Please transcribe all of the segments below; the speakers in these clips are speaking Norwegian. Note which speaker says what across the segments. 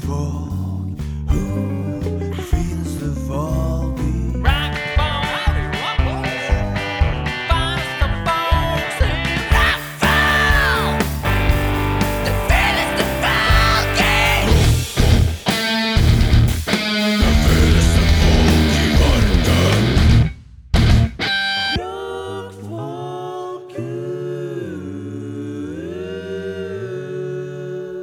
Speaker 1: folk? Who feels the fall beat?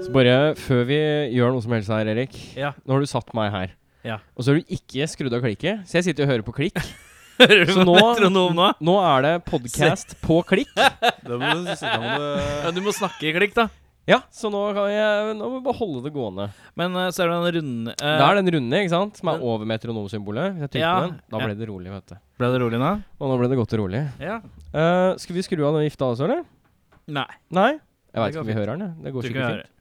Speaker 2: Så bare før vi gjør noe som helst her, Erik.
Speaker 3: Ja.
Speaker 2: Nå har du satt meg her.
Speaker 3: Ja.
Speaker 2: Og så har du ikke skrudd av klikket, så jeg sitter og hører på klikk.
Speaker 3: Hører du
Speaker 2: Så
Speaker 3: på
Speaker 2: nå-
Speaker 3: metronom nå?
Speaker 2: Nå er det podcast på klikk.
Speaker 1: Da må du, da må
Speaker 3: Ja,
Speaker 1: du
Speaker 3: du må snakke i klikk, da.
Speaker 2: Ja, så nå, kan jeg, nå må vi bare holde det gående.
Speaker 3: Men eh, så er det den runde eh,
Speaker 2: Det er den runde, ikke sant, som
Speaker 3: men-
Speaker 2: er over metronomsymbolet. Hvis jeg trykker
Speaker 3: Ja,
Speaker 2: på den, da
Speaker 3: ja.
Speaker 2: ble det rolig, vet du.
Speaker 3: Ble det rolig nå?
Speaker 2: Og nå ble det godt og rolig.
Speaker 3: Ja.
Speaker 2: Eh, skal vi skru av den gifta også, eller?
Speaker 3: Nei.
Speaker 2: Nei? Jeg
Speaker 3: Det
Speaker 2: veit
Speaker 3: går
Speaker 2: ikke om vi hører den. jeg. Det
Speaker 3: Du
Speaker 2: går
Speaker 3: kan
Speaker 2: sikkert
Speaker 3: høre.
Speaker 2: fint.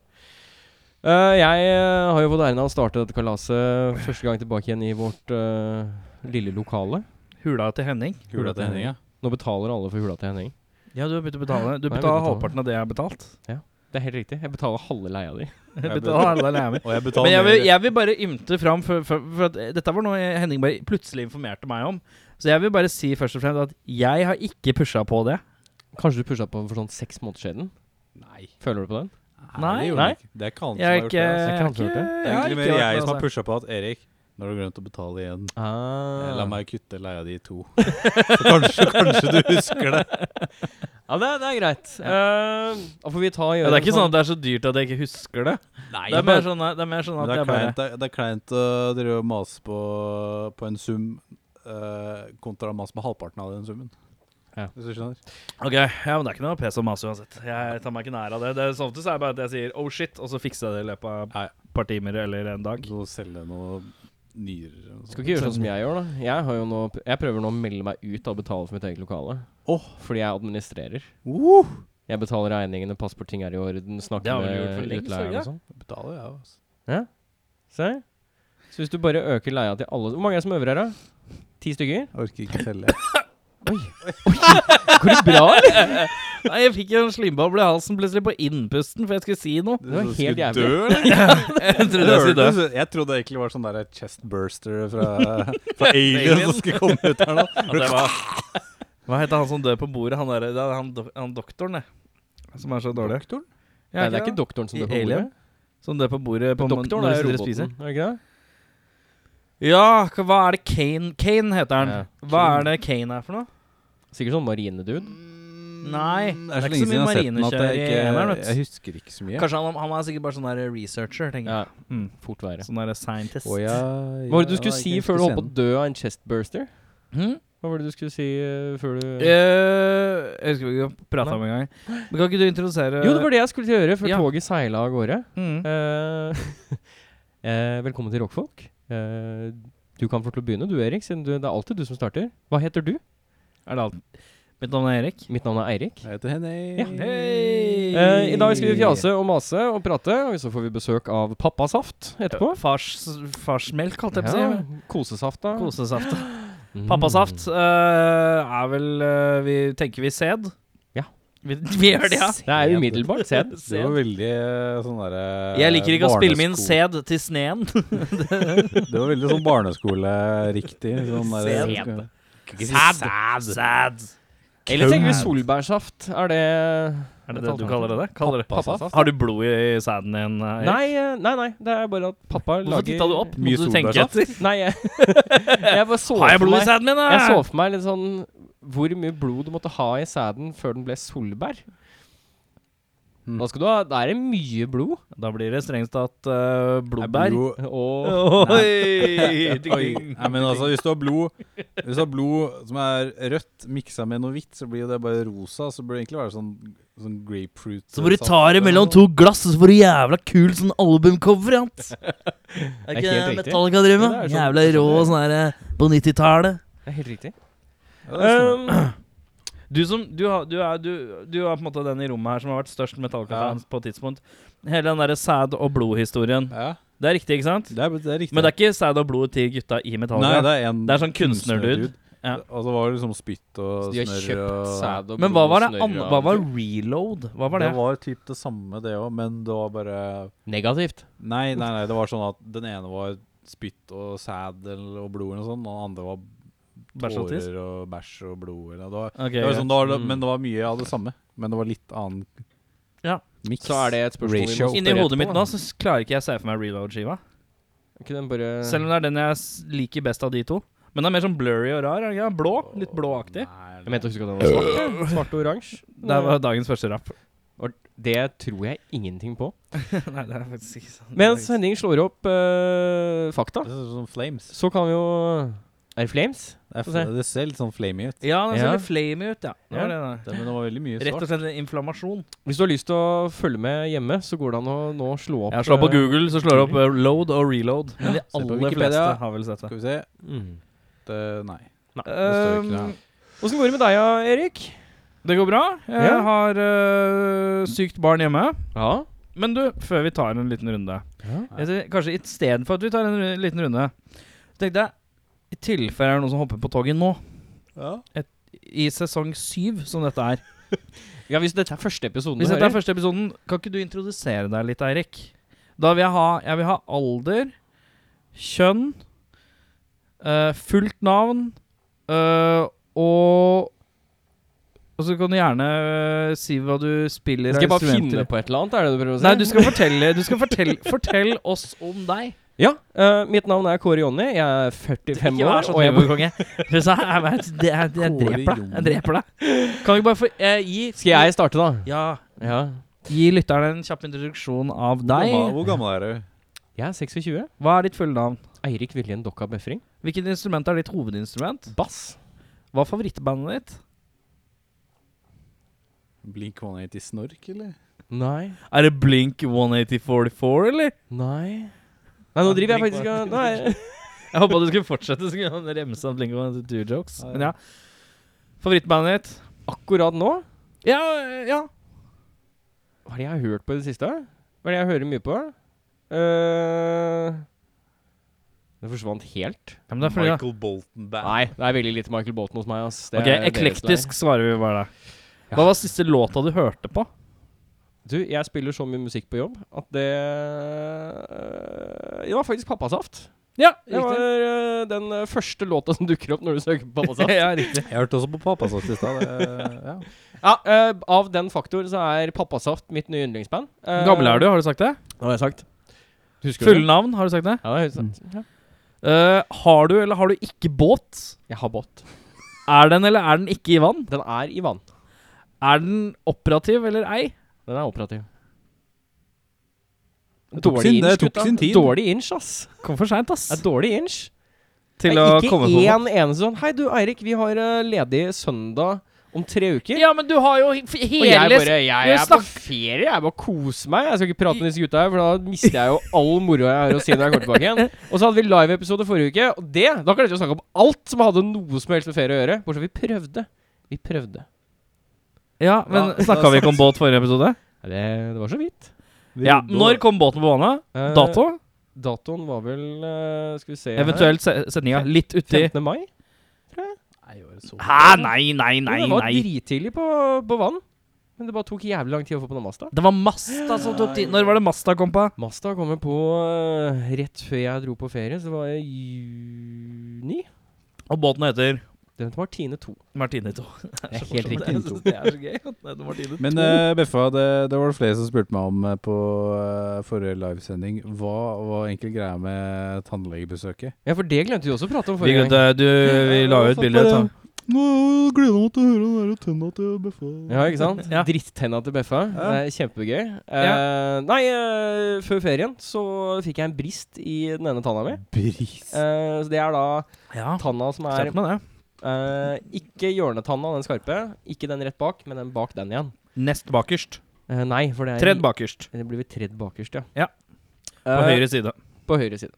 Speaker 2: Eh, jeg eh, har jo fått æren av å starte dette kalaset første gang tilbake igjen i vårt eh, lille lokale.
Speaker 3: Hula til Henning.
Speaker 1: Hula til Henning, ja.
Speaker 2: Nå betaler alle for hula til Henning.
Speaker 3: Ja, du har begynt å betale. Du
Speaker 2: Nei, jeg begynte
Speaker 3: betaler
Speaker 2: å betale.
Speaker 3: halvparten av det jeg har betalt.
Speaker 2: Det er helt riktig. Jeg betaler halve leia di.
Speaker 3: Jeg
Speaker 1: bet-
Speaker 3: betaler alle leia mi.
Speaker 1: Og jeg
Speaker 3: Men
Speaker 1: betaler
Speaker 3: jeg
Speaker 1: mer.
Speaker 3: vil, jeg vil bare ymte fram, for, for, for at eh, dette var noe Henning bare plutselig informerte meg om. Så jeg vil bare si først og fremst at jeg har ikke pusha på det.
Speaker 2: Kanskje du pusha på for sånn seks måneder siden?
Speaker 1: Nei.
Speaker 2: Føler du på den?
Speaker 3: Nei,
Speaker 1: det gjorde
Speaker 2: nei.
Speaker 1: jeg ikke. Det er ikke han som har gjort det. altså.
Speaker 2: ikke han som har
Speaker 3: Jeg har ikke,
Speaker 2: gjort det.
Speaker 1: Det er egentlig mer jeg
Speaker 3: vært med,
Speaker 1: som har
Speaker 3: altså.
Speaker 1: pusha på at Erik, nå har du glemt å betale igjen.
Speaker 2: Ah.
Speaker 1: Eh, La meg kutte leia di i to. Så kanskje, kanskje du husker det.
Speaker 2: Ja, det, er- det er greit. Eh, da får vi ta og
Speaker 3: Ja,
Speaker 2: gjøre
Speaker 3: det er ikke sånn
Speaker 2: en
Speaker 3: at det er så dyrt at jeg ikke husker det.
Speaker 1: Nei,
Speaker 3: Det er mer sånn, det er mer sånn
Speaker 1: Men
Speaker 3: at
Speaker 1: det er
Speaker 3: jeg bare
Speaker 1: kleint, det er, det er kleint å drive og mase på, på en sum eh, kontra å mase på halvparten av den summen.
Speaker 2: Ja.
Speaker 1: Hvis du skjønner.
Speaker 3: Ok, ja, men det er ikke noe pes og mas uansett. Jeg tar meg ikke nær av det. det er, som ofte så er det bare at jeg sier 'oh shit', og så fikser jeg det i løpet av
Speaker 1: Nei.
Speaker 3: et par timer eller en dag.
Speaker 1: Så selge noe nyere og sånt.
Speaker 2: Skal ikke gjøre sånn som jeg gjør, da. Jeg, har jo nå, jeg prøver nå å melde meg ut av å betale for mitt eget lokale.
Speaker 1: Åh.
Speaker 2: Fordi jeg administrerer.
Speaker 3: sånn.
Speaker 1: Uh,
Speaker 2: Jeg betaler regningene, passer på at ting er i orden,
Speaker 3: Det
Speaker 2: snakker
Speaker 3: har vi gjort for
Speaker 2: med
Speaker 3: lengst, har vi
Speaker 2: utleieren og sånn.
Speaker 1: betaler jeg, altså.
Speaker 2: Se. Så hvis du bare øker leia til alle Hvor mange er det som øver her, da? Ti stykker?
Speaker 1: Jeg orker ikke selge.
Speaker 2: Går det bra, eller?
Speaker 3: Nei, jeg fikk en slimboble i halsen plutselig på innpusten, for jeg skulle si noe.
Speaker 2: var
Speaker 1: Du
Speaker 2: helt
Speaker 1: skulle
Speaker 2: jævlig.
Speaker 1: dø, eller?
Speaker 3: Jeg
Speaker 1: Det
Speaker 3: trodde jeg skulle dø.
Speaker 1: hørtes- jeg trodde det egentlig var sånn der chest burster fra, fra Alien som skulle komme ut her nå.
Speaker 3: Ja, det var Hva heter han som dør på bordet? Han, der, det er han, dok han doktoren, det. Som er så dårlig.
Speaker 1: Doktoren?
Speaker 3: Ja,
Speaker 2: Nei, det er ikke doktoren som
Speaker 3: I
Speaker 2: dør på
Speaker 3: Alien?
Speaker 2: bordet.
Speaker 3: Som dør på bordet på
Speaker 2: Doktoren
Speaker 3: når
Speaker 2: er
Speaker 3: dere
Speaker 2: roboten,
Speaker 3: spiser.
Speaker 2: er det ikke det?
Speaker 3: Ja, hva- hva er det Kane Kane heter han.
Speaker 2: Ja.
Speaker 3: Hva er det Kane er for noe?
Speaker 2: Sikkert sånn marinedude.
Speaker 3: Mm. Nei,
Speaker 1: Mm,
Speaker 3: det er ikke så mye marinekjører i eneren, vet du.
Speaker 1: Jeg husker ikke så mye.
Speaker 3: Kanskje han, han er sikkert bare sånn der researcher, tenker jeg.
Speaker 2: Ja,
Speaker 3: Mm.
Speaker 2: fort være.
Speaker 3: Sånn der scientist.
Speaker 1: Å, ja,
Speaker 2: Hva var det
Speaker 1: ja,
Speaker 2: du skulle
Speaker 1: jeg
Speaker 2: si
Speaker 1: husker
Speaker 2: før du holdt på å
Speaker 1: scenen.
Speaker 2: dø av en chestburster?
Speaker 3: Hm?
Speaker 2: Hva var det du skulle si eh, før du
Speaker 3: Eh, jeg husker ikke vi prata
Speaker 2: Nei.
Speaker 3: om engang. Men Kan ikke du introdusere
Speaker 2: Jo, det var det jeg skulle gjøre før
Speaker 3: ja.
Speaker 2: toget seila av gårde.
Speaker 3: Mm.
Speaker 2: Eh, eh, velkommen til Rockfolk. Eh, du kan få til å begynne, du Erik, siden du, det er alltid du som starter. Hva heter du?
Speaker 3: Er det alt? Mitt navn er Erik.
Speaker 2: Mitt navn er Eirik.
Speaker 1: Jeg heter Henning.
Speaker 2: Ja.
Speaker 3: Hei!
Speaker 2: Eh, I dag skal vi fjase og mase og prate, og så får vi besøk av pappasaft etterpå.
Speaker 3: Fars, farsmelk, holdt jeg på å si.
Speaker 2: Kosesaft, da.
Speaker 3: Kosesaft.
Speaker 2: Mm.
Speaker 3: Pappasaft eh, er vel eh, Vi tenker vi sæd.
Speaker 2: Ja.
Speaker 3: Vi, vi gjør det, ja.
Speaker 2: Det er umiddelbart sed.
Speaker 1: Det var veldig eh, sånn derre
Speaker 3: Jeg liker ikke å spille min sæd til sneen.
Speaker 1: Det var veldig sånn barneskoleriktig. Sånn derre-
Speaker 3: Sæd.
Speaker 1: Sæd.
Speaker 3: Sæd.
Speaker 2: Eller tenker vi solbærsaft? Er det
Speaker 3: Er det det du kaller det? Kaller det?
Speaker 2: Pappasaft?
Speaker 3: Har du blod i sæden din? eh, Erik?
Speaker 2: Nei, eh, nei, nei. Det er bare at pappa lager
Speaker 3: Hvorfor titta du opp?
Speaker 1: Mye
Speaker 3: Måtte du tenke
Speaker 1: solbærsaft.
Speaker 3: etter?
Speaker 2: Nei, jeg, jeg bare så
Speaker 3: Har jeg
Speaker 2: for
Speaker 3: blod i
Speaker 2: meg-
Speaker 3: sæden min, da?
Speaker 2: Jeg så for meg litt sånn hvor mye blod du måtte ha i sæden før den ble solbær.
Speaker 1: Mm.
Speaker 2: Da skal du ha Da er det mye blod.
Speaker 3: Da blir det strengt tatt uh, blodbær.
Speaker 1: Blod.
Speaker 2: Og
Speaker 3: Oi!
Speaker 1: Oi. Nei, men altså, hvis du har blod Hvis du har blod som er rødt miksa med noe hvitt, så blir jo det bare rosa. Så burde det egentlig være sånn, sånn grapefruit
Speaker 3: Så må du ta det mellom to glass, og så får du jævla kul sånn albumcover. ja.
Speaker 2: Det
Speaker 3: Er
Speaker 2: er
Speaker 3: ikke
Speaker 2: helt
Speaker 3: det
Speaker 2: riktig.
Speaker 3: Metallica
Speaker 2: Ja,
Speaker 3: driver med?
Speaker 2: det er sånn-
Speaker 3: Jævla rå sånn her eh, på 90-tallet.
Speaker 2: Det er helt riktig.
Speaker 1: Ja,
Speaker 2: Ehm,
Speaker 1: det er sånn.
Speaker 3: Du som du, har, du, er, du, du er på en måte den i rommet her som har vært størst Metallica-fans på et tidspunkt. Hele den derre sæd og blod-historien.
Speaker 1: ja,
Speaker 3: Det er riktig, ikke sant?
Speaker 1: det, er, det er riktig.
Speaker 3: Men det er ikke sæd og blod til gutta i Metallica.
Speaker 1: Nei, det er en
Speaker 3: Det er sånn kunstnerdude.
Speaker 1: kunstnerdude.
Speaker 3: Ja.
Speaker 1: Og så var det liksom spytt og
Speaker 2: Så de har
Speaker 1: snørr
Speaker 2: kjøpt
Speaker 1: og
Speaker 2: sæd og
Speaker 3: Men hva
Speaker 2: blod
Speaker 3: var
Speaker 2: og
Speaker 3: det an
Speaker 2: snørr og
Speaker 3: Hva var
Speaker 2: alt.
Speaker 3: reload? Hva var
Speaker 1: det
Speaker 3: det?
Speaker 1: var typ det samme, det òg, men det var bare
Speaker 2: Negativt.
Speaker 1: Nei, nei, nei, det var sånn at den ene var spytt og sæd eller- og blod, eller noe sånt, og den andre var
Speaker 3: Bæsj og tiss?
Speaker 1: tårer og bæsj og blod. Eller, det var,
Speaker 3: Ok,
Speaker 1: det var
Speaker 3: greit.
Speaker 1: sånn, det var,
Speaker 2: Mm.
Speaker 1: Men det var mye av det samme. Men det var litt annen
Speaker 3: Ja.
Speaker 1: miks.
Speaker 2: Så er det et spørsmål vi
Speaker 1: Ratio.
Speaker 2: må
Speaker 3: Inni
Speaker 2: operere
Speaker 3: hodet
Speaker 2: på,
Speaker 3: mitt
Speaker 2: da.
Speaker 3: nå så s- klarer ikke jeg se for meg reload-skiva.
Speaker 2: Ikke den bare
Speaker 3: Selv om det er den jeg s- liker best av de to. Men den er mer sånn blurry og rar. er den ikke det? Blå. Litt blåaktig.
Speaker 1: Nei,
Speaker 2: Jeg mente å huske at den var svart. ja. Svart og oransje.
Speaker 3: Det var dagens første rapp.
Speaker 2: Og Det tror jeg ingenting på.
Speaker 3: Mm, Nei, det er faktisk ikke sant.
Speaker 2: Mens Henning slår opp eh, fakta,
Speaker 1: Det ser ut som flames.
Speaker 2: så kan vi jo Er det Flames?
Speaker 1: Det,
Speaker 2: Få se.
Speaker 1: er, det ser litt sånn flamey ut.
Speaker 3: Ja, den ser
Speaker 2: Ja.
Speaker 3: litt flamy ut, ja. Det var det,
Speaker 1: Det, men det var veldig mye
Speaker 3: da. Rett
Speaker 1: svart.
Speaker 3: og slett en inflammasjon.
Speaker 2: Hvis du har lyst til å følge med hjemme, så går det an å nå slå opp
Speaker 3: Jeg slår på
Speaker 2: eh,
Speaker 3: Google, så slår jeg opp eh, load og reload. Men de
Speaker 1: Se på
Speaker 3: aller
Speaker 1: Wikipedia.
Speaker 3: fleste har vel sett det.
Speaker 1: Skal vi se
Speaker 2: Mm.
Speaker 1: det, Nei. Det står ikke
Speaker 3: Um,
Speaker 1: det her.
Speaker 2: Åssen går det med deg, ja, Erik?
Speaker 3: det går bra. Jeg
Speaker 2: Ja.
Speaker 3: har eh, sykt barn hjemme.
Speaker 2: Ja.
Speaker 3: Men du, før vi tar en liten runde jeg tenker, Kanskje istedenfor at vi tar en ru- liten runde Tenkte jeg I tilfelle er det noen som hopper på toget nå, i sesong syv, som dette er
Speaker 2: ja hvis dette er første episoden
Speaker 3: Hvis
Speaker 2: du
Speaker 3: dette er
Speaker 2: hører
Speaker 3: første episoden, kan ikke du introdusere deg litt, Eirik? Da vil jeg ha Jeg vil ha alder, kjønn, eh, fullt navn eh, og Og så kan du gjerne eh, si hva du spiller
Speaker 2: Skal jeg bare
Speaker 3: instrumenter.
Speaker 2: finne på et eller annet? Er det det du prøver å si?
Speaker 3: Nei, du skal fortelle Du skal fortelle Fortell oss om deg.
Speaker 2: Ja, eh, mitt navn er Kåre Jonny. Jeg er 45 år, og jeg bor
Speaker 3: konge. Jeg, jeg, jeg, jeg
Speaker 1: Kåre
Speaker 3: dreper deg. Jeg
Speaker 1: Jon.
Speaker 3: dreper deg. Kan du bare få eh, gi
Speaker 2: Skal jeg starte, da?
Speaker 3: Ja.
Speaker 2: Ja.
Speaker 3: Gi lytterne en kjapp introduksjon av deg.
Speaker 1: Gammel, hvor gammel er du?
Speaker 2: Jeg er 26.
Speaker 3: Hva er ditt fulle navn?
Speaker 2: Eirik Viljen Dokka Befring.
Speaker 3: Hvilket instrument er ditt hovedinstrument?
Speaker 2: Bass.
Speaker 3: Hva er favorittbandet ditt?
Speaker 1: Blink 180 snork, eller?
Speaker 2: Nei.
Speaker 3: Er det Blink 18044, eller?
Speaker 2: Nei. Nei, nå driver jeg
Speaker 3: Blink
Speaker 2: faktisk
Speaker 3: var-
Speaker 2: og Nei.
Speaker 3: Jeg håpa du skulle fortsette, så kunne han remse av Blink 182-jokes. Men ja. Favorittbandet ditt?
Speaker 2: Akkurat nå
Speaker 3: Ja, ja.
Speaker 2: Hva er det jeg har hørt på i det siste? Hva er det jeg hører mye på? Eh, det forsvant helt.
Speaker 3: men det er fordi,
Speaker 1: Michael Bolton Band.
Speaker 2: Nei, det er veldig lite Michael Bolton hos meg. Ass. Det
Speaker 3: Ok,
Speaker 2: er deres
Speaker 3: eklektisk svarer vi bare der. Hva var siste låta du hørte på?
Speaker 2: der. Du, jeg spiller så mye musikk på jobb at det eh, Det var faktisk Pappasaft.
Speaker 3: Ja,
Speaker 2: Det var eh, den eh, første låta som dukker opp når du søker på Pappasaft.
Speaker 3: ja, riktig.
Speaker 1: Jeg hørte også på Pappasaft i stad. det- Ja.
Speaker 2: Ja, eh, Av den faktor så er Pappasaft mitt nye yndlingsband. Uh,
Speaker 3: Gammel er du, har du sagt det?
Speaker 2: Det har jeg sagt. Husker
Speaker 3: Fulle
Speaker 2: du det?
Speaker 3: navn, har du sagt det?
Speaker 2: Ja, det har jeg sagt. Ja.
Speaker 3: Eh, har du eller har du ikke båt?
Speaker 2: Jeg har båt.
Speaker 3: Er den eller er den ikke i vann?
Speaker 2: Den er i vann.
Speaker 3: Er den operativ eller ei?
Speaker 2: Den er operativ.
Speaker 1: Det tok sin- det tok
Speaker 2: gutta.
Speaker 1: sin tid.
Speaker 2: Dårlig inch, ass.
Speaker 3: Kom for seint,
Speaker 2: Det er
Speaker 3: ass.
Speaker 2: dårlig inch.
Speaker 3: Til
Speaker 2: det
Speaker 3: å
Speaker 2: er ikke
Speaker 3: komme på
Speaker 2: én eneste sånn Hei, du Eirik, vi har eh, ledig søndag om tre uker.
Speaker 3: Ja, men du har jo he- f-
Speaker 2: Og jeg
Speaker 3: hele
Speaker 2: bare Jeg er på ferie, jeg bare koser meg. Jeg skal ikke prate med disse gutta her, for da mister jeg jo all moroa jeg har å si når jeg kommer tilbake igjen. Og så hadde vi live-episode forrige uke, og det Da klarte vi å snakke om alt som hadde noe som helst med ferie å gjøre. Bortsett fra vi prøvde. Vi prøvde.
Speaker 3: Ja, men
Speaker 1: Da- da
Speaker 3: snakka vi ikke om båt forrige episode?
Speaker 2: Nei, Det, det var så vidt.
Speaker 3: Ja, Når kom båten på bane?
Speaker 2: Eh,
Speaker 3: Dato?
Speaker 2: Datoen var vel eh, Skal vi se her.
Speaker 3: Eventuelt se- setninga. Litt uti
Speaker 2: 15. mai?
Speaker 1: Nei, var det så-
Speaker 3: Hæ, nei,
Speaker 2: Nei,
Speaker 3: nei, nei,
Speaker 2: det var
Speaker 3: nei.
Speaker 2: drittidlig på, på vann. Men det bare tok jævlig lang tid å få på den Masta.
Speaker 3: Det var Masta som tok tid. Når var det Masta kom på?
Speaker 2: Masta kom jeg på eh, rett før jeg dro på ferie, så det var i juni.
Speaker 3: Og båten heter
Speaker 2: Den heter Martine 2.
Speaker 3: Martine 2.
Speaker 2: Det er helt riktig.
Speaker 3: Jeg synes det er så gøy. at den heter Martine 2.
Speaker 1: Men eh, Beffa, det, det var det flere som spurte meg om eh, på eh, forrige livesending. Hva var egentlig greia med tannlegebesøket?
Speaker 2: Ja, for det glemte vi også å prate om
Speaker 3: vi,
Speaker 2: forrige gang.
Speaker 3: glemte, du, vi la jo ut bilde. ta-
Speaker 1: Nå gleder jeg meg til å høre den der tenna til Beffa.
Speaker 2: Ja, ikke sant?
Speaker 3: Ja.
Speaker 2: Drittenna til Beffa. Det
Speaker 1: Ja.
Speaker 2: er kjempegøy. Eh, Nei, eh, før ferien så fikk jeg en brist i den ene tanna mi.
Speaker 1: Bris.
Speaker 2: Eh, så det er da
Speaker 3: Ja,
Speaker 2: tanna som er
Speaker 3: skjerp meg det.
Speaker 2: eh, ikke hjørnetanna, den skarpe. Ikke den rett bak, men den bak den igjen.
Speaker 3: Nest bakerst.
Speaker 2: Eh, nei, for det er
Speaker 3: Tredd bakerst.
Speaker 2: Det blir vi tredd bakerst, ja.
Speaker 3: Ja. På
Speaker 2: Eh,
Speaker 3: høyre side.
Speaker 2: på høyre side.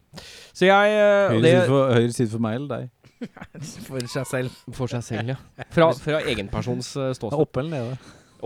Speaker 2: Så jeg eh, og
Speaker 1: Høyre side, for, høyre side for meg eller deg?
Speaker 3: For seg selv.
Speaker 2: det, For seg selv, ja. Fra, fra egenpersons eh,
Speaker 1: Det
Speaker 2: ståsted.
Speaker 1: er oppe eller nede?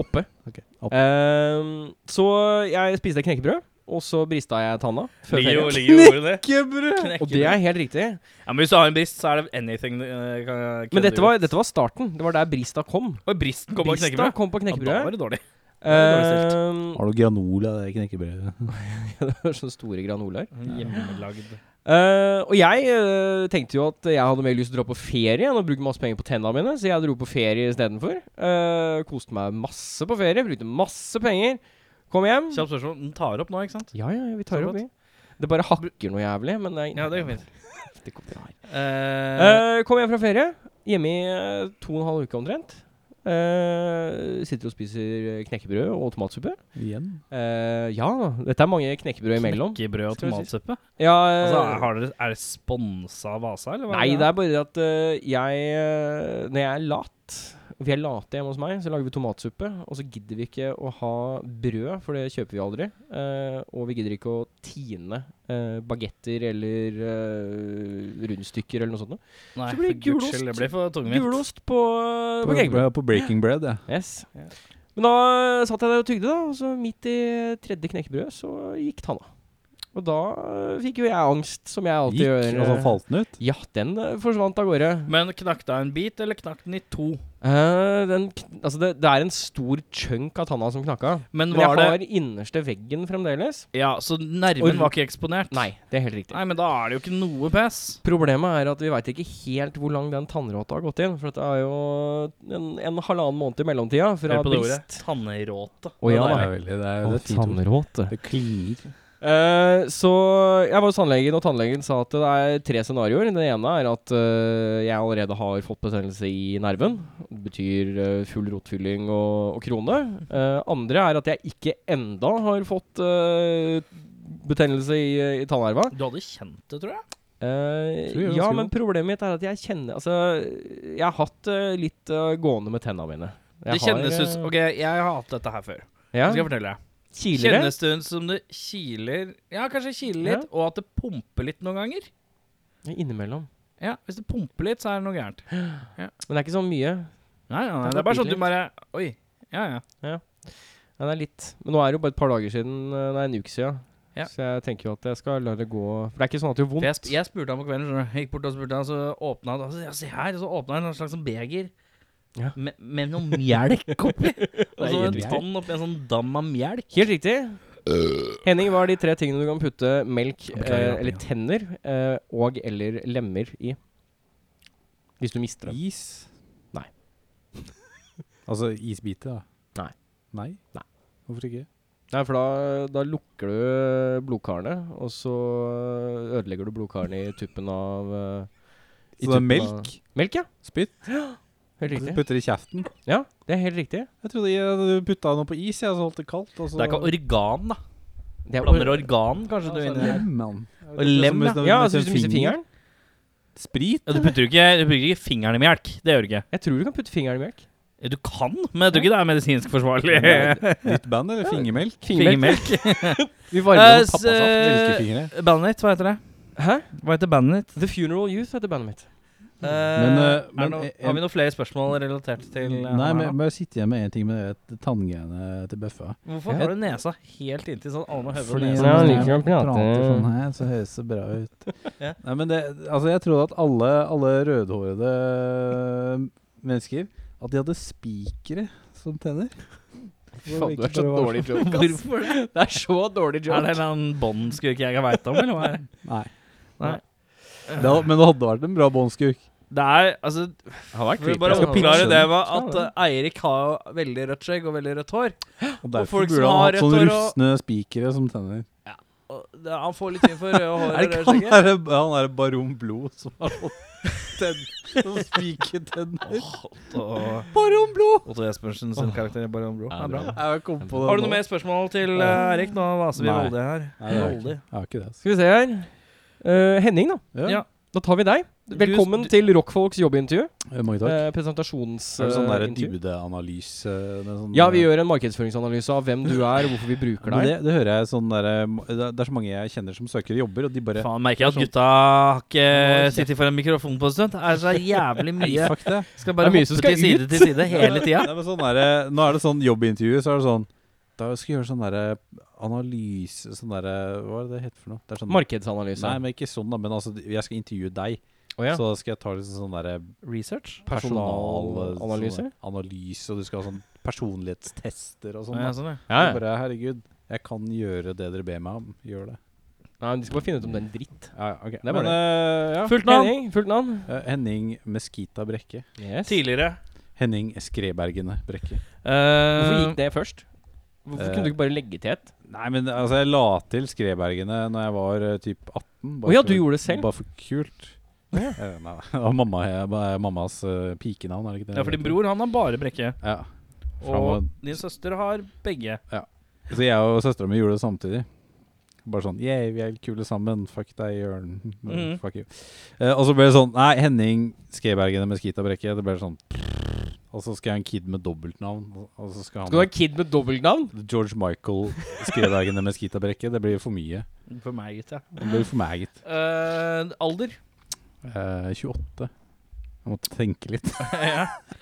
Speaker 2: Oppe.
Speaker 1: Ok, opp.
Speaker 2: Ehm, så jeg spiste knekkebrød og så brista jeg tanna. Før
Speaker 3: Ligger jo
Speaker 2: ferien.
Speaker 3: ligger jo ordet det.
Speaker 1: Knekkebrød!
Speaker 3: Knekker
Speaker 2: Og det er helt riktig.
Speaker 3: Ja, men Hvis du har en brist, så er det anything eh, kan-
Speaker 2: Men dette
Speaker 3: kødder
Speaker 2: var,
Speaker 3: ut.
Speaker 2: dette var starten. Det var der brista kom.
Speaker 3: Oi, bristen kom bak
Speaker 2: Brista
Speaker 3: knekkebrød.
Speaker 2: kom på
Speaker 3: Ja, da var
Speaker 2: knekkebrødet.
Speaker 3: det dårlig. var
Speaker 2: Eh,
Speaker 1: Har du granola i det knekkebrødet?
Speaker 2: det var sånne store granoler.
Speaker 3: Hjemmelagd.
Speaker 2: Eh, og jeg eh, tenkte jo at jeg hadde mer lyst til å dra på ferie enn å bruke masse penger på tennene mine, så jeg dro på ferie istedenfor. Uh, koste meg masse på ferie, brukte masse penger. Kom hjem.
Speaker 3: Kjapt spørsmål. Den tar opp nå, ikke sant?
Speaker 2: Ja, ja, vi
Speaker 3: Så
Speaker 2: tar det opp, vi. Det bare hakker noe jævlig, men det er
Speaker 3: Ja, det går fint.
Speaker 2: Det går bra.
Speaker 3: Eh,
Speaker 2: Eh, kom hjem fra ferie. Hjemme i eh, to og en halv uke omtrent. Eh, sitter og spiser eh, knekkebrød og tomatsuppe.
Speaker 1: Igjen?
Speaker 2: Eh, ja, dette er mange knekkebrød imellom.
Speaker 3: Knekkebrød og
Speaker 2: Skal vi
Speaker 3: tomatsuppe.
Speaker 2: Ja, eh,
Speaker 3: Altså, er- har dere, er det sponsa av Vasa, eller? hva
Speaker 2: nei, det
Speaker 3: det?
Speaker 2: er bare det at eh, jeg eh, Når jeg er lat og Vi er late hjemme hos meg, så lager vi tomatsuppe. Og så gidder vi ikke å ha brød, for det kjøper vi aldri. eh, og vi gidder ikke å tine uh, bagetter eller eh, rundstykker eller noe sånt. noe.
Speaker 3: Nei,
Speaker 2: så blir det
Speaker 3: for guds
Speaker 2: gulost.
Speaker 3: skyld, Det blir for tungvint.
Speaker 2: Gulost på, eh, på,
Speaker 1: På,
Speaker 2: knekkebrød.
Speaker 1: på breaking bread, ja.
Speaker 2: Yes.
Speaker 3: Ja.
Speaker 2: Men da eh, satt jeg der og tygde, da, og så midt i tredje knekkebrød så gikk tanna. Og da eh, fikk jo jeg angst, som jeg alltid
Speaker 1: Gikk,
Speaker 2: gjør.
Speaker 1: altså falt den ut?
Speaker 2: Ja, den eh, forsvant av gårde.
Speaker 3: Men knakk deg en bit, eller knakk den i to?
Speaker 2: Eh, den, kn- altså det, det er en stor chunk av tanna som knakka.
Speaker 3: Men
Speaker 2: Men jeg
Speaker 3: var det
Speaker 2: har innerste veggen fremdeles.
Speaker 3: Ja, så
Speaker 2: Og-
Speaker 3: nerven var ikke eksponert?
Speaker 2: Nei, det er helt riktig.
Speaker 3: Nei, men da er det jo ikke noe pes.
Speaker 2: Problemet er at vi veit ikke helt hvor lang den tannråta har gått inn. For det er jo en, en halvannen måned i mellomtida fra
Speaker 3: Hør på det ordet.
Speaker 2: brist.
Speaker 3: Tannråte.
Speaker 2: Å ja
Speaker 1: det
Speaker 2: da.
Speaker 1: er veldig, det er,
Speaker 2: Å,
Speaker 1: det er fint. ord.
Speaker 2: Tannråte.
Speaker 1: Det klinger.
Speaker 2: Eh, så jeg var hos tannlegen, og tannlegen sa at det er tre scenarioer. Det ene er at eh, jeg allerede har fått betennelse i nerven. Det betyr eh, full rotfylling og, og krone. Eh, andre er at jeg ikke enda har fått eh, betennelse i, i tannerva.
Speaker 3: Du hadde kjent det, tror jeg.
Speaker 2: Eh,
Speaker 1: Så gjør det
Speaker 2: ja,
Speaker 1: ganske
Speaker 2: men
Speaker 1: vondt.
Speaker 2: problemet mitt er at jeg kjenner Altså, jeg har hatt eh, litt eh, gående med tennene mine. eh,
Speaker 3: Det kjennes ut som- Ok, jeg har hatt dette her før.
Speaker 2: ja,
Speaker 3: Nå skal jeg fortelle deg.
Speaker 2: Kilere?
Speaker 3: Kjennes eh, det ut som det kiler Ja, kanskje kiler
Speaker 2: Ja.
Speaker 3: litt, og at det pumper litt noen ganger?
Speaker 2: Innimellom.
Speaker 3: Ja, Hvis det pumper litt, så er det noe gærent.
Speaker 2: Men det er ikke så mye.
Speaker 3: Nei, nei, nei,
Speaker 2: Det
Speaker 3: det er
Speaker 2: pumper
Speaker 3: bare sånn at du bare Oi. Ja, ja.
Speaker 2: Ja, det er litt. Men nå er det jo bare et par dager siden. eh, Nei, en uke siden.
Speaker 3: Ja.
Speaker 2: Så jeg tenker jo at jeg skal la det gå. For det er ikke sånn at det gjør
Speaker 3: For jeg,
Speaker 2: vondt.
Speaker 3: sp jeg spurte han på kvelden, skjønner du. Jeg gikk bort og spurte han, så åpna han og så, ja, se her, og så åpna han en slags sånn beger.
Speaker 2: Ja.
Speaker 3: Med, med noe mjelk oppi. Og så
Speaker 2: helt
Speaker 3: en
Speaker 2: jævlig.
Speaker 3: tann oppi en sånn dam av mjelk.
Speaker 2: Helt riktig. Henning, hva er de tre tingene du kan putte melk,
Speaker 1: Beklager,
Speaker 2: eh,
Speaker 1: Jakob,
Speaker 2: eller
Speaker 1: ja.
Speaker 2: tenner, eh, og eller lemmer i? Hvis du mister dem.
Speaker 1: Is?
Speaker 2: Nei.
Speaker 1: altså isbiter, da?
Speaker 2: Nei.
Speaker 1: Nei?
Speaker 2: Nei.
Speaker 1: Hvorfor ikke?
Speaker 2: Nei, for da, da lukker du blodkarene, og så ødelegger du blodkarene i tuppen av eh, i
Speaker 1: Så det er
Speaker 2: tuppen
Speaker 1: melk?
Speaker 2: Av melk, ja.
Speaker 1: Spytt?
Speaker 2: Helt
Speaker 1: Du
Speaker 2: riktig.
Speaker 1: putter i kjeften?
Speaker 2: Ja, det er helt riktig.
Speaker 1: Jeg trodde jeg- du putta noe på is, jeg, så holdt det kaldt. Og så
Speaker 3: Det er ikke organ, da.
Speaker 2: Det er-
Speaker 3: Blander organ, kanskje,
Speaker 1: Ja,
Speaker 3: du er
Speaker 1: så
Speaker 3: inni der.
Speaker 1: lem, mann.
Speaker 3: Og lem, ja.
Speaker 2: Ja, altså hvis du mister fingeren.
Speaker 1: Sprit?
Speaker 3: Ja, du putter jo ikke, du putter ikke fingeren i melk. Det gjør du ikke.
Speaker 2: Jeg tror du kan putte fingeren i melk.
Speaker 3: Ja, Du kan, men jeg tror ikke det er medisinsk forsvarlig.
Speaker 1: Nytt band, eller? Fingermelk?
Speaker 3: eh, Fingermelk.
Speaker 2: Vi varmer
Speaker 3: Eh,
Speaker 2: opp pappasaft.
Speaker 1: Melkefingre.
Speaker 3: Bandet ditt, hva heter det?
Speaker 2: Hæ?
Speaker 3: Hva heter bandet ditt?
Speaker 2: The Funeral Youth heter bandet mitt.
Speaker 1: Men, eh,
Speaker 3: er det
Speaker 1: men,
Speaker 3: noe-
Speaker 1: eh,
Speaker 3: har vi noen flere spørsmål relatert til eh,
Speaker 1: Nei,
Speaker 3: han
Speaker 1: men
Speaker 3: her,
Speaker 1: jeg bare sitter igjen med én ting med det tanngreiene til Bøffa.
Speaker 3: da? Hvorfor
Speaker 2: Ja.
Speaker 3: har du nesa helt inntil sånn alle må høve
Speaker 1: Fordi
Speaker 3: nesa?
Speaker 2: Ja,
Speaker 1: når
Speaker 2: liker
Speaker 1: jeg
Speaker 2: å prate.
Speaker 1: prater sånn her, så høres det bra ut.
Speaker 3: Ja.
Speaker 1: Nei, men det, altså jeg trodde at alle, alle rødhårede mennesker At de hadde spikere som tenner.
Speaker 2: Faen, du er så dårlig joke, ass.
Speaker 3: Hvorfor det?
Speaker 2: Det er så dårlig
Speaker 3: Er det en eller annen båndskurk jeg ikke veit om, eller hva er det?
Speaker 1: Nei.
Speaker 3: Nei.
Speaker 1: Det hadde, men det hadde vært en bra båndskurk.
Speaker 3: Det er, altså,
Speaker 2: Har vært
Speaker 3: for å bare
Speaker 1: Jeg skal pitche
Speaker 3: oppklare
Speaker 1: den.
Speaker 3: det med
Speaker 2: Skal
Speaker 3: at eh, Eirik har jo veldig rødt skjegg og veldig rødt hår.
Speaker 1: Og
Speaker 3: Og
Speaker 1: derfor
Speaker 3: folk som
Speaker 1: burde han
Speaker 3: har
Speaker 1: hatt
Speaker 3: rødt
Speaker 1: sånne
Speaker 3: hår og-
Speaker 1: rustne spikere som tenner.
Speaker 3: Og det- han får litt inn for røde
Speaker 1: Er
Speaker 3: hår og
Speaker 1: det
Speaker 3: røde
Speaker 1: ikke han
Speaker 3: skjegget.
Speaker 1: derre han derre Baron Blod som har fått tenn- som spikertenner?
Speaker 3: Og
Speaker 1: Baron Blod!
Speaker 3: Otto Jespersen sin karakter i Baron Bro.
Speaker 2: Ja,
Speaker 3: er bra.
Speaker 2: bra.
Speaker 1: Jeg kom på det
Speaker 3: Har du
Speaker 1: nå.
Speaker 3: noe mer spørsmål til eh, Eirik? Nå vaser vi
Speaker 1: Nei.
Speaker 3: veldig her.
Speaker 1: Nei, det har jeg
Speaker 3: Veldig.
Speaker 1: ikke. Jeg har ikke det. altså.
Speaker 2: Skal vi se her. Eh, Henning, da.
Speaker 3: Ja.
Speaker 2: Da tar vi deg. Velkommen
Speaker 3: Du-
Speaker 2: til Rockfolks jobbintervju.
Speaker 1: Eh, Mange takk. er
Speaker 2: Uh,
Speaker 1: det sånn der
Speaker 2: Presentasjonsintervju.
Speaker 1: dybdeanalyse med sånn
Speaker 2: ja, vi gjør en markedsføringsanalyse av hvem du er, og hvorfor vi bruker
Speaker 1: Men
Speaker 2: deg.
Speaker 1: det, det hører jeg sånn der, eh, Det det er så mange jeg kjenner som søker jobber, og de bare
Speaker 3: Faen, merker jeg at gutta har ikke sittet foran mikrofon på en stund. Det er så jævlig mye.
Speaker 1: Fuck det.
Speaker 3: Skal bare
Speaker 2: Det er mye
Speaker 3: hoppe
Speaker 2: som
Speaker 3: til
Speaker 2: skal
Speaker 3: side til side hele tida.
Speaker 1: Nei, men sånn der, eh, nå er det sånn jobbintervju, så er det sånn Da skulle jeg gjøre sånn derre analyse Sånn derre Hva er det det heter for noe? Det er sånn,
Speaker 2: Markedsanalyse.
Speaker 1: Nei, men ikke sånn, da. Men altså, jeg skal intervjue deg.
Speaker 2: Å ja.
Speaker 1: Så da skal jeg ta litt sånn derre
Speaker 4: Research?
Speaker 1: personal-
Speaker 2: Personalanalyse?
Speaker 1: sånn der Analyse, og du skal ha sånn personlighetstester og sånn.
Speaker 3: Ja,
Speaker 1: da.
Speaker 3: sånn, ja.
Speaker 2: ja,
Speaker 1: Jeg
Speaker 2: ja.
Speaker 1: bare, herregud, jeg kan gjøre det dere ber meg om. Gjør det.
Speaker 2: Nei, men De skal bare finne ut om det er en dritt.
Speaker 1: Ja, ja, ok.
Speaker 2: Det er bare
Speaker 1: Men, eh, ja.
Speaker 2: Fullt navn. Henning, fullt navn.
Speaker 1: Eh, Henning Meskita Brekke.
Speaker 2: Yes.
Speaker 3: Tidligere.
Speaker 1: Henning Skrebergene Brekke.
Speaker 2: Hvorfor
Speaker 4: Uh,
Speaker 2: gikk det først? Hvorfor
Speaker 1: Eh.
Speaker 2: kunne du ikke bare legge til et?
Speaker 1: Nei, men altså, jeg la til Skrebergene når jeg var eh, typ 18.
Speaker 2: Å ja,
Speaker 1: for-
Speaker 2: du gjorde det selv?
Speaker 1: Bare for kult. Eh, Nei, det var mamma, jeg, bare- mammas eh, pikenavn, er det ikke det?
Speaker 3: Ja, for din bror han har bare brekke.
Speaker 1: Ja.
Speaker 3: Og din søster har begge.
Speaker 1: Så jeg og søstera mi gjorde det samtidig. Bare sånn Yeah, vi er kule sammen. Fuck deg, Jørn.
Speaker 3: Mhm.
Speaker 1: Fuck you. Eh, og så ble det sånn Nei, Henning Skrebergene med skitabrekke. Det ble sånn Og så skal jeg ha en kid med dobbeltnavn. og- Og så skal han
Speaker 2: Skal du ha en kid med dobbeltnavn?
Speaker 1: George Michael Skrebergene med skitabrekke. Det blir for mye.
Speaker 3: For meg, gitt. Ja.
Speaker 1: Det blir for meg, gitt.
Speaker 3: Eh, alder.
Speaker 1: Eh, 28. Jeg måtte tenke litt.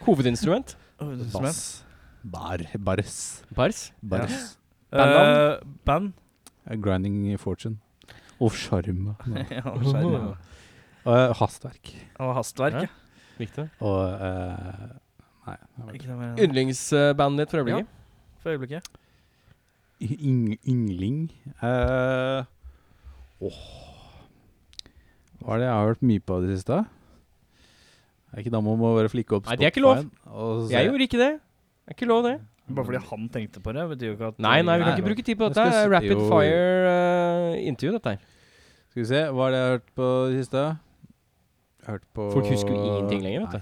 Speaker 2: Hovedinstrument?
Speaker 1: Bass. Bar. Bars.
Speaker 2: Bars?
Speaker 1: Bars.
Speaker 3: Eh, band.
Speaker 1: Eh, Grinding Fortune. Og sjarm.
Speaker 3: ja, skjerm, ja.
Speaker 1: Og hastverk.
Speaker 3: Og hastverk.
Speaker 2: Ja.
Speaker 3: Ja.
Speaker 2: Viktig.
Speaker 1: Og eh, Nei. jeg vet ikke.
Speaker 3: Ikke noe mer
Speaker 2: Yndlingsbandet ditt for øyeblikket?
Speaker 3: for øyeblikket.
Speaker 1: Yng- Yngling eh, Åh Hva er det jeg har hørt mye på i det siste? Er ikke da man må bare flikke opp
Speaker 2: Nei, det er ikke lov.
Speaker 1: Spotify-en, og så se-
Speaker 2: Jeg gjorde ikke det. Det er ikke lov, det.
Speaker 3: Bare fordi han tenkte på det, betyr jo ikke at
Speaker 2: Nei, nei, vi kan
Speaker 1: Nei,
Speaker 2: ikke
Speaker 1: men-
Speaker 2: bruke tid på
Speaker 1: Jeg skal
Speaker 2: dette. Det er
Speaker 1: s-
Speaker 2: Rapid
Speaker 1: jo.
Speaker 2: fire-intervju, dette her.
Speaker 1: Skal vi se, hva er det jeg har hørt på i det siste? Jeg har hørt på
Speaker 2: Folk husker jo ingenting lenger, vet du.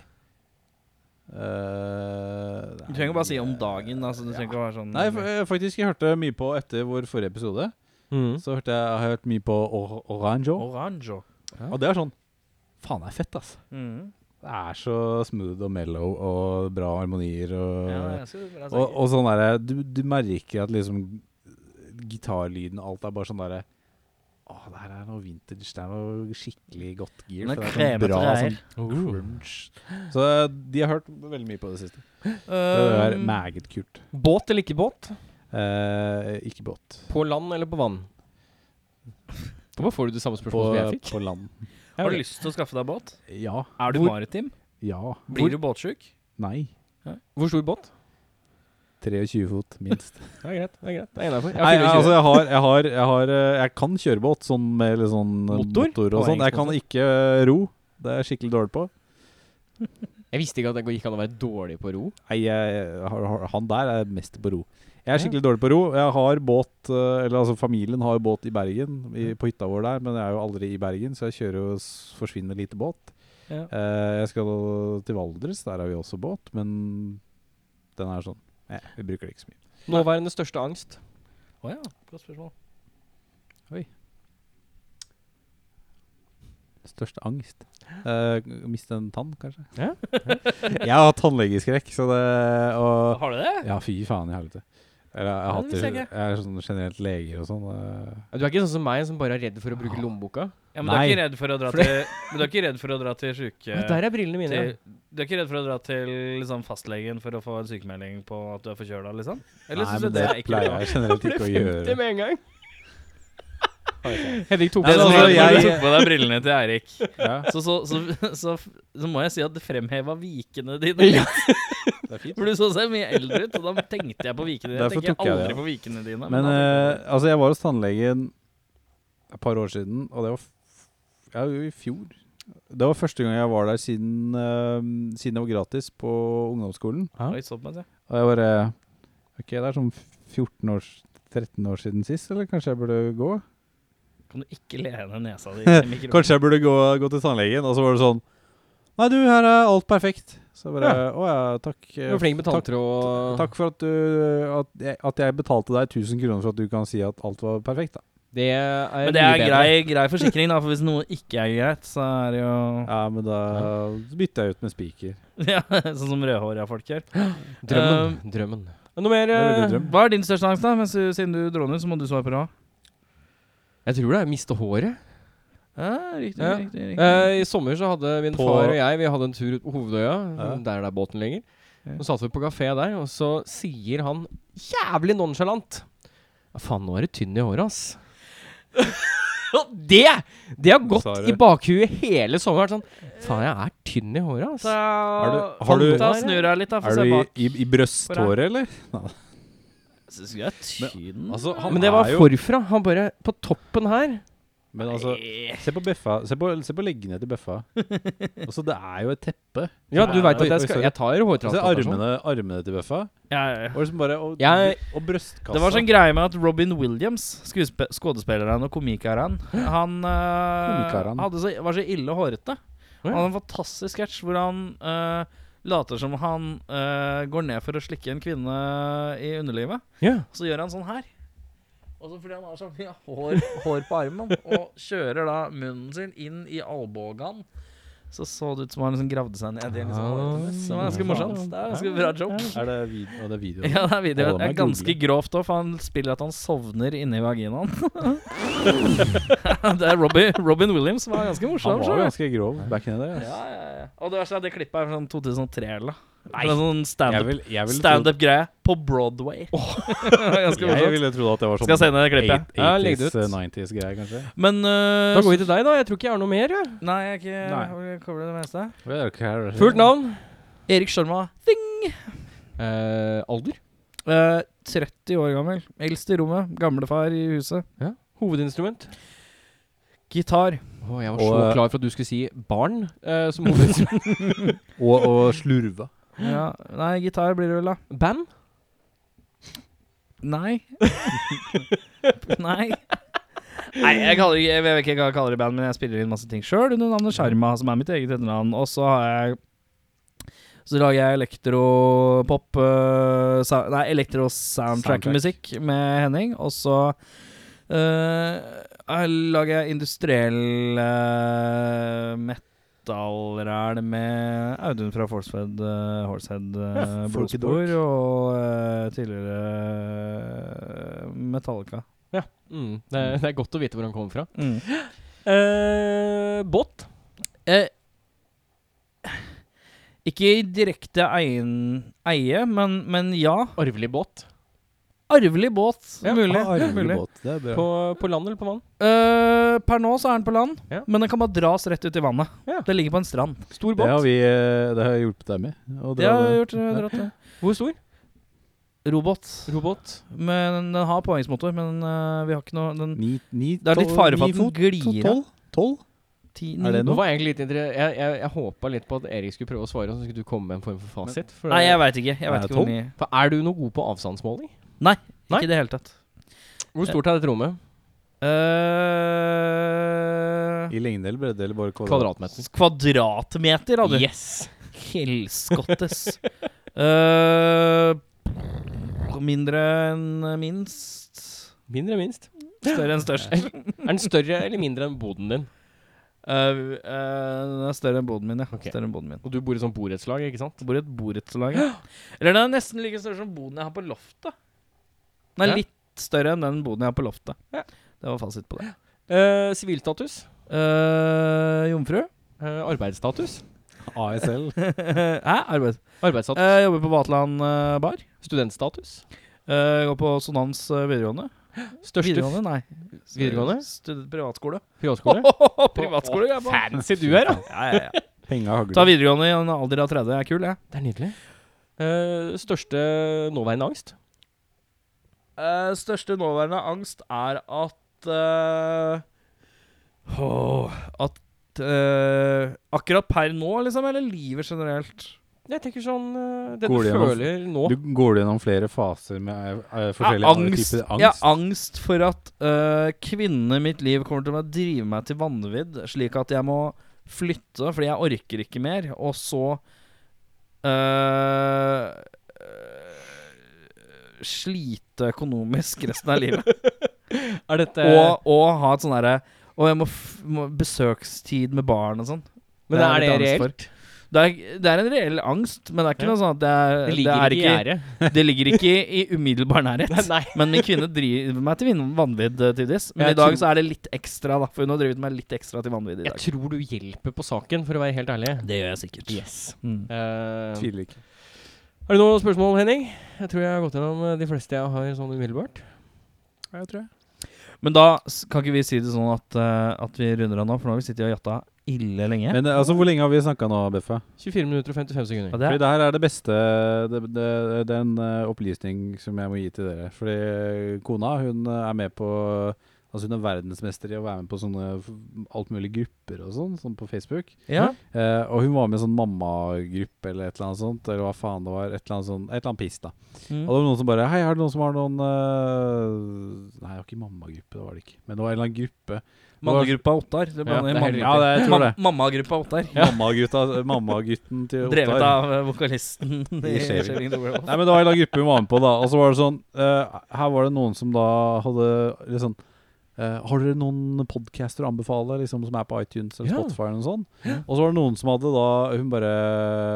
Speaker 3: Du trenger bare si om dagen. Altså, du trenger ikke være sånn
Speaker 1: Eh, Nei, fa- eh, faktisk jeg hørte mye på etter vår forrige episode
Speaker 2: Mm.
Speaker 1: Så hørte jeg, jeg har hørt mye på Or
Speaker 3: eh,
Speaker 1: Oranjo
Speaker 3: Orange.
Speaker 1: Og det er sånn, faen det er fett ass
Speaker 3: Mm.
Speaker 1: Det er så smooth og mellow og bra harmonier og,
Speaker 3: Ja, altså, jeg skal bare si-
Speaker 1: Øh, og, og sånn derre du, du merker at liksom gitarlyden og alt er bare sånn derre Å, det her er noe vintage. Det er noe skikkelig godt gir.
Speaker 3: Men
Speaker 1: for det er sånn
Speaker 3: kremete
Speaker 1: bra
Speaker 3: greier.
Speaker 1: sånn
Speaker 2: Oh.
Speaker 1: crunch. Så de har hørt veldig mye på det siste. Det er
Speaker 3: Um,
Speaker 1: meget kult.
Speaker 2: Båt eller ikke båt?
Speaker 1: Eh, ikke båt.
Speaker 2: På land eller på vann? Hvorfor får du det samme
Speaker 1: På,
Speaker 2: spørsmålet som jeg fikk?
Speaker 1: på land.
Speaker 3: har du lyst til å skaffe deg båt?
Speaker 1: Ja.
Speaker 3: Er du
Speaker 2: Hvor-
Speaker 3: maritim?
Speaker 1: Ja.
Speaker 3: Blir du båtsjuk?
Speaker 1: Nei.
Speaker 2: Hvor stor båt?
Speaker 1: 23 fot, minst.
Speaker 2: Det er greit. det er greit Det er innafor.
Speaker 1: Nei, altså jeg har, jeg har, jeg har eh, Jeg kan kjøre båt sånn med litt sånn eh,
Speaker 2: Motor?
Speaker 1: motor og sånn. Jeg kan ikke eh, ro. Det er jeg skikkelig dårlig på.
Speaker 2: Jeg visste ikke at det gikk an å være dårlig på ro.
Speaker 1: Nei, jeg, jeg har, har, han der er mest på ro. Jeg er skikkelig dårlig på ro. Jeg har båt eh, Eller altså familien har båt i Bergen, i, på hytta vår der, men jeg er jo aldri i Bergen, så jeg kjører jo s- forsvinnende lite båt.
Speaker 3: Ja.
Speaker 1: Eh, jeg skal til Valdres, der har vi også båt, men den er sånn Nei, vi bruker det ikke så mye.
Speaker 2: Nåværende største angst.
Speaker 3: Å ja, godt spørsmål.
Speaker 1: Største angst? Eh, miste en tann, kanskje?
Speaker 2: Ja.
Speaker 1: jeg har tannlegeskrekk, så det og,
Speaker 3: Har du det?
Speaker 1: Ja, fy faen i helvete. Eller, jeg,
Speaker 3: Nei, det
Speaker 1: hater,
Speaker 3: visste jeg
Speaker 1: jeg
Speaker 3: ikke.
Speaker 1: er sånn generelt leger og sånn. eh.
Speaker 2: Ja, Du er ikke sånn som meg, som bare er redd for å bruke lommeboka?
Speaker 3: Ja, men du er
Speaker 1: Nei.
Speaker 3: ikke redd for å dra til Men du er ikke redd for å dra til sjuke...
Speaker 2: Ja, der er brillene mine.
Speaker 3: Til, du er ikke redd for å dra til liksom, fastlegen for å få en sykemelding på at du er forkjøla, liksom? Eller
Speaker 1: Nei,
Speaker 3: synes
Speaker 1: men
Speaker 3: du
Speaker 1: det
Speaker 3: er ikke
Speaker 1: pleier jeg generelt ikke å gjøre.
Speaker 2: med en gang. Henning tok
Speaker 1: Nei, men
Speaker 2: på
Speaker 3: Det som
Speaker 1: altså,
Speaker 3: skjedde når
Speaker 1: jeg-
Speaker 3: du tok på deg brillene til Eirik,
Speaker 1: Ja,
Speaker 3: så, så, så, så, så må jeg si at det fremheva vikene dine. litt,
Speaker 1: det er fint.
Speaker 3: For du så så mye eldre ut, og da tenkte jeg på vikene dine. Jeg
Speaker 1: Derfor
Speaker 3: tenker
Speaker 1: tok jeg det,
Speaker 3: aldri
Speaker 1: ja.
Speaker 3: på vikene dine.
Speaker 1: Men
Speaker 3: da tenkte
Speaker 1: eh, altså, jeg var hos tannlegen et par år siden, og det var f ja, jo i fjor. Det var første gang jeg var der siden, eh, siden jeg var gratis på ungdomsskolen.
Speaker 3: jeg, Oi, såpass, ja.
Speaker 1: Og jeg bare Ok, det er sånn 14 år, 13 år siden sist, eller kanskje jeg burde gå?
Speaker 3: Kan du ikke lene nesa di i mikrofonen?
Speaker 1: Kanskje jeg burde gå, gå til tannlegen, og så var det sånn Nei, du, her er alt perfekt. Så bare Å ja, takk. eh,
Speaker 2: Du var flink med
Speaker 1: takk,
Speaker 2: tanntråd og
Speaker 1: takk for at du at jeg, at jeg betalte deg 1000 kroner for at du kan si at alt var perfekt, da.
Speaker 2: Det er
Speaker 3: Men det
Speaker 2: mye
Speaker 3: er
Speaker 2: bedre.
Speaker 3: grei, grei forsikring, da, for hvis noe ikke er greit, så er det jo
Speaker 1: Ja, men da så bytter jeg ut med spiker.
Speaker 3: ja, Sånn som rødhåra folk gjør.
Speaker 2: Drømmen. drømmen. Eh, Noe mer?
Speaker 1: er veldig
Speaker 2: eh,
Speaker 1: drøm.
Speaker 3: Hva er din største angst, da? Mens du, siden du droner, så må du svare på rad.
Speaker 2: Jeg tror det er miste håret.
Speaker 3: Ja, riktig,
Speaker 2: Ja.
Speaker 3: riktig, riktig.
Speaker 2: Eh, I Eh, sommer så hadde min
Speaker 1: På-
Speaker 2: far og jeg Vi hadde en tur ut på Hovedøya,
Speaker 1: Ja.
Speaker 2: der det er båten lenger. Så satt vi på kafé der, og så sier han jævlig nonchalant Ja, faen, nå er du tynn i håret, ass. Og det! Det har gått
Speaker 1: Sa det.
Speaker 2: i bakhuet hele sommeren. Sånn, faen, jeg er tynn i håret, ass.
Speaker 5: Ta,
Speaker 1: du- har du-
Speaker 5: ta snur deg litt, da, for
Speaker 1: Er
Speaker 5: å se
Speaker 1: du i,
Speaker 5: bak.
Speaker 1: i, i brøsthåret, eller?
Speaker 3: Syns jeg er tynn.
Speaker 1: Altså, han
Speaker 2: Men det var
Speaker 1: er jo
Speaker 2: forfra. Han bare På toppen her.
Speaker 1: Men altså, se på bøffa. Se på, se på leggene til bøffa. Altså, det er jo et teppe.
Speaker 2: Ja, du
Speaker 1: Oi,
Speaker 2: veit
Speaker 1: oi,
Speaker 2: at jeg
Speaker 1: oi,
Speaker 2: skal
Speaker 1: sorry.
Speaker 2: Jeg tar
Speaker 1: Se
Speaker 2: hårtransplantasjon.
Speaker 1: armene, armene til bøffa.
Speaker 3: Ja, ja, ja.
Speaker 1: Og, liksom bare, og,
Speaker 2: Jeg-
Speaker 1: og brystkassa.
Speaker 3: Det var sånn greie med at Robin Williams, skuespe- skuespilleren og komikeren, han eh,
Speaker 1: Komikeren.
Speaker 3: hadde så, var så ille hårete. Han hadde en fantastisk sketsj hvor han eh, later som han eh, går ned for å slikke en kvinne i underlivet.
Speaker 2: Ja.
Speaker 3: Så gjør han sånn her. Og så fordi han har så mye hår, hår på armen, og kjører da munnen sin inn i albuen. Så så det ut som han liksom gravde seg ned i en liksom hårete mess. Det var ganske morsomt. Det er en ganske bra joke.
Speaker 1: Er det, vid og det er video?
Speaker 3: Ja, det er video.
Speaker 1: Å, den er
Speaker 3: Det er ganske
Speaker 1: googlig.
Speaker 3: grovt òg, for han spiller at han sovner inni vaginaen. det er Robbie, Robin Williams var ganske morsom.
Speaker 1: Han
Speaker 3: så.
Speaker 1: var ganske grov back in the day. ass.
Speaker 3: ja, ja, ja. Og det verste er at det klippet er fra sånn 2003 eller noe. Fra Sånn
Speaker 1: Jeg
Speaker 3: standup-
Speaker 1: vil- jeg ville trodd-
Speaker 3: standup-greie på Broadway. ganske
Speaker 1: jeg
Speaker 3: morsomt.
Speaker 1: ville trodd at det var
Speaker 3: Skal jeg
Speaker 1: sånn
Speaker 3: sende det klippet?
Speaker 1: eight-
Speaker 2: Ja, legg det
Speaker 1: 80s,
Speaker 2: ut.
Speaker 1: 90s-greie, kanskje.
Speaker 3: Men eh,
Speaker 2: Da går vi til deg, da. Jeg tror ikke jeg har noe mer. jeg.
Speaker 3: Nei, jeg er ikke
Speaker 1: Nei.
Speaker 3: jeg covrer det meste.
Speaker 2: Fullt navn.
Speaker 3: Erik Sjørma.
Speaker 2: Eh, alder.
Speaker 3: eh, 30 år gammel. Eldst i rommet. Gamlefar i huset.
Speaker 2: Hovedinstrument.
Speaker 3: Gitar.
Speaker 2: Å, jeg var
Speaker 1: Og,
Speaker 2: så
Speaker 1: eh,
Speaker 2: klar for at du skulle si barn eh, som hovedinstrument.
Speaker 1: Og, og slurva.
Speaker 3: Ja. Nei, gitar blir det vel, da.
Speaker 2: Band?
Speaker 3: Nei. Nei. Nei, jeg, kaller, ikke- jeg vet ikke hva jeg kaller det i band, men jeg spiller inn masse ting sjøl under navnet Sjarma, som er mitt eget etternavn. Og så har jeg Så lager jeg elektropop eh, sa- Nei, elektrosoundtrack-musikk med Henning. Og så eh, jeg lager jeg industriell uh, metal-ræl med Audun fra Forcehead uh, Horsehead eh,
Speaker 1: Ja,
Speaker 3: Blodspor
Speaker 1: folkedork.
Speaker 3: og eh, tidligere eh, Metallica.
Speaker 2: Mm, det, er- det er godt å vite hvor han kommer fra.
Speaker 3: Mm.
Speaker 2: Eh, båt?
Speaker 3: Eh, ikke i direkte eien, eie, men, men ja.
Speaker 2: Arvelig båt.
Speaker 3: Arvelig båt,
Speaker 2: Ja,
Speaker 3: mulig.
Speaker 1: Ah,
Speaker 3: Ja, mulig.
Speaker 1: arvelig båt. Det er bra.
Speaker 2: På, på land eller på vann?
Speaker 3: Eh, per nå så er den på land,
Speaker 2: Ja.
Speaker 3: men den kan bare dras rett ut i vannet.
Speaker 2: Ja.
Speaker 3: Det ligger på en strand.
Speaker 2: Stor båt?
Speaker 1: Det har vi eh, det har jeg hjulpet deg med. å
Speaker 3: Det
Speaker 1: dra
Speaker 3: har
Speaker 1: det.
Speaker 3: gjort eh, dratt det.
Speaker 2: Hvor stor?
Speaker 3: Robot.
Speaker 2: Robåt?
Speaker 3: Men den har påhengsmotor, men eh, vi har ikke noe den,
Speaker 1: Ni, ni,
Speaker 3: Det er litt
Speaker 1: tolv-
Speaker 3: fare for
Speaker 1: ni
Speaker 3: at den
Speaker 1: fot,
Speaker 3: glir av.
Speaker 1: Tolv? Tolv?
Speaker 3: Ti-
Speaker 1: Er det
Speaker 3: ni-
Speaker 2: Nå var jeg egentlig litt inter- Jeg, jeg, jeg håpa litt på at Erik skulle prøve å svare, og så skulle du komme med en form for fasit. For,
Speaker 3: Nei, jeg veit ikke. Jeg
Speaker 1: Er
Speaker 3: vet
Speaker 1: det
Speaker 3: ikke hvor mye.
Speaker 2: for er du noe god på avstandsmåling? Nei.
Speaker 3: Ikke i det hele tatt.
Speaker 2: Hvor stort er dette rommet?
Speaker 3: Eh,
Speaker 1: I lengde eller bredde eller bare kvadrat?
Speaker 2: Kvadratmeter.
Speaker 3: kvadratmeter, hadde du.
Speaker 2: Yes!
Speaker 3: Helskottes. Eh, mindre enn minst.
Speaker 2: Mindre enn minst.
Speaker 3: Større enn størst.
Speaker 2: Er den større eller mindre enn boden din?
Speaker 3: Eh, eh, den er større enn boden min, ja.
Speaker 2: Ok.
Speaker 3: Større enn boden min.
Speaker 2: Og du bor i sånn borettslag, ikke sant?
Speaker 3: Jeg bor i et borettslag. ja. Eller den er nesten like større som boden jeg har på loftet. Den er
Speaker 2: Ja.
Speaker 3: litt større enn den boden jeg har på loftet.
Speaker 2: Ja.
Speaker 3: Det var fasit på det.
Speaker 2: Eh, Sivilstatus?
Speaker 3: Eh, jomfru?
Speaker 2: Eh, arbeidsstatus?
Speaker 1: ASL.
Speaker 3: Hæ? Arbeid.
Speaker 2: Arbeidsstatus?
Speaker 3: Eh, jobber på Vaterland eh, bar.
Speaker 2: Studentstatus?
Speaker 3: Eh, går på Sonans eh, videregående.
Speaker 2: Største
Speaker 3: Videregående, nei.
Speaker 2: Videregående?
Speaker 3: Stud privatskole.
Speaker 2: privatskole?
Speaker 3: Privatskole, jeg bare.
Speaker 2: Fancy du er, da!
Speaker 3: Ja, ja, ja.
Speaker 1: Penga
Speaker 3: Ta
Speaker 1: hagler.
Speaker 3: videregående i en alder av 30. Jeg er kul, jeg.
Speaker 2: Det er nydelig. Eh, største nåværende angst?
Speaker 3: Eh, største nåværende angst er at eh, åh, At eh, Akkurat per nå, liksom, eller livet generelt?
Speaker 2: Jeg tenker sånn eh, Det
Speaker 1: Går
Speaker 2: du
Speaker 1: det gjennom-
Speaker 2: føler nå.
Speaker 1: Du går gjennom flere faser med eh, eh, forskjellige
Speaker 3: Ja,
Speaker 1: andre
Speaker 3: angst.
Speaker 1: typer angst.
Speaker 3: Ja, angst for at eh, kvinnene i mitt liv kommer til å drive meg til vanvidd, slik at jeg må flytte fordi jeg orker ikke mer, og så eh, eh, Slite økonomisk resten av livet.
Speaker 2: Er dette
Speaker 3: og, og ha et sånn derre Og jeg må, f må besøkstid med barn og sånn.
Speaker 2: Men er det
Speaker 3: litt angst
Speaker 2: reelt?
Speaker 3: for. Det er, det er en reell angst, men det er ikke
Speaker 2: Ja.
Speaker 3: noe sånn at det er
Speaker 2: Det ligger
Speaker 3: er
Speaker 2: ikke i gjerdet.
Speaker 3: Det ligger ikke i umiddelbar
Speaker 2: Nei,
Speaker 3: nærhet.
Speaker 2: nei.
Speaker 3: Men min kvinne driver meg til vin- vanvidd eh, tidvis. Men
Speaker 2: Jeg
Speaker 3: i dag
Speaker 2: tror-
Speaker 3: så er det litt ekstra, da. For hun har drevet meg litt ekstra til vanvidd i
Speaker 2: Jeg
Speaker 3: dag.
Speaker 2: tror du hjelper på saken, for å være helt ærlig.
Speaker 3: Det gjør jeg sikkert.
Speaker 2: Yes.
Speaker 3: Mm.
Speaker 2: Eh,
Speaker 1: Tviler ikke.
Speaker 2: Er det noen spørsmål, Henning? Jeg tror jeg har gått gjennom eh, de fleste jeg har sånn umiddelbart.
Speaker 1: Ja, tror jeg.
Speaker 3: Men da s- kan ikke vi si det sånn at, eh, at vi runder av nå, for nå har vi sittet og jatta ille lenge.
Speaker 1: Men eh, altså, hvor lenge har vi snakka nå, Beffa?
Speaker 2: 24 minutter og 55 sekunder.
Speaker 3: Ja,
Speaker 1: Fordi
Speaker 3: det er,
Speaker 1: det her er det beste det, det, det er en eh, opplysning som jeg må gi til dere. Fordi kona hun eh, er med på Altså Hun er verdensmester i å være med på sånne f- alt mulig grupper og sånn, sånn på Facebook.
Speaker 3: ja.
Speaker 1: Eh, og hun var med i en sånn mammagruppe eller et eller annet sånt. Eller hva faen det var. Et eller annet sånn, et eller annet piss, da.
Speaker 3: Mm.
Speaker 1: Og det var noen som bare Hei, er det noen som har noen eh, Nei, det var ikke mammagruppe, det var det ikke. Men det var en eller annen gruppe.
Speaker 3: Mannegruppa Ottar. Du
Speaker 1: Ja,
Speaker 3: blander
Speaker 1: det er helt
Speaker 3: manne-
Speaker 1: riktig. Ja, det- jeg tror det.
Speaker 3: Ma- Mammagruppa Ottar.
Speaker 1: Mammagutta, mammagutten til Ottar.
Speaker 3: Drevet av eh, vokalisten i
Speaker 1: Shaving.
Speaker 3: Shaving the Werewolf.
Speaker 1: Nei, men det var en eller annen gruppe vi var med på, da. Og så var det sånn eh, Her var det noen som da hadde litt sånn eh, Har dere noen podcaster å anbefale liksom, som er på iTunes eller
Speaker 2: Ja.
Speaker 1: Spotify? eller noe sånt? Og så var det noen som hadde da Hun bare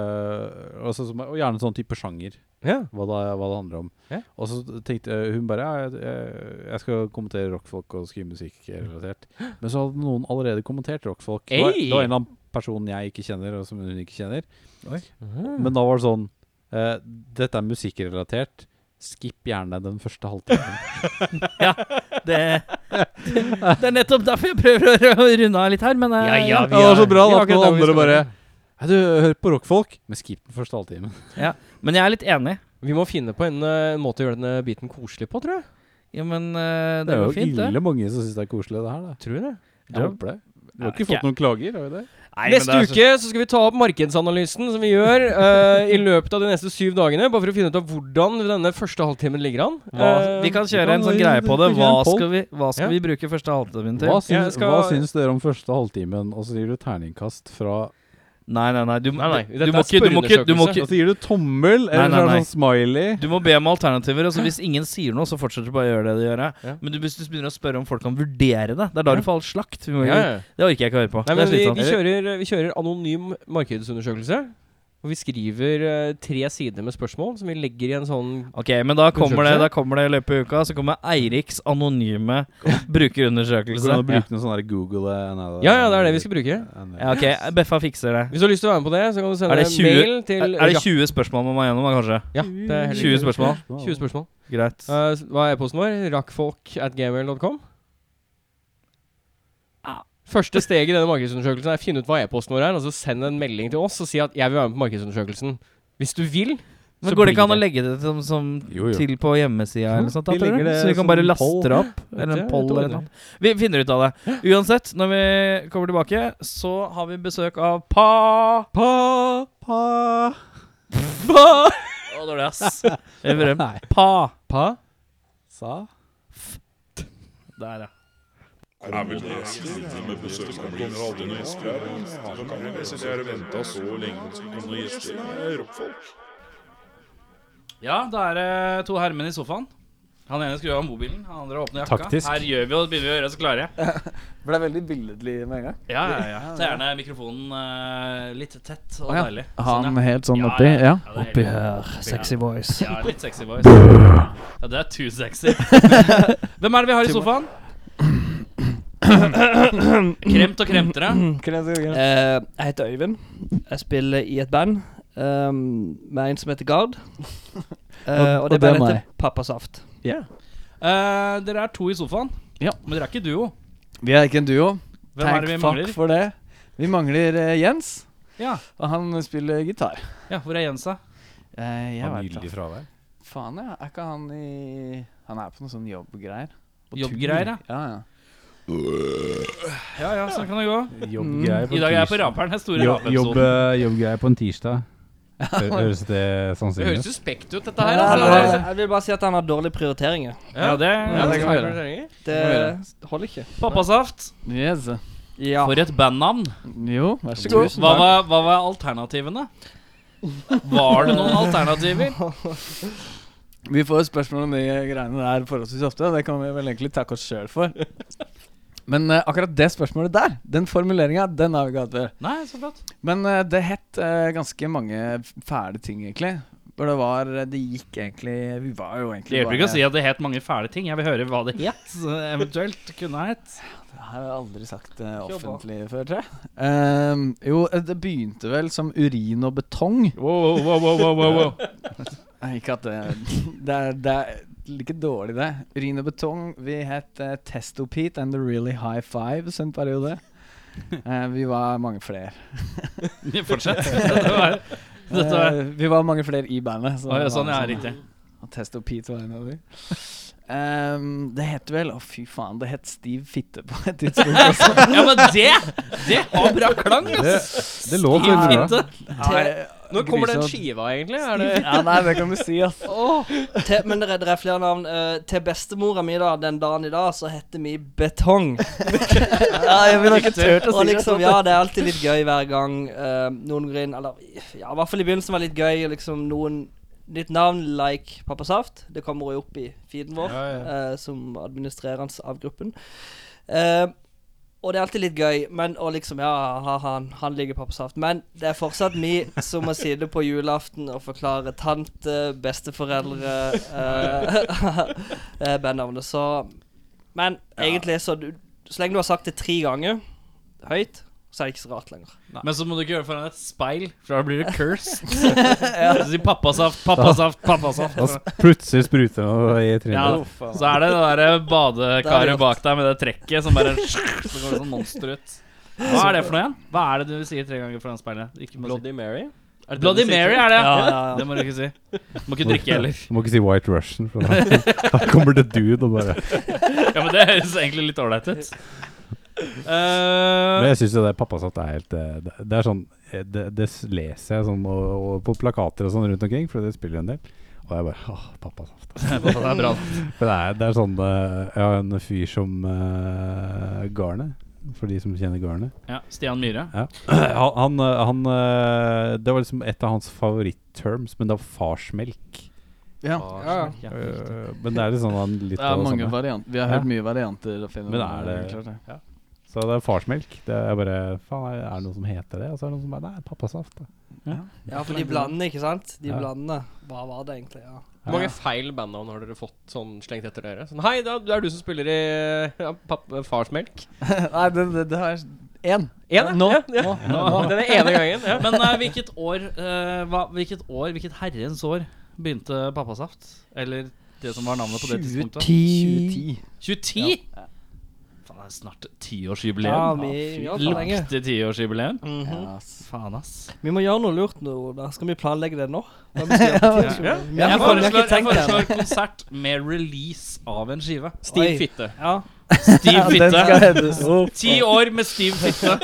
Speaker 1: altså, som, Og gjerne sånn type sjanger,
Speaker 2: Ja.
Speaker 1: hva det, hva det handler om.
Speaker 2: Ja.
Speaker 1: Og så tenkte jeg- hun bare ja, jeg, jeg, jeg skal kommentere rockfolk og skrive musikk relatert. Men så hadde noen allerede kommentert rockfolk. Det var,
Speaker 2: Ei!
Speaker 1: det var en eller annen person jeg ikke kjenner, og som hun ikke kjenner.
Speaker 2: Mhm.
Speaker 1: Men da var det sånn eh, Dette er musikkrelatert. Skip gjerne den første halvtimen.
Speaker 3: Det, det er nettopp derfor jeg prøver å runde av litt her, men eh,
Speaker 2: Ja, ja,
Speaker 1: det var så bra
Speaker 2: vi
Speaker 1: da
Speaker 2: har
Speaker 1: at
Speaker 2: ikke
Speaker 1: noen
Speaker 2: det vi
Speaker 1: andre
Speaker 2: skal
Speaker 1: bare
Speaker 2: gjøre.
Speaker 1: Hei, du hører på rockfolk, men skip den første halvtimen.
Speaker 3: Men jeg er litt enig.
Speaker 2: Vi må finne på en eh, måte å gjøre denne biten koselig på, tror jeg.
Speaker 3: Ja, men eh,
Speaker 1: Det
Speaker 3: det
Speaker 1: er jo
Speaker 3: går fint, det.
Speaker 1: ille mange som syns det er koselig, det her. da
Speaker 2: Tror du det?
Speaker 1: Jeg håper det. Vi har ikke
Speaker 3: Nei,
Speaker 1: fått noen klager, har vi det?
Speaker 3: Nei, men
Speaker 2: neste
Speaker 3: det er så-
Speaker 2: uke så skal vi ta opp markedsanalysen som vi gjør eh, i løpet av de neste syv dagene. Bare for å finne ut av hvordan denne første halvtimen ligger an.
Speaker 3: Hva,
Speaker 2: Eh,
Speaker 3: vi kan kjøre
Speaker 1: kan-
Speaker 3: en sånn
Speaker 1: vi-
Speaker 3: greie på det.
Speaker 1: vi
Speaker 3: Hva
Speaker 1: kjører en poll.
Speaker 3: skal vi, hva
Speaker 2: Ja.
Speaker 3: skal vi bruke første halvtimen til?
Speaker 1: Hva syns,
Speaker 2: Jeg skal-
Speaker 1: hva syns dere om første halvtimen, og så gir du terningkast fra
Speaker 3: Nei, nei, nei. Du,
Speaker 2: Nei, nei,
Speaker 3: du,
Speaker 2: dette
Speaker 3: må
Speaker 2: er
Speaker 3: ikke, du, må ikke, du, må
Speaker 1: Og
Speaker 3: ikke,
Speaker 1: så gir du tommel,
Speaker 3: Nei,
Speaker 1: eller så
Speaker 3: nei,
Speaker 1: er det
Speaker 3: nei.
Speaker 1: sånn smiley.
Speaker 3: du må be om alternativer. Og så hvis ingen sier noe, så fortsetter du bare å gjøre det du gjør.
Speaker 2: Ja.
Speaker 3: Men du, hvis du begynner å spørre om folk kan vurdere det, det er da
Speaker 2: Ja.
Speaker 3: du får all slakt. Vi må,
Speaker 2: ja, ja.
Speaker 3: Det orker jeg ikke å høre
Speaker 2: Nei,
Speaker 3: på. det
Speaker 2: men
Speaker 3: er
Speaker 2: vi,
Speaker 3: slitsomt.
Speaker 2: vi, kjører, vi kjører anonym markedsundersøkelse. Og vi skriver eh, tre sider med spørsmål som vi legger i en sånn
Speaker 3: Ok, men da kommer det
Speaker 2: Undersøkelse?
Speaker 3: Da kommer det i løpet av uka. Så kommer Eiriks anonyme
Speaker 1: Du kan
Speaker 3: brukerundersøkelse.
Speaker 1: jo bruke noe sånn der Google nei,
Speaker 2: Ja, ja, det er det vi skal bruke.
Speaker 3: Ja, ok, Beffa fikser det.
Speaker 2: Hvis du har lyst til å være med på det, så kan du sende
Speaker 3: Er det 20
Speaker 2: mail til
Speaker 3: Er, er det 20 spørsmål man må gjennom, da, kanskje?
Speaker 2: Ja, det er helt
Speaker 3: 20
Speaker 2: riktig.
Speaker 3: spørsmål.
Speaker 2: 20 spørsmål.
Speaker 3: Greit.
Speaker 2: Eh, s- hva er e-posten vår? Rakkfolk at gmail.com? Første steget i denne markedsundersøkelsen er å finne ut hva e-posten vår er, og så send en melding til oss og si at 'jeg vil være med på markedsundersøkelsen'. Hvis du vil, så
Speaker 3: Men går det ikke
Speaker 2: blir
Speaker 3: an å legge det som, som
Speaker 1: Jo, jo.
Speaker 3: til på hjemmesida eller noe sånt? da,
Speaker 1: Vi
Speaker 3: tror du?
Speaker 1: legger det
Speaker 3: Så vi
Speaker 1: som
Speaker 3: kan bare
Speaker 1: en
Speaker 3: laste
Speaker 1: poll.
Speaker 3: det opp? Eller
Speaker 2: Ja,
Speaker 3: en poll
Speaker 2: jeg tror
Speaker 3: eller
Speaker 2: det.
Speaker 3: noe sånt. Vi finner ut av det. Uansett, når vi kommer tilbake, så har vi besøk av Pa... Pa...
Speaker 1: Pa.
Speaker 3: Pa! Å, dårlig, ass. Jeg prøver.
Speaker 1: Nei.
Speaker 3: Pa.
Speaker 2: Pa?
Speaker 1: Sa?
Speaker 3: Der, ja.
Speaker 6: Er vi det sitter med besøkende gjester her? Hva kan vi synes jeg har venta så lenge på noen gjester? Det er rockfolk.
Speaker 3: Ja, da er det to herremenn i sofaen. Han ene skrur av mobilen, han andre åpner jakka.
Speaker 1: Taktisk.
Speaker 3: Her gjør vi og begynner vi å gjøre oss klare.
Speaker 7: Ble veldig billedlig med en gang.
Speaker 3: Ja, ja, ja. Ta gjerne mikrofonen eh, litt tett og
Speaker 7: Å, ja.
Speaker 3: deilig.
Speaker 7: Han
Speaker 3: ja.
Speaker 7: helt sånn
Speaker 3: Ja,
Speaker 7: oppi?
Speaker 3: ja, ja.
Speaker 7: Ja.
Speaker 3: Ja, det er Oppi helt-
Speaker 7: her,
Speaker 3: sexy
Speaker 7: voice.
Speaker 3: Ja, litt sexy voice. Ja, det er too sexy. Hvem er det vi har i sofaen? Kremt og kremtere.
Speaker 7: Eh, jeg heter Øyvind. Jeg spiller i et band ehm, med en som heter Gard. Eh, og
Speaker 1: og
Speaker 7: det
Speaker 1: det er
Speaker 7: bandet
Speaker 1: meg.
Speaker 7: heter Pappasaft.
Speaker 3: Eh, dere er to i sofaen,
Speaker 7: Ja.
Speaker 3: men dere er ikke duo.
Speaker 7: Vi er ikke en duo.
Speaker 3: Hvem er det vi mangler?
Speaker 7: for det. Vi mangler eh, Jens,
Speaker 3: Ja,
Speaker 7: og han spiller gitar.
Speaker 3: ja, Hvor er Jens, da?
Speaker 7: Eh, jeg vet
Speaker 1: Vanillig
Speaker 7: ikke.
Speaker 1: fravær.
Speaker 7: Faen, ja. Er ikke han i Han er på noen sånne jobbgreier. På
Speaker 3: Jobbgreier,
Speaker 7: tur. ja. ja.
Speaker 3: Ja, ja, sånn kan det gå.
Speaker 7: Mm.
Speaker 1: Jobbgreier på
Speaker 3: I dag er jeg på
Speaker 1: tirsdag.
Speaker 3: Raperen. Den store
Speaker 8: Jo- Jobb,
Speaker 3: rapeepisoden.
Speaker 8: eh, jobbgreier på en tirsdag. Hø- Høres det
Speaker 1: sånn
Speaker 2: Det
Speaker 8: sannsynlig
Speaker 2: høres
Speaker 8: ut?
Speaker 2: suspekt ut, dette
Speaker 7: Nei,
Speaker 2: her.
Speaker 7: nei,
Speaker 2: Altså.
Speaker 7: nei, jeg vil bare si at han har dårlige prioriteringer.
Speaker 3: Ja, det,
Speaker 2: Ja,
Speaker 3: ja,
Speaker 2: det
Speaker 3: det
Speaker 2: kan vi gjøre.
Speaker 7: Det
Speaker 3: gjøre
Speaker 7: holder ikke.
Speaker 3: Pappasaft.
Speaker 7: Yes. Ja.
Speaker 3: For et bandnavn.
Speaker 7: Jo, vær så god.
Speaker 3: Hva var, hva var alternativene? Var det noen alternativer?
Speaker 7: Vi får jo spørsmål om de greiene der forholdsvis ofte. Det kan vi vel egentlig takke oss sjøl for. Men eh, akkurat det spørsmålet der, den formuleringa, den har vi ikke hatt før.
Speaker 3: Nei, så flott.
Speaker 7: Men eh, det het eh, ganske mange f- fæle ting, egentlig. For det var eh, Det gikk egentlig Vi var jo
Speaker 3: Det
Speaker 7: egentlig
Speaker 3: hjelper ikke å si at det het mange fæle ting. Jeg vil høre hva det het. så Eventuelt kunne ha het.
Speaker 9: Det har jeg aldri sagt eh, offentlig før, tror jeg. Ehm, jo, eh, det begynte vel som urin og betong.
Speaker 2: Wow, wow, wow, wow, wow, wow.
Speaker 9: Nei, Ikke at det Det er, det er like dårlig, det. Urin og betong. Vi het eh, Testopete and The Really High Fives en periode. Eh, vi var mange flere.
Speaker 3: Fortsett. Dette var, dette var.
Speaker 9: Eh, vi var mange flere i bandet.
Speaker 3: Å, ja,
Speaker 9: det var
Speaker 3: sånn, ja,
Speaker 9: liksom-
Speaker 3: riktig.
Speaker 9: Og Testo Pete var en av de. Ehm, det het vel Å, fy faen, det het Stiv Fitte på et tidspunkt også.
Speaker 3: Ja, men det Det har bra klang,
Speaker 1: Det,
Speaker 3: ass!
Speaker 1: det lå veldig bra.
Speaker 3: Finte.
Speaker 9: Nei,
Speaker 2: Når kommer den
Speaker 9: grusomt.
Speaker 2: skiva, egentlig? Er det
Speaker 9: Ja, nei, det kan du si, ass.
Speaker 7: Til, men det er, det er flere navn. eh, til bestemora mi da, den dagen i dag, så heter vi Betong. ja, jeg ville ikke turt å si liksom, det. Ja, det er alltid litt gøy hver gang eh, noen går inn Eller ja, i hvert fall i begynnelsen var det litt gøy. Liksom noen Nytt navn like Pappa Saft. Det kommer jo opp i feeden vår eh, som administrerende av gruppen. Eh, og det er alltid litt gøy, men og liksom Ja, ha, han, han ligger på saft. Men det er fortsatt vi som må sitte på julaften og forklare tante, besteforeldre eh, eh, bandnavnet. Så Men egentlig, så du Så lenge du har sagt det tre ganger høyt, så er det ikke så rart lenger.
Speaker 3: Men så må du ikke gjøre det foran et speil, for da blir det cursed. Så sier pappasaft, pappasaft, pappasaft.
Speaker 1: Da s- plutselig spruter det noe i
Speaker 3: Ja,
Speaker 1: trynet.
Speaker 3: så er det det derre
Speaker 7: Det er
Speaker 3: badekaret
Speaker 7: rått.
Speaker 3: bak deg med det trekket som bare Så går det sånn monster ut. Hva er det for noe igjen? Hva er det du sier tre ganger foran speilet? Ikke må si.
Speaker 2: Bloody Mary? Er det det du
Speaker 3: Bloody
Speaker 2: sier?
Speaker 3: Mary er det,
Speaker 7: Ja, ja, ja.
Speaker 3: Det må du ikke si. Du må ikke drikke heller.
Speaker 1: Du må ikke si White Russian, for da, da kommer det dude og bare
Speaker 3: Ja, men det høres egentlig litt ålreit ut.
Speaker 1: Men
Speaker 3: Eh,
Speaker 1: jeg syns det der pappasatt er helt eh, Det, det er sånn eh, det, det s- leser jeg sånn og, og på plakater og sånn rundt omkring, for det spiller en del. Og jeg bare Åh, pappasaft.
Speaker 3: det er bra.
Speaker 1: For det er, det er sånn eh, Jeg har en fyr som eh, Garnet. For de som kjenner Garnet.
Speaker 3: Ja, Stian Myhre.
Speaker 1: Han, han, eh, han eh, Det var liksom et av hans favorittterms, men det var farsmelk.
Speaker 9: Ja.
Speaker 3: Ja.
Speaker 1: Eh, Men det er litt sånn han litt
Speaker 9: Det
Speaker 1: av
Speaker 9: er
Speaker 1: det
Speaker 9: mange
Speaker 1: samme.
Speaker 9: varianter. Vi har
Speaker 1: Ja.
Speaker 9: hørt mye varianter. opp gjennom-
Speaker 1: Men er det-
Speaker 9: klart det.
Speaker 1: Så det er farsmelk. Det er bare Faen, er er det noe som heter det? Og så er det noen som bare Nei, pappasaft. da.
Speaker 7: Ja, for de blander, ikke sant? De
Speaker 1: Ja.
Speaker 7: blander. Hva var det egentlig? Ja.
Speaker 2: Hvor mange feil bandnavn har dere fått sånn slengt etter dere? Sånn, Hei, da, det er du som spiller i ja, papp, Farsmelk.
Speaker 9: Nei, det, det, det har én.
Speaker 2: En,
Speaker 9: Nå.
Speaker 2: Ja, ja. Den ene gangen. Ja.
Speaker 3: Men eh, hvilket år eh, hva, Hvilket år, hvilket herrens år begynte pappasaft? Eller det som var navnet på det tidspunktet?
Speaker 9: 2010.
Speaker 3: 2010? Faen, det er snart
Speaker 7: Ja,
Speaker 3: tiårsjubileum.
Speaker 7: vi, vi, har for lenge.
Speaker 3: Lukter tiårsjubileum.
Speaker 7: Mhm.
Speaker 9: Ja, ass.
Speaker 3: Faen, ass.
Speaker 7: Vi må gjøre noe lurt nå. Da. Skal vi planlegge det nå? Da må vi gjøre det.
Speaker 3: Ja.
Speaker 7: Vi har
Speaker 3: Jeg
Speaker 7: ikke- vi har
Speaker 3: foreslår,
Speaker 7: ikke
Speaker 3: jeg
Speaker 7: tenkt det.
Speaker 3: foreslår konsert med release av en skive.
Speaker 2: Stiv
Speaker 7: Oi.
Speaker 2: fitte.
Speaker 7: Ja.
Speaker 3: Stiv
Speaker 9: Den skal
Speaker 3: fitte.
Speaker 9: heddes opp.
Speaker 3: Ti år med stiv fitte.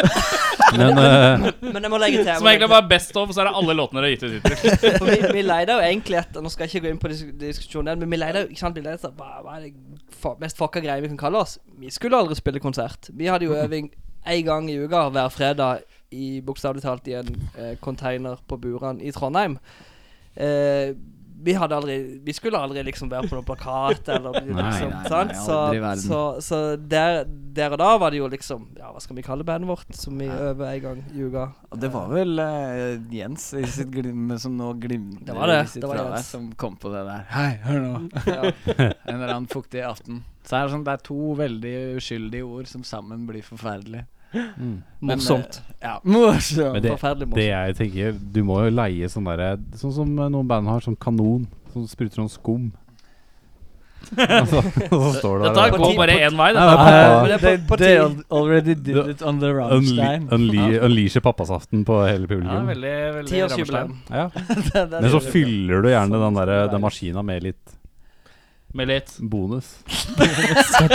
Speaker 1: Men eh,
Speaker 7: Men jeg må legge til. jeg
Speaker 3: Som
Speaker 7: må legge
Speaker 3: egentlig bare er best of, så er det alle låtene dere har gitt ut hittil.
Speaker 7: For vi, vi leide jo egentlig etter Nå skal jeg ikke gå inn på dis- diskusjonen igjen, men vi leide jo ikke sant, vi leide etter hva, hva er det fa mest fucka greia vi kan kalle oss. Vi skulle aldri spille konsert. Vi hadde jo øving én gang i uka hver fredag i bokstavelig talt i en eh, container på Buran i Trondheim. Eh, vi hadde aldri Vi skulle aldri liksom være på noen plakat eller liksom,
Speaker 1: Nei,
Speaker 9: nei,
Speaker 7: sant?
Speaker 9: nei, aldri i
Speaker 7: Så,
Speaker 9: verden.
Speaker 7: så, så der, der og da var det jo liksom Ja, hva skal vi kalle bandet vårt som vi øver en gang i uka?
Speaker 9: Og det var vel eh, Jens i sitt glim, som nå glimter
Speaker 7: Det var det,
Speaker 9: i sitt
Speaker 7: det var
Speaker 9: fravær,
Speaker 7: Jens.
Speaker 9: som kom på det der. Hei, hør nå.
Speaker 7: Ja.
Speaker 9: En eller annen fuktig aften. Så er det, sånn, det er to veldig uskyldige ord som sammen blir forferdelige. Men, eh,
Speaker 7: Morsomt.
Speaker 9: Ja, morsomt.
Speaker 1: Men det-
Speaker 7: Forferdelig morsomt.
Speaker 1: det jeg tenker Du må jo leie sånn derre Sånn som eh, noen band har, sånn kanon. Som spruter sånn skum. altså, og så står det
Speaker 3: Dette
Speaker 1: der
Speaker 3: går bare én vei.
Speaker 1: Nei, det
Speaker 3: Dette.
Speaker 1: er pappa-
Speaker 7: men det er
Speaker 9: they,
Speaker 7: på- på
Speaker 9: they
Speaker 7: ti.
Speaker 9: al- already did
Speaker 1: The-
Speaker 9: it on the
Speaker 1: Unle-
Speaker 9: Rammstein.
Speaker 1: unle- Unleashe pappasaften på hele
Speaker 3: Ja,
Speaker 1: publikum.
Speaker 3: veldig, veldig
Speaker 7: Tiårsjubileum.
Speaker 3: Rammstein.
Speaker 1: Ja.
Speaker 9: Det- det-
Speaker 1: Men så fyller du gjerne
Speaker 9: Sånn
Speaker 1: den der Den maskina med litt
Speaker 3: Med litt
Speaker 1: bonus. ikke,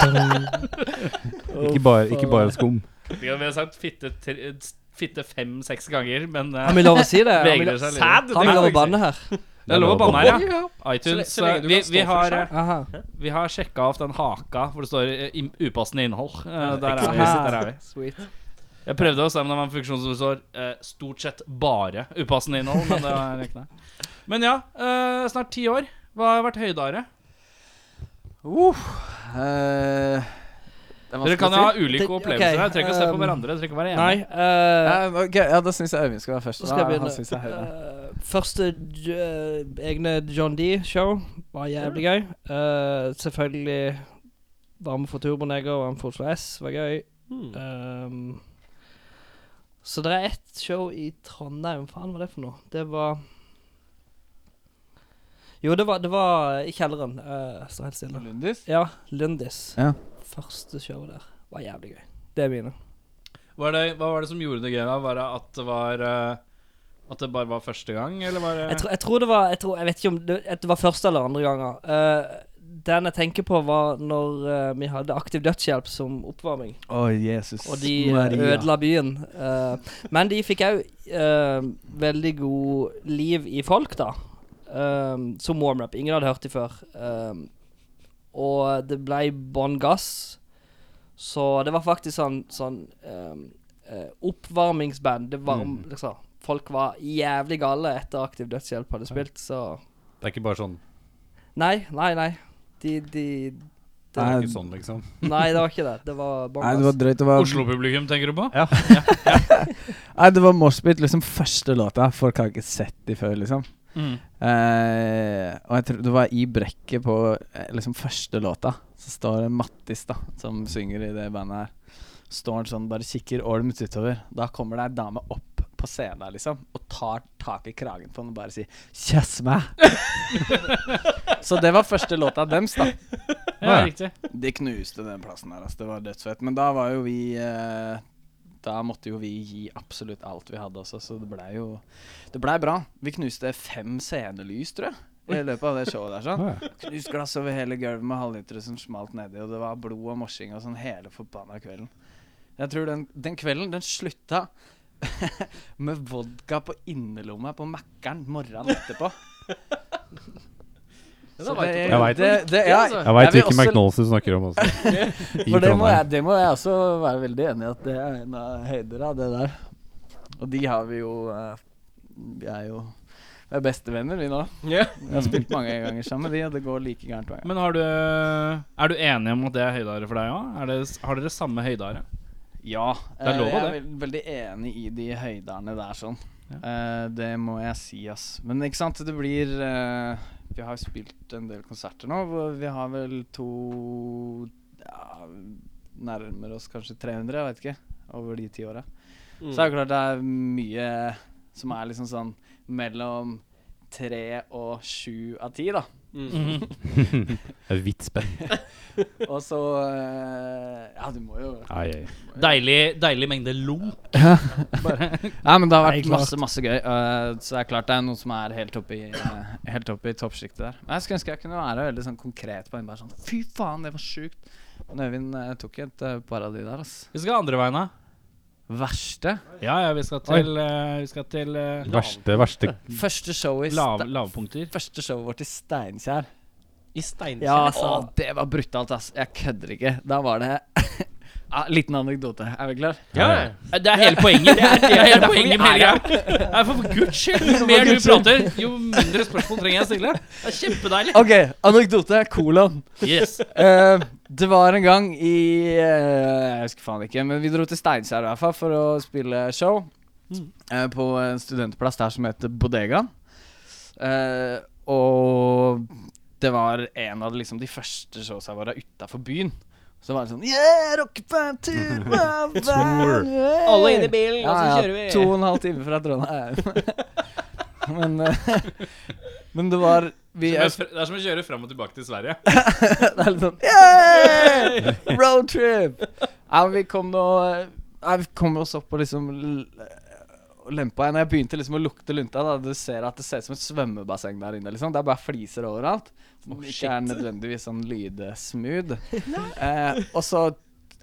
Speaker 1: bare, ikke bare skum.
Speaker 3: Vi har sagt fitte, tre- fitte fem-seks ganger, men eh,
Speaker 7: Har vi lov å si det? Har vi
Speaker 3: vegrer
Speaker 7: lov-
Speaker 3: seg litt.
Speaker 7: Sad, Har vi lov å banne her?
Speaker 3: Det er lov å banne her, ja.
Speaker 2: Så le-
Speaker 3: iTunes. eh,
Speaker 2: så lenge du
Speaker 3: vi,
Speaker 2: kan stå
Speaker 3: vi,
Speaker 2: for
Speaker 3: har, eh,
Speaker 2: seg.
Speaker 7: Aha.
Speaker 3: vi har sjekka av den haka hvor det står eh, im- upassende innhold. Eh, der, er vi,
Speaker 7: Aha.
Speaker 3: der er vi.
Speaker 7: Sweet.
Speaker 3: Jeg prøvde å se om det var en funksjon som står eh, stort sett bare upassende innhold. Men det var ikke det. Men ja, eh, snart ti år. Hva har vært høydeåret?
Speaker 9: Eh, det er
Speaker 3: Dere
Speaker 9: vanskelig
Speaker 3: kan
Speaker 9: å
Speaker 3: jo ha
Speaker 9: si.
Speaker 3: ulike
Speaker 7: Det- ok,
Speaker 3: opplevelser her. Dere trenger ikke å se på
Speaker 7: um,
Speaker 3: hverandre. Dere trenger ikke å være enige.
Speaker 7: Nei eh,
Speaker 9: Ja, ok, ja, da syns jeg Øyvind skal være først.
Speaker 7: Så skal jeg
Speaker 9: Da er han
Speaker 7: begynne.
Speaker 9: synes jeg er høyere.
Speaker 7: Eh, første j- eh, egne John D-show var jævlig gøy. Eh, selvfølgelig var med for Turboneger og var med for Oslo S, var gøy. Ehm, så det er ett show i Trondheim. Faen, hva var det for noe? Det var Jo, det var, det var i kjelleren. Uh, Stå helt stille.
Speaker 9: Lundis?
Speaker 7: Ja, Lundis.
Speaker 9: Ja.
Speaker 7: Første show der var jævlig gøy. Det er mine.
Speaker 3: Var det, hva var det som gjorde det gøy? da? Var det at det var eh, At det bare var første gang, eller var det
Speaker 7: Jeg, tror- jeg tror det var Jeg, tror, jeg vet ikke om det, at det var første eller andre ganger. Eh, den jeg tenker på, var når eh, vi hadde Aktiv Dødshjelp som oppvarming.
Speaker 9: Å, Jesus
Speaker 7: Og de eh, ødela byen. Eh, men de fikk òg veldig god liv i folk, da. Eh, som warm-up. Ingen hadde hørt de før. Eh, og det ble bånn gass. Så det var faktisk sånn, sånn eh, eh, oppvarmingsband. Det varm,
Speaker 9: Mm.
Speaker 7: liksom. Folk var jævlig gale etter Aktiv Dødshjelp hadde spilt, så
Speaker 10: Det er ikke bare sånn.
Speaker 7: Nei, nei, nei. De, de
Speaker 10: Det er
Speaker 9: Nei.
Speaker 10: ikke sånn, liksom.
Speaker 7: Nei, det var ikke det. Det var bånn
Speaker 9: Nei, det var
Speaker 7: gass.
Speaker 9: drøyt. Det var,
Speaker 3: Oslo-publikum, tenker du på?
Speaker 9: nei, det var moshpit, liksom første låta. Folk har ikke sett de før, liksom.
Speaker 3: Mm.
Speaker 9: Eh, og jeg tror det var i brekket på eh, liksom første låta, så står det Mattis, da, som synger i det bandet her. Står han sånn, bare kikker olmt utover. Da kommer det ei dame opp på scenen der, liksom, og tar tak i kragen på han og bare sier 'kjess meg'. så det var første låta dems, da.
Speaker 3: Ja, riktig.
Speaker 9: De knuste den plassen der, altså. Det var dødsfett. Men da var jo vi eh, Da måtte jo vi gi absolutt alt vi hadde også, så det blei jo Det blei bra. Vi knuste fem scenelys, tror jeg. I løpet av det showet der. sånn
Speaker 10: Ah, ja.
Speaker 9: Knust glass over hele gulvet med halvlitere som smalt nedi, og det var blod og morsing og sånn hele forbanna kvelden. Jeg tror den, den kvelden, den slutta med vodka på innerlomma på Mækkern morgenen etterpå. Så det,
Speaker 10: Jeg vet
Speaker 9: det, det, ja, altså.
Speaker 10: Jeg veit
Speaker 9: vil
Speaker 10: hvilken
Speaker 9: også-
Speaker 10: McNolls du snakker om også. I
Speaker 9: for det må, jeg,
Speaker 10: Trondheim.
Speaker 9: det må jeg også være veldig enig i at det er en av høydera, det der. Og de har vi jo eh, Vi er jo vi er bestevenner, vi nå.
Speaker 2: Ja.
Speaker 9: Vi har spilt mange
Speaker 10: Mm.
Speaker 9: ganger sammen med de, og det går like gærent hver gang.
Speaker 3: Men har du Er du enig om at det er høydare for deg òg? Har dere samme høydare?
Speaker 9: Ja,
Speaker 3: Det er
Speaker 9: eh,
Speaker 3: lov
Speaker 9: jeg
Speaker 3: av
Speaker 9: er vel- veldig enig i de høyderne der sånn. Eh, det må jeg si, ass. Men ikke sant, det blir eh, Vi har jo spilt en del konserter nå, hvor vi har vel to ja, Nærmer oss kanskje 300, jeg vet ikke, over de ti åra.
Speaker 2: Mm.
Speaker 9: Så er det klart det er mye som er liksom sånn mellom tre og sju av ti, da.
Speaker 2: Mm.
Speaker 3: Mm.
Speaker 10: Et hvitt spenn.
Speaker 9: Og så eh, Ja, du må jo
Speaker 10: Ai, ai.
Speaker 3: Deilig, deilig mengde lo.
Speaker 9: Ja, men det har
Speaker 3: Nei,
Speaker 9: vært
Speaker 3: klart.
Speaker 9: masse masse gøy. øh, så det er klart det er noen som er helt oppe i, eh, helt oppe i toppsjiktet der. Men jeg skulle ønske jeg kunne være veldig sånn konkret på en bare sånn Fy faen, det var sjukt. Men Øyvind eh, tok et eh, par av de der, ass.
Speaker 3: Vi skal andre veien, da.
Speaker 9: Verste?
Speaker 3: Ja, ja, vi skal til, eh, vi skal til eh,
Speaker 10: Verste, verste
Speaker 9: Første showet
Speaker 3: lav, lavpunkter.
Speaker 9: Første showet vårt i Steinkjer.
Speaker 2: I Steinkjer.
Speaker 9: Ja, altså. Å, det var brutalt, ass. Jeg kødder ikke. Da var det ja, Liten anekdote. Er vi klar?
Speaker 2: Ja, ja.
Speaker 3: Det er hele poenget. Det er, det er hele poenget med hele greia. Nei, For for guds skyld, jo mer du prater, jo mindre spørsmål trenger jeg å stille. Det er kjempedeilig.
Speaker 9: OK, anekdote. Kolon.
Speaker 3: Yes.
Speaker 9: Eh, det var en gang i eh, Jeg husker faen ikke, men vi dro til Steinkjer i hvert fall for å spille show. eh, på en studentplass der som heter Bodegaen. Eh, og det var en av liksom, de første showsa våre utafor byen. Så var det sånn Yeah, rockepanter!
Speaker 2: Alle inn i bilen, og så
Speaker 9: Ja,
Speaker 2: kjører vi.
Speaker 9: ja. To og en halv time fra Trondheim. men, eh, men det var vi,
Speaker 3: Det er som å kjøre fram og tilbake til Sverige.
Speaker 9: det er litt sånn Yeah! Roadtrip! Ja, men vi kom nå ja, Vi kom oss opp og liksom l- og lempa igjen. Jeg begynte liksom å lukte lunta. da Du ser at det ser ut som et svømmebasseng der inne. liksom Det er bare fliser overalt. Som ikke er nødvendigvis sånn lydsmooth. eh, og så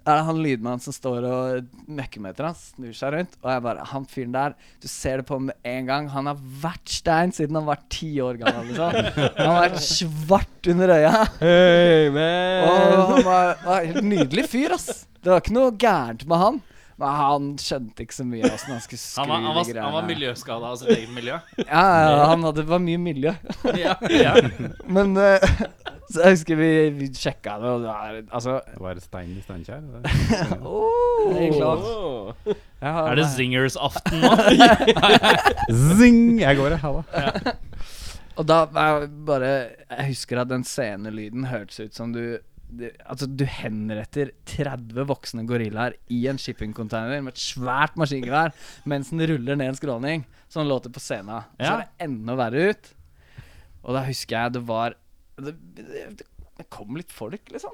Speaker 9: er det han lydmannen som står og møkker med etter han, snur seg rundt, og jeg bare Han fyren der, du ser det på ham med en gang. Han har vært stein siden han var ti år gammel. liksom Han har vært svart under øya.
Speaker 2: Hey, man.
Speaker 9: Og han var, var helt nydelig fyr, ass. Det var ikke noe gærent med han. Men han skjønte ikke så mye åssen han skulle skru
Speaker 3: Han var, han
Speaker 9: de
Speaker 3: var,
Speaker 9: greiene.
Speaker 3: han var miljøskada av sitt eget miljø.
Speaker 9: Ja, ja, han hadde, var mye miljø.
Speaker 3: Ja, ja.
Speaker 9: Men eh, så jeg husker vi, vi sjekka det, og det var altså
Speaker 10: Det var stein i Steinkjer. det.
Speaker 2: Oh.
Speaker 9: jeg har-
Speaker 3: Er det zingers-aften nå?
Speaker 10: Zing! Jeg går, jeg. Ha det.
Speaker 9: Og da var jeg bare Jeg husker at den scenelyden hørtes ut som du det- Altså, du henretter 30 voksne gorillaer i en shippingcontainer med et svært maskingevær mens den ruller ned en skråning, som låter på scenen. Så
Speaker 11: Ja.
Speaker 9: ser det enda verre ut. Og da husker jeg det var Det, det, det kom litt folk, liksom.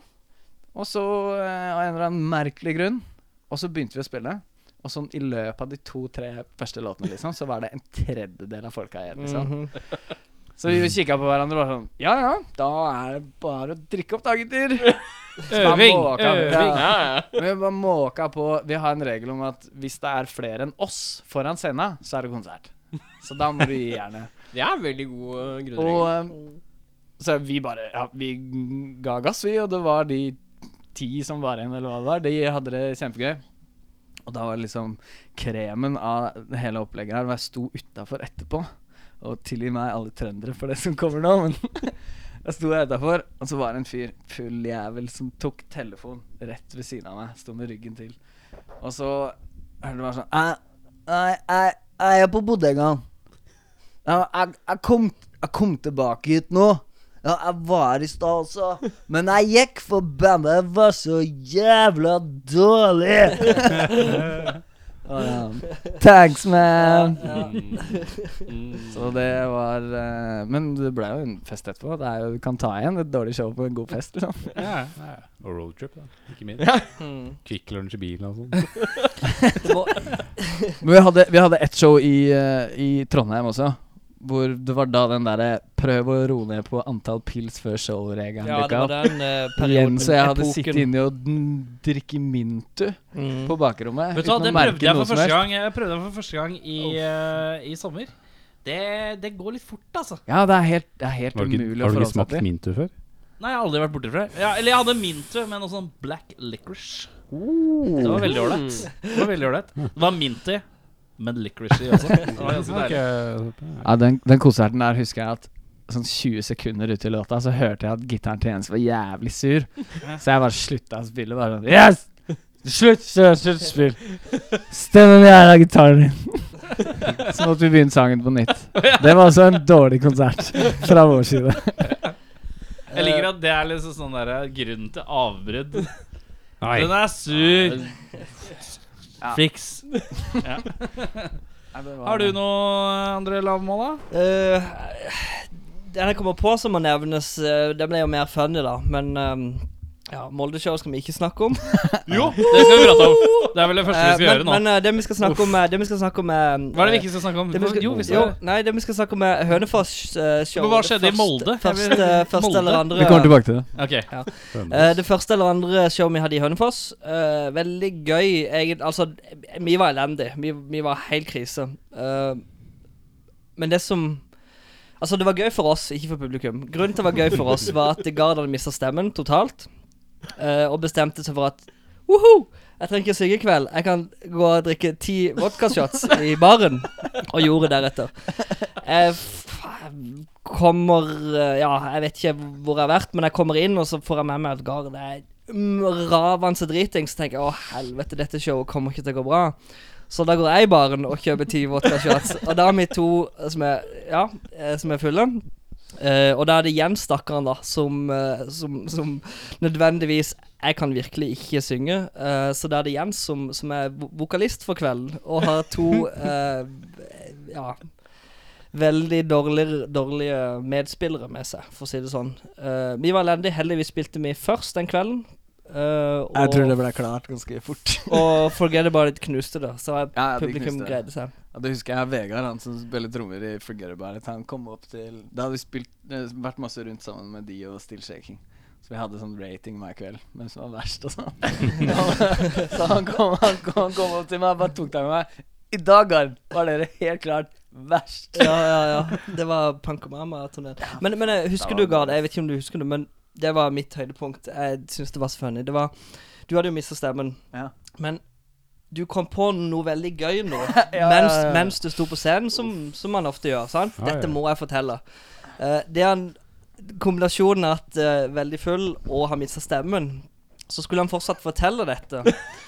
Speaker 9: Og så, eh, av en eller annen merkelig grunn, og så begynte vi å spille. Og sånn i løpet av de to-tre første låtene, liksom, så var det en tredjedel av folka igjen, liksom.
Speaker 2: Mhm.
Speaker 9: Så vi kikka på hverandre og var sånn Ja ja, da er det bare å drikke opp, da, gutter. Så bare
Speaker 2: Øving,
Speaker 9: måka-
Speaker 2: øving.
Speaker 9: Ja.
Speaker 2: Ja, ja.
Speaker 9: Vi bare måka på Vi har en regel om at hvis det er flere enn oss foran scenen, så er det konsert. Så da må du gi jernet.
Speaker 2: Det er en veldig god uh,
Speaker 9: Og
Speaker 2: grunnregel.
Speaker 9: eh, så vi bare ja, Vi ga gass, vi, og det var de ti som var igjen, eller hva det var. De hadde det kjempegøy. Og da var det liksom kremen av hele opplegget her. Og jeg sto utafor etterpå. Og tilgi meg alle trøndere for det som kommer nå, men jeg sto utafor, og så var det en fyr, full jævel, som tok telefon rett ved siden av meg. Sto med ryggen til. Og så hørte du bare sånn «Æ, Nei, jeg, jeg er på bodegaen. Ja, jeg, jeg, kom, jeg kom tilbake hit nå. Ja, jeg var i stad også, men jeg gikk for bandet var så jævla dårlig. Å, ja. Thanks, man.
Speaker 2: mm.
Speaker 9: Så det var eh, Men det ble jo en fest etterpå. Det er jo, du kan ta igjen et dårlig show på en god fest. Liksom.
Speaker 10: Og roadtrip, da. Ikke minst.
Speaker 7: Mm.
Speaker 10: Quick lunch i bilen og sånn.
Speaker 7: Det må-
Speaker 9: Men vi hadde, vi hadde ett show i, eh, i Trondheim også. Hvor det var da den derre 'prøv å roe ned på antall pils før show-regelen'
Speaker 7: Ja, det
Speaker 9: dukka
Speaker 7: var
Speaker 9: opp.
Speaker 7: den eh, perioden.
Speaker 9: Jens og jeg hadde
Speaker 7: epoken.
Speaker 9: sittet inne og n- drikke Mintu
Speaker 7: Mm.
Speaker 9: på bakrommet.
Speaker 11: Vet du hva,
Speaker 9: uten å
Speaker 11: det
Speaker 9: merke
Speaker 11: prøvde jeg
Speaker 9: noe
Speaker 11: for
Speaker 9: som
Speaker 11: første
Speaker 9: helst.
Speaker 11: gang Jeg prøvde det for første gang i, eh, i sommer. Det, det går litt fort, altså.
Speaker 9: Ja, det er helt, det er helt
Speaker 10: Har du ikke,
Speaker 9: umulig å
Speaker 10: har du ikke
Speaker 9: forholde seg
Speaker 10: smakt
Speaker 9: til.
Speaker 10: Mintu før?
Speaker 11: Nei, jeg har aldri vært borti fra ja, Eller jeg hadde mintu med noe sånn black licorice. Det var veldig ålreit. Det var veldig ålreit. Det var minty, men licorice i også. Det var ganske deilig.
Speaker 9: Ja, den, den konserten der husker jeg at sånn 20 sekunder ut i låta så hørte jeg at gitaren til Jens var jævlig sur. Så jeg bare slutta å spille. Bare sånn Yes! Slutt, slutt, slutt å spille. Stem den jævla gitaren din. Så måtte vi begynne sangen på nytt. Det var også en dårlig konsert fra vår side.
Speaker 11: Jeg liker at det er liksom sånn der grunnen til avbrudd. Den er sur! Fiks. Har du noe, André Lavmål, da?
Speaker 7: Eh, den jeg kommer på som må nevnes, eh, det ble jo mer funny, da. Men eh, ja, Molde-show skal vi ikke snakke om.
Speaker 11: Jo, det skal vi prate om. Det er vel det første vi
Speaker 7: Eh,
Speaker 11: skal
Speaker 7: men
Speaker 11: gjøre nå.
Speaker 7: men eh, det vi skal snakke om, eh, det vi skal snakke om eh,
Speaker 11: Hva er det vi ikke skal snakke om?
Speaker 7: det vi skal,
Speaker 11: jo, vi
Speaker 7: jo,
Speaker 11: skal
Speaker 7: nei, det vi skal snakke om eh, er Hønefoss-show.
Speaker 11: Men hva skjedde i Molde? Jeg
Speaker 7: Første,
Speaker 11: vil-
Speaker 7: første
Speaker 11: Molde?
Speaker 7: eller andre
Speaker 9: Vi kommer tilbake til det.
Speaker 11: Ok.
Speaker 7: Eh, det første eller andre showet vi hadde i Hønefoss. eh, veldig gøy. Egentlig, altså, vi var elendige. Vi, vi var helt krise. Eh, men det som Altså, det var gøy for oss, ikke for publikum. Grunnen til det var gøy for oss, var at Gard hadde mista stemmen totalt. eh, og bestemte seg for at Woho! Jeg trenger ikke synge i kveld. Jeg kan gå og drikke ti vodkashots i baren. Og gjorde deretter. Jeg f- kommer eh, Ja, jeg vet ikke hvor jeg har vært, men jeg kommer inn, og så får jeg med meg at Gard er mm, ravende driting. Så tenker jeg å helvete, dette showet kommer ikke til å gå bra. Så da går jeg i baren og kjøper ti vodkashots. Og da har vi to eh, som er, ja, eh, som er fulle. Eh, og da er det Jens, stakkaren, da, som, eh, som, som nødvendigvis Jeg kan virkelig ikke synge. eh, så da er det Jens som, som er vo- vokalist for kvelden, og har to eh, Ja veldig dårlige, dårlige medspillere med seg, for å si det sånn. Eh, vi var elendige. Heldigvis spilte vi først den kvelden. eh, og,
Speaker 9: Jeg tror det ble klart ganske fort.
Speaker 7: og Forget About It knuste det, så
Speaker 9: Ja, de
Speaker 7: publikum
Speaker 9: knuste det.
Speaker 7: greide seg.
Speaker 9: Ja, det husker jeg Vegard, han som spiller trommer i Forget About It. Han kom opp til Da hadde vi spilt, eh, vært masse rundt sammen med de og Still Shaking. Så vi hadde sånn rating hver kveld, hvem som var verst og sånn. så han kom, han, kom, han kom opp til meg og bare tok tak i meg. I dag, Gard, var dere helt klart verst.
Speaker 7: Ja, ja, ja. Det var Pankomama-turneen. Men, men eh, husker du, Gard, jeg vet ikke om du husker det, men det var mitt høydepunkt. Jeg syns det var så funny. Det var Du hadde jo mista stemmen,
Speaker 9: Ja.
Speaker 7: men du kom på noe veldig gøy nå
Speaker 9: ja,
Speaker 7: mens,
Speaker 9: ja.
Speaker 7: mens du sto på scenen, som, som man ofte gjør. sant?
Speaker 10: Ja, ja.
Speaker 7: Dette må jeg fortelle. Eh, det er en kombinasjon av at eh, veldig full og har mista stemmen. Så skulle han fortsatt fortelle dette.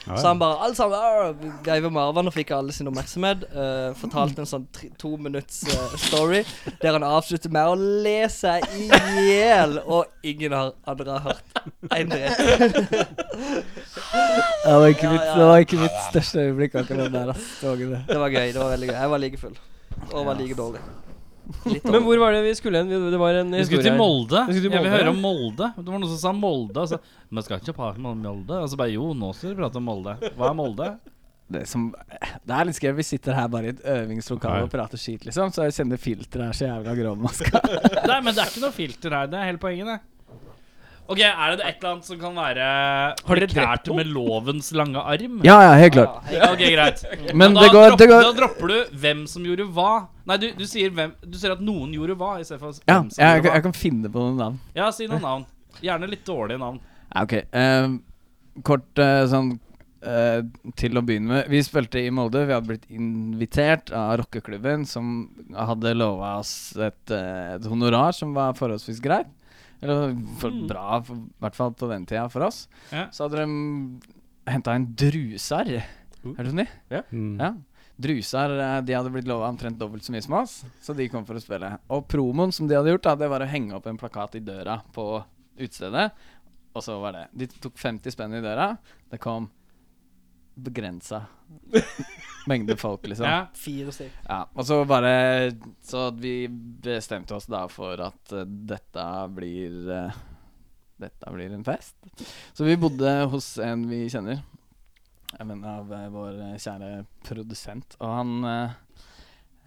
Speaker 1: Ja,
Speaker 7: Så han bare alle sammen, «Arr!» Greiv om arven og fikk alle sin oppmerksomhet. eh, fortalte en sånn tre, to minutts eh, story der han avslutter med å le seg i hjel, og ingen har andre har hørt en dritt.
Speaker 9: Det var ikke mitt,
Speaker 7: Ja, ja.
Speaker 9: det var ikke mitt største øyeblikk, akkurat den der. ass. Det var ikke det.
Speaker 7: Det var gøy. Det var veldig gøy. Jeg var like full. Og var like dårlig. Litt
Speaker 2: Men
Speaker 7: dårlig.
Speaker 2: hvor var det vi skulle hen? Vi- Det var en
Speaker 3: Vi skulle til
Speaker 2: her.
Speaker 3: Molde.
Speaker 2: Vi skulle til
Speaker 3: Jeg vil
Speaker 2: Molde,
Speaker 3: høre om Molde. Det var noen som sa Molde. Og så, Men skal ikke prate om Molde? Og så bare jo, nå skal vi prate om Molde. Hva er Molde?
Speaker 9: det, som, det er litt skrevet Vi sitter her bare i et øvingslokale og prater skit, liksom. Så jeg kjenner filteret er så jævla grovmaska.
Speaker 3: Nei, men det er ikke noe filter her. Det er hele poenget, det. Ok, Er det et eller annet som kan være
Speaker 2: Har dere drept
Speaker 3: prekært med lovens lange arm?
Speaker 9: Ja, ja, helt klart.
Speaker 3: Ok, greit.
Speaker 9: Men
Speaker 3: da,
Speaker 9: det går,
Speaker 3: dropper,
Speaker 9: det går
Speaker 3: da dropper du hvem som gjorde hva. Nei, du, du sier hvem Du sier at noen gjorde hva, i stedet for
Speaker 9: Ja,
Speaker 3: hvem som
Speaker 9: jeg,
Speaker 3: gjorde hva.
Speaker 9: jeg kan finne på noen navn.
Speaker 3: Ja, si noen navn. Gjerne litt dårlige navn.
Speaker 9: Ja, ok. Ehm, kort eh, sånn eh, til å begynne med. Vi spilte i Molde. Vi hadde blitt invitert av rockeklubben, som hadde lova oss et, eh, et honorar som var forholdsvis greit. Eller for bra, for- i hvert fall på den tida, for oss.
Speaker 3: Ja.
Speaker 9: Så hadde de henta en drusarr. Hørte du sånn? om de?
Speaker 1: Mm.
Speaker 9: Ja. Drusar eh, de hadde blitt lova omtrent dobbelt så mye som oss, så de kom for å spille. Og promoen som de hadde gjort, da, det var å henge opp en plakat i døra på utestedet. Og så var det. De tok 50 spenn i døra. Det kom begrensa mengde folk, liksom.
Speaker 3: Ja.
Speaker 9: Ja.
Speaker 7: Fire stykk.
Speaker 9: Og så bare Så vi bestemte oss da for at eh, dette blir eh, Dette blir en fest. Så vi bodde hos en vi kjenner. Jeg mener av eh, vår eh, kjære produsent. Og han eh,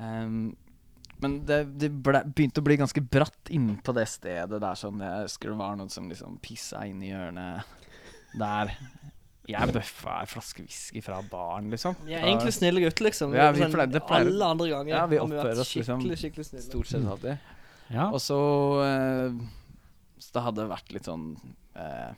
Speaker 9: em, Men det, det ble, begynte å bli ganske bratt innpå det stedet der. Sånn, jeg husker det var noen som liksom pissa inn i hjørnet der. Jeg bøffa ei flaske whisky fra baren, liksom.
Speaker 7: Vi er egentlig snille gutter, liksom.
Speaker 9: Ja,
Speaker 7: Det er
Speaker 9: vi
Speaker 7: sånn
Speaker 9: pleier- det pleier-
Speaker 7: Alle andre ganger
Speaker 9: Ja, vi
Speaker 7: har vært
Speaker 9: oppfører oss liksom-
Speaker 7: Skikkelig, skikkelig snille.
Speaker 9: Stort sett alltid.
Speaker 3: Ja.
Speaker 9: Og så eh, Så det hadde vært litt sånn eh,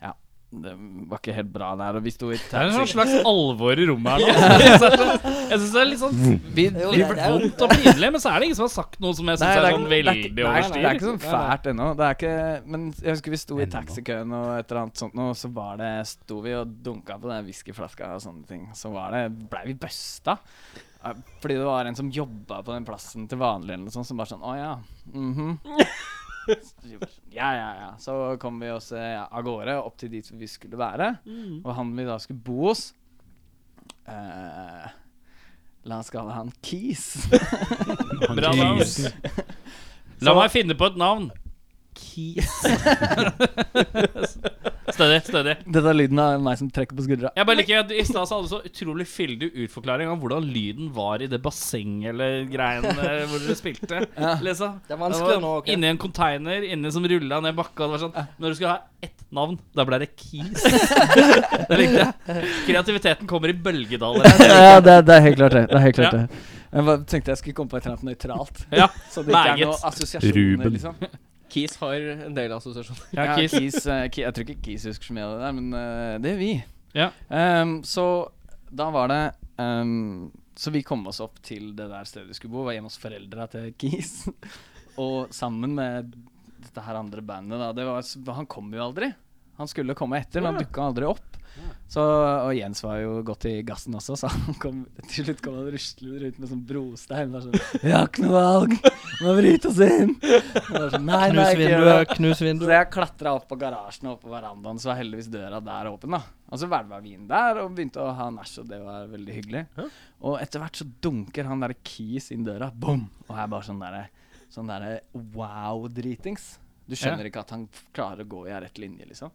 Speaker 9: Ja, det var ikke helt bra der, og vi sto i
Speaker 3: Det er en
Speaker 9: taxi.
Speaker 3: sånn slags alvor i rommet her nå. Jeg syns det er litt sånn
Speaker 9: Vi,
Speaker 7: Jo,
Speaker 9: vi
Speaker 7: det er- det er jo-
Speaker 3: vondt og pinlig, men så er det ingen som har sagt noe som jeg syns
Speaker 9: Nei,
Speaker 3: er
Speaker 9: det er
Speaker 3: sånn
Speaker 9: ikke- det er ikke-
Speaker 3: veldig
Speaker 9: nei, nei, Det er
Speaker 3: overstyr.
Speaker 9: ikke sånn fælt ennå. Det er ikke, men jeg husker vi sto i taxikøen og et eller annet sånt, og så var det, sto vi og dunka på den whiskyflaska og sånne ting. Så var det, blei vi busta. Eh, Fordi det var en som jobba på den plassen til vanlig, eller noe sånt, som bare sånn Å ja. mhm." Ja, ja, ja. Så kom vi oss eh, av gårde opp til dit vi skulle være.
Speaker 3: Mm.
Speaker 9: Og han vi da skulle bo hos eh, La oss kalle han Kis.
Speaker 3: Bra navn. La meg finne på et navn. stødig, stødig.
Speaker 9: Dette er lyden av meg som trekker på skuldra.
Speaker 3: Jeg bare liker at I stad så hadde du så utrolig fyldig utforklaring av hvordan lyden var i det bassenget eller greiene hvor dere spilte. Liksom.
Speaker 7: Det er vanskeligere nå, ok?
Speaker 3: Inni en container, inni som rulla ned bakka. og Det var sånn, når du skulle ha ett navn, da ble det Keys. det likte jeg. Kreativiteten kommer i bølgedaler.
Speaker 9: ja, det, er- det er helt klart det. det, er helt klart det. Jeg bare tenkte jeg skulle komme på et eller annet nøytralt.
Speaker 3: Ja,
Speaker 9: Så det ikke er
Speaker 3: meget.
Speaker 9: noen assosiasjoner,
Speaker 1: Ruben.
Speaker 9: liksom.
Speaker 2: Keys har en del assosiasjoner.
Speaker 9: Ja,
Speaker 3: Ja, Keys.
Speaker 9: Keys, eh, Ke- jeg tror ikke Keys husker så mye av det der, men eh, det gjør vi.
Speaker 3: Ja.
Speaker 9: Ehm, så da var det ehm, Så vi kom oss opp til det der stedet vi skulle bo, var hjemme hos foreldra til Keys. Og sammen med dette her andre bandet, da det var, s- Han kom jo aldri. Han skulle komme etter, men han dukka aldri opp. Så, og Jens var jo godt i gassen også, så han kom, til slutt kom han ruslende ut med sånn brostein. Bare sånn 'Vi har ikke noe valg! Vi må bryte oss inn!' Og bare Sånn, nei, nei,
Speaker 7: Knus
Speaker 9: ikke gjør det.
Speaker 7: vinduet, knus
Speaker 9: Så
Speaker 7: vinduet.
Speaker 9: jeg klatra opp på garasjen og opp på verandaen, så var heldigvis døra der åpen. da Og så hvelva vi inn der og begynte å ha nach, og det var veldig hyggelig. Og etter hvert så dunker han der Keys inn døra, bom! Og jeg bare sånn derre sånn der wow-dritings. Du skjønner ikke at han f- klarer å gå i ei rett linje, liksom.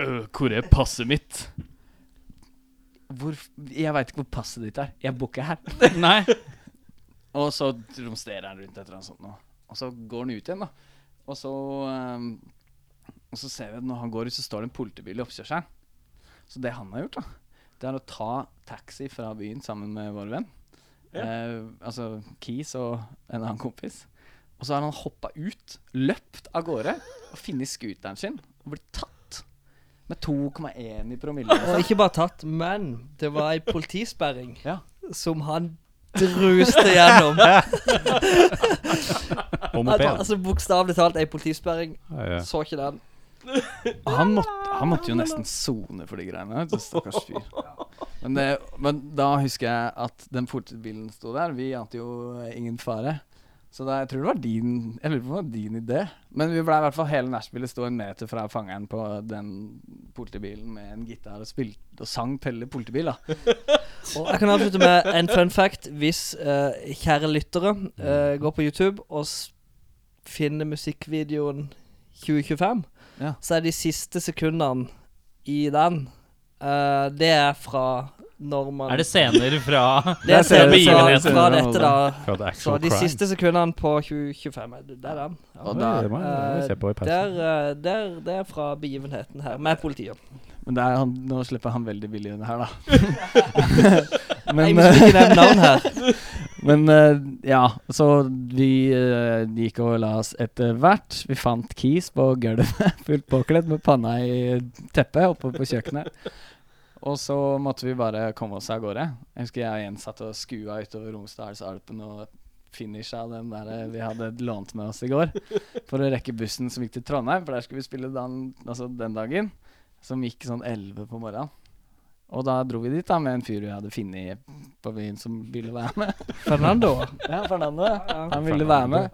Speaker 3: Øh, Hvor er passet mitt?
Speaker 9: Hvor, jeg veit ikke hvor passet ditt er. Jeg bor ikke her.
Speaker 3: Nei.
Speaker 9: Og så romsterer han rundt et eller annet sånt nå. Og så går han ut igjen, da. Og så ehm, Og så ser vi at når han går ut, så står det en politibil i oppkjørselen. Så det han har gjort, da, det er å ta taxi fra byen sammen med vår venn. Eh, altså Keys og en annen kompis. Og så har han hoppa ut, løpt av gårde og funnet scooteren sin og blitt tatt. Med 2,1 i promille.
Speaker 7: Og Eh, ikke bare tatt, men det var ei politisperring
Speaker 9: Sånn. Ja.
Speaker 7: som han druste gjennom.
Speaker 1: Og
Speaker 7: At,
Speaker 1: moped.
Speaker 7: altså Bokstavelig talt ei politisperring.
Speaker 1: Ja, ja.
Speaker 7: Så ikke den.
Speaker 9: Han måtte, han måtte jo nesten sone for de greiene. vet du, Stakkars fyr. Men, det, men da husker jeg at den politibilen sto der. Vi ante jo ingen fare. Så da, jeg tror det var din Jeg lurer på om det var din idé. Men vi ble i hvert fall hele nachspielet sto en meter fra fangeren på den politibilen med en gitar og spilte og sang Pelle politibil. da
Speaker 7: Og jeg kan avslutte med en fun fact. Hvis eh, kjære lyttere eh, går på YouTube og s finner musikkvideoen 2025,
Speaker 9: Ja.
Speaker 7: så er de siste sekundene i den eh, Det er fra når man
Speaker 3: Er det scener fra
Speaker 7: det er
Speaker 3: ser
Speaker 7: scener
Speaker 3: vi
Speaker 7: fra,
Speaker 3: begivenheten.
Speaker 7: fra dette, da.
Speaker 1: Fra The
Speaker 7: Så
Speaker 1: Actual
Speaker 7: de
Speaker 1: Crime.
Speaker 7: siste sekundene på 2025 er det- Det er den. Ja.
Speaker 9: Og
Speaker 1: Oi,
Speaker 9: da,
Speaker 1: det må jeg det må jeg se på i
Speaker 7: Det er,
Speaker 1: pausen.
Speaker 7: eh, det er, det er fra begivenheten her, med politiet.
Speaker 9: men det er han, nå slipper han veldig billig unna her, da.
Speaker 7: Jeg
Speaker 9: men
Speaker 7: må ikke nevne navn her.
Speaker 9: Men eh, ja, så vi eh, gikk og la oss etter hvert. Vi fant Keys på gulvet, fullt påkledd med panna i teppet oppe på kjøkkenet. Og så måtte vi bare komme oss av gårde. Jeg husker jeg igjen satt og skua utover Romsdalsalpen og finisha den der eh, vi hadde lånt med oss i går. For å rekke bussen som gikk til Trondheim, for der skulle vi spille den, altså den dagen. Som gikk sånn 11 på morgenen. Og da dro vi dit da med en fyr vi hadde funnet på byen som ville være med.
Speaker 7: Fernando.
Speaker 9: Ja, Fernando. Han ville være med.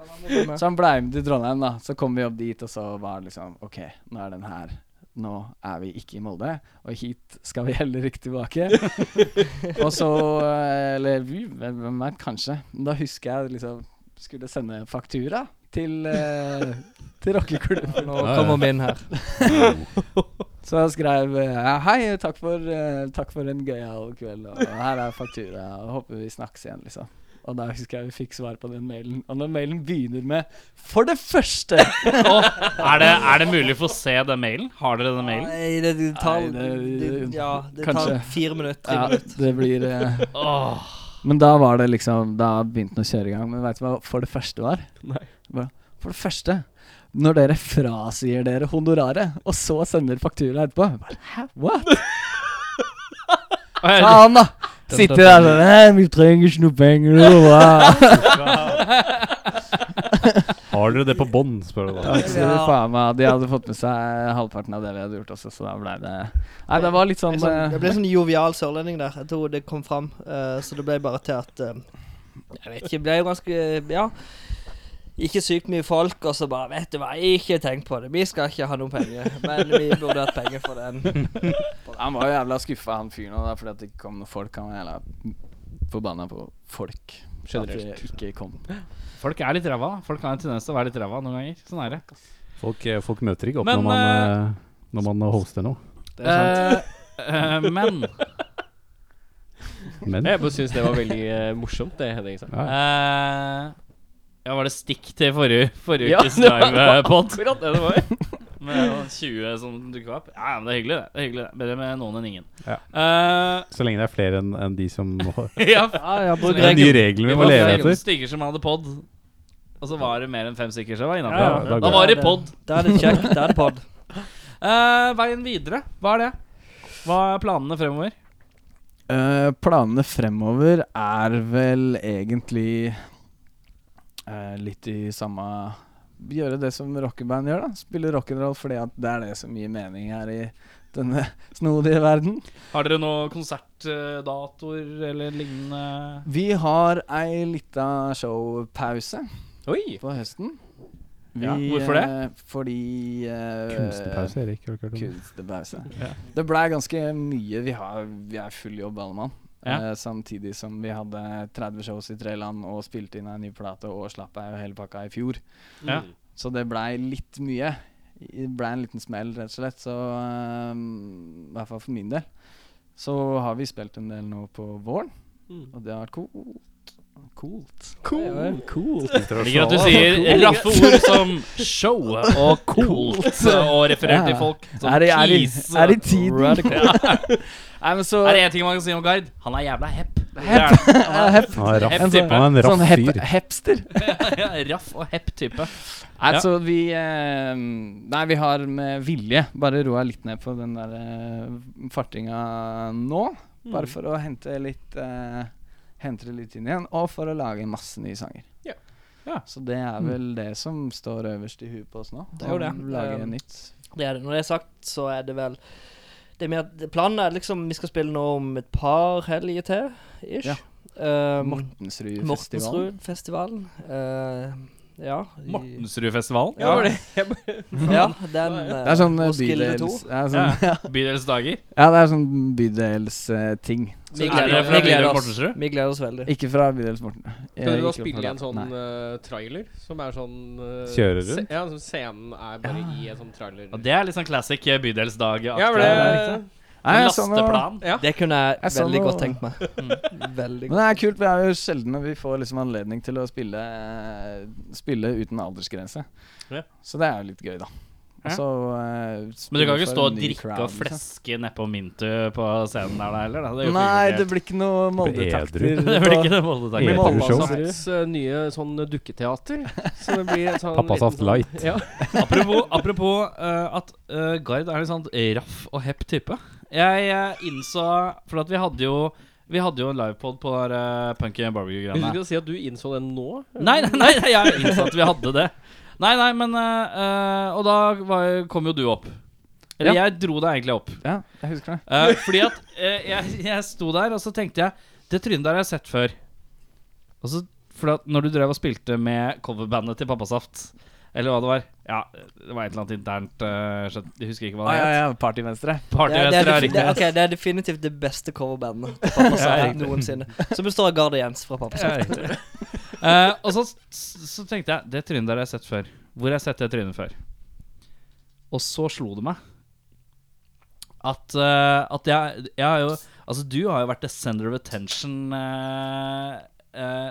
Speaker 9: Så han blei med til Trondheim, da. Så kom vi opp dit, og så var det liksom OK, nå er den her. Nå er vi ikke i Molde, og hit skal vi heller ikke tilbake. og så eh, Eller vi- hvem hvem vet, kanskje. Men Da husker jeg liksom skulle sende faktura til, eh, til rockeklubben.
Speaker 7: Nå kommer vi inn her.
Speaker 9: Så jeg skrev eh, Hei, takk for, eh, takk for en gøyal kveld, og her er faktura, og håper vi snakkes igjen, liksom. Og da husker jeg vi fikk svar på den mailen, og den mailen begynner med For det første!
Speaker 3: Å, er, det, er det mulig å få se den mailen? Har dere den mailen?
Speaker 7: Nei, det, det tar,
Speaker 9: Nei, det-
Speaker 7: det, ja, det
Speaker 9: kanskje.
Speaker 7: tar fire minutter. Tre
Speaker 9: Ja,
Speaker 7: minutter.
Speaker 9: det blir eh,
Speaker 3: Åh,
Speaker 9: Men da var det liksom Da begynte den å kjøre i gang. Men veit du hva for det første var?
Speaker 2: Nei.
Speaker 9: Bare, for det første når dere frasier dere honoraret, og så sender faktura etterpå jeg bare, Hæ? What? Faen, da! Sitter der sånn «Nei, Vi trenger ikke noe penger. hva?»
Speaker 1: Har dere det på bånd, spør du da.
Speaker 9: Ja, så
Speaker 7: Ja.
Speaker 9: faen meg, De hadde fått med seg halvparten av det vi hadde gjort også, så da ble det Nei, det var litt sånn,
Speaker 7: Jeg sånn,
Speaker 9: eh,
Speaker 7: jeg ble sånn jovial sørlending der. Jeg tror det kom fram. eh, så det ble bare til at eh, Jeg vet ikke. Det ble jo ganske Ja. Ikke sykt mye folk, og så bare Vet du hva, ikke tenk på det. Vi skal ikke ha noen penger. Men vi burde hatt penger for den. sånn-
Speaker 9: Han var jo jævla skuffa, han fyren òg, fordi at det ikke kom noen folk. Han var jævla forbanna på folk. At det ikke kom.
Speaker 3: folk er litt ræva. da. Folk har en tendens til å være litt ræva noen ganger. Sånn er det.
Speaker 1: Folk, eh, folk møter ikke opp
Speaker 3: Men,
Speaker 1: når man, eh, når man hoster noe.
Speaker 3: Eh, eh, men
Speaker 1: Men
Speaker 2: Jeg bare syns det var veldig eh, morsomt, det Henning sa.
Speaker 1: ja.
Speaker 3: eh, Ja, var det stikk til forrige, forrige
Speaker 2: Ja,
Speaker 3: ukes eh,
Speaker 2: det var
Speaker 3: livepod?
Speaker 2: Akkurat det det var.
Speaker 3: Med 20 som dukket opp. Ja, men det er hyggelig, det. det, er hyggelig, det. Bedre med noen enn ingen.
Speaker 1: Ja.
Speaker 3: Eh,
Speaker 1: så lenge det er flere enn enn de som Det
Speaker 3: ja,
Speaker 1: er de reglene vi må leve
Speaker 3: Det var fem
Speaker 1: etter.
Speaker 3: stykker som hadde pod. Og så var det mer enn fem stykker som var innafor.
Speaker 1: Ja, ja, da går
Speaker 3: da
Speaker 1: det.
Speaker 3: var det pod.
Speaker 7: Da er det kjekt. Da er det pod.
Speaker 3: Eh, veien videre, hva er det? Hva er planene fremover?
Speaker 9: Eh, planene fremover er vel egentlig eh, litt i samme Gjøre det som rockeband gjør, da. Spille rock'n'roll fordi at det er det som gir mening her i denne snodige verden.
Speaker 3: Har dere noen konsertdatoer eller lignende?
Speaker 9: Vi har ei lita showpause
Speaker 2: Oi!
Speaker 9: på høsten. Vi,
Speaker 3: Ja, hvorfor det?
Speaker 9: eh, fordi eh,
Speaker 1: Kunstpause, Erik. Har du ikke hørt om det?
Speaker 9: Kunstpause.
Speaker 3: Ja.
Speaker 9: Det blei ganske mye. Vi, har, vi er full jobb, alle mann.
Speaker 3: Ja.
Speaker 9: Eh, samtidig som vi hadde 30 shows i tre land og spilte inn ei ny plate og slapp ei og hele pakka i fjor.
Speaker 3: Ja.
Speaker 9: Så det blei litt mye. Det blei en liten smell, rett og slett. Så eh, I hvert fall for min del. Så har vi spilt en del nå på våren,
Speaker 2: Mm.
Speaker 9: og det har vært coolt. Coolt.
Speaker 3: Jeg liker at du sier raffe ord som show og coolt og refererer til folk som
Speaker 9: Er det- er det-
Speaker 3: keys.
Speaker 9: er det tiden?
Speaker 3: Radical.
Speaker 9: Nei, men så
Speaker 3: Er det én ting man kan si om Gard? Han er jævla hepp.
Speaker 9: Hepp.
Speaker 1: Han er raff.
Speaker 3: En sånn-
Speaker 1: Han er en
Speaker 9: Sånn
Speaker 1: raff
Speaker 9: hep,
Speaker 1: fyr.
Speaker 9: hepster.
Speaker 3: Ja, raff og hepp type.
Speaker 9: Nei,
Speaker 3: Ja.
Speaker 9: så vi eh, Nei, vi har med vilje bare roa litt ned på den der eh, fartinga nå.
Speaker 7: Mm.
Speaker 9: Bare for å hente litt eh, Hente det litt inn igjen, og for å lage masse nye sanger.
Speaker 2: Ja. Ja.
Speaker 1: Mm.
Speaker 9: Så det er vel det som står øverst i huet på oss nå.
Speaker 7: Det er jo
Speaker 9: å
Speaker 7: det.
Speaker 9: Lage
Speaker 7: Um,
Speaker 9: nytt.
Speaker 7: Det er det. Når det er sagt, så er det vel det er med at Planen er liksom vi skal spille nå om et par helger til, ish.
Speaker 9: Ja.
Speaker 7: Eh,
Speaker 9: Mortensrud-festivalen.
Speaker 7: Mortensrud-festivalen. Eh, ja. i-
Speaker 3: Mortensrudfestivalen?
Speaker 7: Ja,
Speaker 2: det
Speaker 7: ja, den eh,
Speaker 9: Det er sånn eh,
Speaker 7: Roskilde 2.
Speaker 9: bydels... Det er sånn, ja.
Speaker 3: Bydelsdager?
Speaker 9: det er sånn bydelsting.
Speaker 7: Vi
Speaker 3: Er
Speaker 7: gleder,
Speaker 3: dere fra
Speaker 7: vi, gleder
Speaker 3: Bydel
Speaker 7: oss,
Speaker 3: Mortensrud?
Speaker 7: vi gleder oss veldig.
Speaker 9: ikke fra bydels Morten.
Speaker 2: Kan
Speaker 9: Jeg
Speaker 2: du da
Speaker 9: gikk
Speaker 2: spille
Speaker 9: fra
Speaker 2: i en
Speaker 9: der.
Speaker 2: sånn
Speaker 9: Nei.
Speaker 2: eh, trailer? Som er sånn eh,
Speaker 10: Kjører
Speaker 2: se-
Speaker 10: rundt?
Speaker 2: Ja, sånn scenen er bare i en sånn trailer.
Speaker 3: Ja, det er litt sånn classic eh, bydelsdag.
Speaker 2: Ja, men det,
Speaker 9: Nei, jeg så noe-
Speaker 3: eh, Lasteplan.
Speaker 2: ja.
Speaker 7: Det kunne jeg, Mm.
Speaker 9: Jeg sa
Speaker 7: veldig
Speaker 9: noe-
Speaker 7: godt tenkt meg. Veldig
Speaker 9: Men
Speaker 7: godt.
Speaker 9: det er kult. Vi er jo sjeldne vi får liksom anledning til å spille eh, Spille uten aldersgrense.
Speaker 3: Ja.
Speaker 9: Så det er jo litt gøy, da.
Speaker 3: Ja.
Speaker 9: Så, eh,
Speaker 3: Men du kan ikke stå og drikke og
Speaker 9: liksom.
Speaker 3: fleske nedpå Mintu på scenen der da, heller? Da. Det er jo ikke
Speaker 9: Nei,
Speaker 3: helt-
Speaker 9: det blir ikke noe
Speaker 10: Blir
Speaker 9: Molde-takter.
Speaker 10: edru.
Speaker 3: det blir ikke det
Speaker 10: Edru
Speaker 3: Molde-dagen.
Speaker 10: show.
Speaker 2: Pappas eh, nye sånn dukketeater. Så det blir en sånn
Speaker 10: Pappas
Speaker 2: liten
Speaker 10: haft light.
Speaker 2: Sånn, ja.
Speaker 3: Apropos, apropos eh, at eh, Gard er litt sånn raff og hepp type. Jeg eh, innså For at vi hadde jo Vi hadde jo en livepod på der, eh, Punk
Speaker 2: Hvis du
Speaker 3: and Barbecue-greiene.
Speaker 2: skal si at du innså det nå
Speaker 3: Nei, nei, nei, nei, jeg innså at vi hadde det. Nei, nei, men eh, eh, Og da var, kom jo du opp. Eller jeg dro deg egentlig opp.
Speaker 9: Ja, jeg husker det.
Speaker 3: Eh, fordi at eh, jeg, jeg sto der, og så tenkte jeg Det trynet der har jeg sett før. Og så fordi at når du drev og spilte med coverbandet til Pappasaft, eller hva det var Ja, det var et eller annet internt eh, skjønt, Jeg husker ikke hva
Speaker 9: Ah,
Speaker 3: det
Speaker 9: ja,
Speaker 3: het.
Speaker 9: ja, Partyvenstre.
Speaker 7: Det er, det,
Speaker 3: Partyvenstre
Speaker 7: er
Speaker 3: er
Speaker 7: defi- det,
Speaker 3: riktig.
Speaker 7: ok, det er definitivt det beste coverbandet til Pappa Saft noensinne. Som består av Gard og Jens fra Pappa
Speaker 3: Ja,
Speaker 7: Saft.
Speaker 3: riktig. Eh, og så, så tenkte jeg Det trynet der har jeg sett før. Hvor har jeg sett det trynet før? Og så slo det meg at, eh, at jeg, jeg har jo Altså, du har jo vært the sender of attention eh, eh,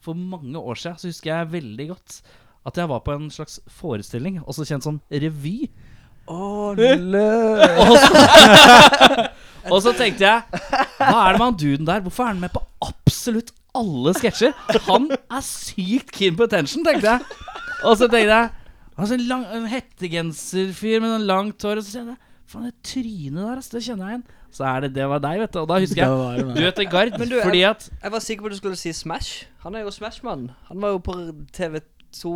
Speaker 3: For mange år siden så husker jeg veldig godt at jeg var på en slags forestilling, også kjent som revy. Og så, og så tenkte jeg Hva er det med han duden der? Hvorfor er han med på absolutt alle sketsjer? Han er sykt keen på attention, tenkte jeg. Og så tenkte jeg altså En, lang, en hettegenserfyr med sånn langt hår. Og så kjenner jeg Faen, det trynet der, altså, det kjenner jeg igjen. Så er det det var deg, vet du. Og da husker jeg Du heter Gard,
Speaker 7: Men du, jeg-
Speaker 3: fordi at
Speaker 7: Jeg var sikker på at du skulle si Smash. Han er jo Smash-mann. Han var jo på TV2,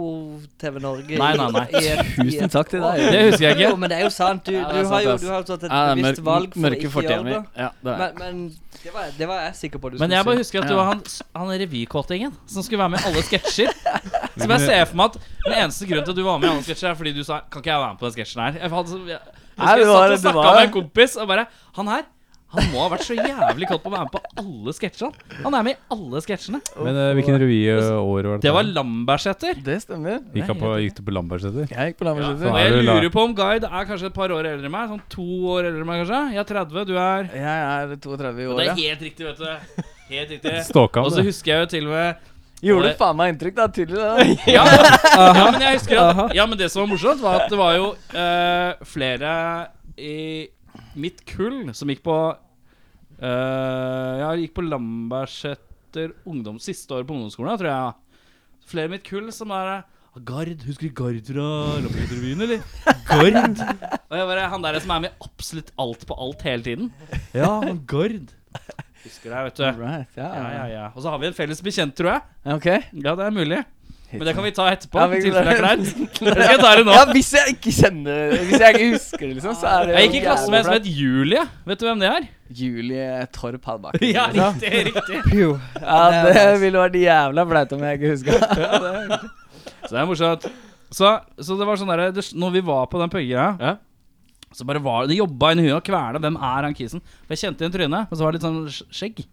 Speaker 7: TV Norge i-
Speaker 3: Nei, nei, nei.
Speaker 7: i et- i
Speaker 9: Tusen
Speaker 7: et
Speaker 9: takk til
Speaker 7: år.
Speaker 9: deg.
Speaker 3: Det husker jeg
Speaker 7: Jo,
Speaker 3: ikke.
Speaker 7: men det er jo sant. Du,
Speaker 9: Ja, det er
Speaker 7: du har
Speaker 9: sant,
Speaker 7: jo
Speaker 9: ass.
Speaker 7: du har jo tatt et
Speaker 9: Ja, det er
Speaker 7: bevisst valg
Speaker 9: mørk,
Speaker 7: for å
Speaker 9: mørke
Speaker 7: ikke gjøre
Speaker 9: fortjener
Speaker 7: det.
Speaker 9: vi. Ja, det er.
Speaker 7: Men, men det, var, det var jeg sikker på at du
Speaker 3: Men jeg bare
Speaker 7: skulle si.
Speaker 3: husker at du var han, han revykåtingen som skulle være med i alle sketsjer. Som jeg ser for meg at Den eneste grunnen til at du var med i alle sketsjer, er fordi du sa Kan ikke jeg være med på den sketsjen her? Jeg, hadde, så- jeg,
Speaker 9: Nei,
Speaker 3: jeg,
Speaker 9: det
Speaker 3: jeg
Speaker 9: var-
Speaker 3: satt og
Speaker 9: det
Speaker 3: snakka
Speaker 9: var-
Speaker 3: med en kompis og bare Han her han må ha vært så jævlig kåt på å være med på alle sketsjene. Han er med i alle sketsjene.
Speaker 10: Men eh, hvilken revy eh, år var det?
Speaker 3: Det var Lambertseter.
Speaker 9: Det stemmer.
Speaker 10: Gikk, han på, gikk du på Lambertseter?
Speaker 9: Jeg gikk på Lambertseter.
Speaker 3: Og
Speaker 10: Da er
Speaker 3: jeg
Speaker 10: du la-
Speaker 3: lurer på om Guide er kanskje et par år eldre enn meg. Sånn to år eldre enn meg, kanskje. Jeg er 30, du er
Speaker 9: Jeg er 32 i
Speaker 3: Det er
Speaker 9: året.
Speaker 3: helt riktig, vet du. Helt riktig.
Speaker 10: Stalka
Speaker 3: Eh,
Speaker 10: han,
Speaker 3: Og så
Speaker 10: det.
Speaker 3: husker jeg jo til og med
Speaker 9: Gjorde det faen meg inntrykk, da. Tydelig. da.
Speaker 3: Ja, ja, men jeg husker at Ja, men det som var morsomt, var at det var jo eh, flere i mitt kull som gikk på eh, Jeg gikk på Lambertseter ungdom siste år på ungdomsskolen, tror jeg. Flere i mitt kull som er eh, Gard, Husker du Gard fra Lambertseterrevyen, eller? Gard. Og jeg bare, Han der som er med i absolutt alt på alt hele tiden. Ja, han Gard. Husker deg, vet du.
Speaker 9: Right, ja.
Speaker 3: Ja, ja, ja. Og så har vi en felles bekjent, tror jeg.
Speaker 9: Ok.
Speaker 3: Ja, det er mulig. Men det kan vi ta etterpå.
Speaker 9: Ja,
Speaker 3: i
Speaker 9: vi-
Speaker 3: tilfelle det er kleint. Jeg skal ta det nå.
Speaker 9: Ja, hvis jeg ikke kjenner Hvis jeg ikke husker det, liksom, så er det
Speaker 3: Jeg gikk i
Speaker 9: jo
Speaker 3: klasse med en som
Speaker 9: jævla
Speaker 3: het Julie. Vet du hvem det er?
Speaker 9: flaut. Julie Torp Hallbakken.
Speaker 3: Ja,
Speaker 9: liksom.
Speaker 3: riktig, riktig
Speaker 9: Ja, det ville vært jævla flaut om jeg ikke huska.
Speaker 3: Så det er morsomt. Så, så det var sånn derre det- Når vi var på den pøya
Speaker 2: Ja.
Speaker 3: Så bare var det jobba inn i huet og kverna. Hvem er han kisen? For Jeg kjente igjen trynet, men så var det litt sånn sk- skjegg.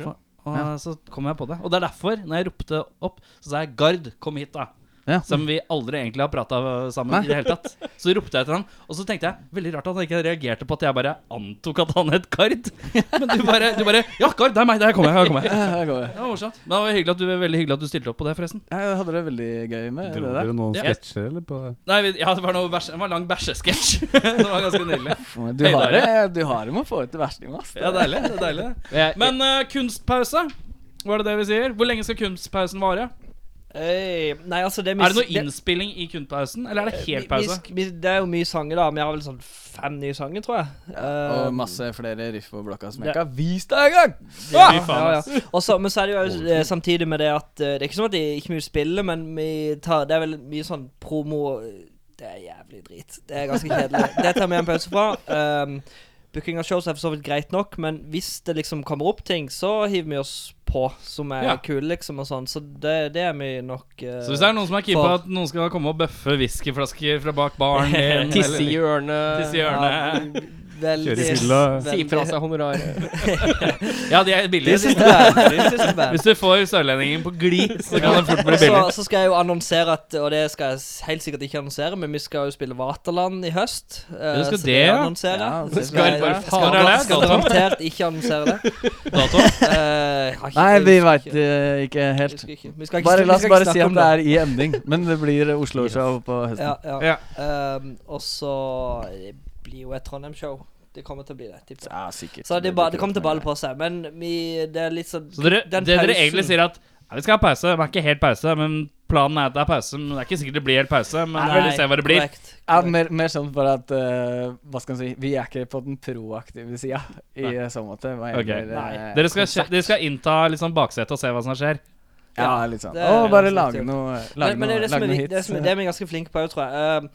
Speaker 3: Og, og så kom jeg på det. Og det er derfor, når jeg ropte opp, så sa jeg 'Gard, kom hit', da.
Speaker 9: Ja.
Speaker 3: Som vi aldri egentlig har prata sammen i det hele tatt. Så ropte jeg til han, og så tenkte jeg veldig rart at han ikke reagerte på at jeg bare antok at han het Gard. Men du bare, du bare 'Ja, Gard, det er meg. Der kommer jeg.' Her kommer jeg.
Speaker 9: Der går jeg.
Speaker 3: Det var morsomt. Men det var hyggelig at du, veldig hyggelig at du stilte opp på det, forresten.
Speaker 9: Jeg hadde det veldig gøy med
Speaker 10: Dro
Speaker 9: det der.
Speaker 10: dere noen
Speaker 3: Ja.
Speaker 10: sketsjer, eller? På det?
Speaker 3: Nei, vi- ja, det var noe bæsje, det var en lang bæsjesketsj. det var ganske nydelig.
Speaker 9: Du har det Du har det med å få ut til verstinga, ass.
Speaker 3: Ja, deilig. det er deilig
Speaker 2: Jeg,
Speaker 3: Men eh, kunstpause, var det det vi sier? Hvor lenge skal kunstpausen vare?
Speaker 7: Hey, nei, altså det
Speaker 3: Er det Eh, noe innspilling i kunstpausen, eller er det helt
Speaker 7: Vi- vi
Speaker 3: pause?
Speaker 7: sk- vi- Det er jo mye sanger, da. Vi har vel sånn fem nye sanger, tror jeg. Eh,
Speaker 9: Og masse flere riff på blokka som jeg
Speaker 7: Det-
Speaker 9: ikke har vist deg engang!
Speaker 3: Ja,
Speaker 7: ja, ja. Og så- men så er det jo eh, samtidig med det at eh, Det er ikke sånn at de ikke mye spiller, men vi tar, det er vel mye sånn promo Det er jævlig drit. Det er ganske kjedelig. Det tar vi en pause fra. Ehm, booking av shows er for så vidt greit nok, men hvis det liksom kommer opp ting, så hiver vi oss på, som er
Speaker 3: Ja.
Speaker 7: kule, liksom, og sånn. Så det, det er vi nok eh,
Speaker 3: Så hvis det er noen som er keen på
Speaker 7: for-
Speaker 3: at noen skal komme og bøffe whiskyflasker fra bak baren din,
Speaker 2: Tisse i
Speaker 3: eller-
Speaker 2: hjørnet.
Speaker 3: tisse i hjørnet eh,
Speaker 7: Ja, veldig,
Speaker 10: Kjøre i fylla.
Speaker 7: veldig-
Speaker 2: Si fra seg honoraret.
Speaker 3: Ja, de er
Speaker 7: De
Speaker 3: billige.
Speaker 7: syns det er de syns det er bad.
Speaker 3: Hvis du får sørlendingen på glid, så kan det fort bli billig.
Speaker 7: Så, så skal jeg jo annonsere at Og det skal jeg s- helt sikkert ikke annonsere, men vi skal jo spille Vaterland i høst. eh,
Speaker 3: du skal
Speaker 7: så
Speaker 3: det,
Speaker 7: jeg
Speaker 3: ja.
Speaker 7: annonserer.
Speaker 9: Ja,
Speaker 7: Så
Speaker 9: det
Speaker 7: skal
Speaker 9: skal
Speaker 7: jeg-
Speaker 3: bare
Speaker 7: skal
Speaker 3: faen.
Speaker 7: gar-
Speaker 3: Er det
Speaker 7: Skal
Speaker 3: dato?
Speaker 7: garantert ikke annonsere det.
Speaker 3: Dato?
Speaker 7: Eh, har ikke-
Speaker 9: Nei, vi
Speaker 7: husker
Speaker 9: veit
Speaker 7: ikke.
Speaker 9: ikke
Speaker 7: Jeg
Speaker 9: helt.
Speaker 7: husker ikke. Vi skal ikke
Speaker 9: Bare,
Speaker 7: vi
Speaker 9: la oss
Speaker 7: skal
Speaker 9: bare
Speaker 7: ikke
Speaker 9: si
Speaker 7: snakke
Speaker 9: at
Speaker 7: om
Speaker 9: det er i ending. Men det blir Oslo-show på høsten.
Speaker 7: Ja, ja.
Speaker 3: Ja.
Speaker 7: Ehm, og så Det blir jo et Trondheim-show. Det kommer til å bli det. tipper jeg.
Speaker 9: Ja, sikkert.
Speaker 7: Så det, er bare, det kommer til å balle på seg. Men vi, det er litt sånn
Speaker 3: Så dere, det
Speaker 7: Den
Speaker 3: dere
Speaker 7: pausen.
Speaker 3: egentlig sier at ja, vi skal ha pause, men ikke helt pause. Men planen er at det er pause. Men det er ikke sikkert det blir helt pause, men eh, vi
Speaker 7: Nei,
Speaker 3: vil se hva det blir.
Speaker 7: korrekt,
Speaker 9: Ja,
Speaker 7: korrekt.
Speaker 9: mer, mer sånn bare at eh, Hva skal man si Vi er ikke på den proaktive sida i eh, så måte. Hva
Speaker 3: Ok.
Speaker 9: gjelder,
Speaker 7: Nei.
Speaker 9: eh,
Speaker 3: Dere skal, kje- dere skal innta litt sånn baksetet og se hva som skjer.
Speaker 9: Ja, litt sånn.
Speaker 7: Det
Speaker 9: Å,
Speaker 7: er
Speaker 9: bare
Speaker 7: litt
Speaker 9: lage
Speaker 7: kult.
Speaker 9: noe Lage
Speaker 7: Men, men det
Speaker 9: noe,
Speaker 7: er det som
Speaker 9: lage
Speaker 7: er,
Speaker 9: noe
Speaker 7: vi- det
Speaker 9: hits. eh.
Speaker 7: som er, det er vi ganske flinke på òg, tror jeg. Ehm,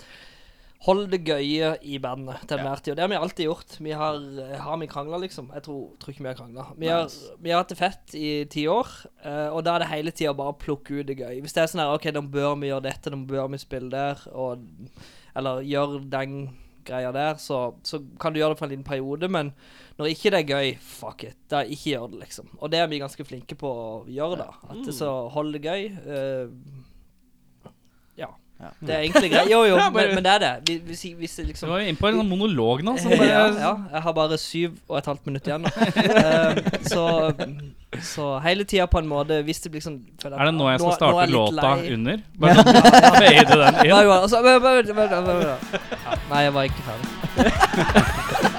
Speaker 7: Hold det gøye i bandet til enhver tid. Og det har vi alltid gjort. Vi har, har vi krangla, liksom? Jeg tror, tror ikke vi har krangla. Vi, har- vi har hatt det fett i ti år, eh, og da er det hele tida bare å plukke ut det gøye. Hvis det er sånn her OK, da bør vi gjøre dette, da bør vi spille der, og Eller gjør den greia der, så, så kan du gjøre det for en liten periode, men når ikke det er gøy, fuck it. Da ikke gjør det, liksom. Og det er vi ganske flinke på å gjøre, da. At det så hold det gøy. eh, ja.
Speaker 9: Ja.
Speaker 7: Det er egentlig greit. Jo, jo,
Speaker 3: Ja, bare-
Speaker 7: men, men det er det. Vi- Hvis, jeg- hvis jeg
Speaker 3: Så
Speaker 7: liksom
Speaker 3: var vi inne på en sånn monolog nå. Som bare,
Speaker 7: ja, ja, jeg har bare syv og et halvt minutt igjen nå. Eh, så, så hele tida på en måte Hvis det blir sånn føler
Speaker 3: Er det nå jeg skal
Speaker 7: nå er
Speaker 3: starte
Speaker 7: jeg litt
Speaker 3: låta
Speaker 7: lei.
Speaker 3: under? Bare sånn, fade den
Speaker 7: Nei,
Speaker 3: inn.
Speaker 7: jo, altså, vent, vent, vent, vent, vent, vent. Ja, Nei, jeg var ikke ferdig.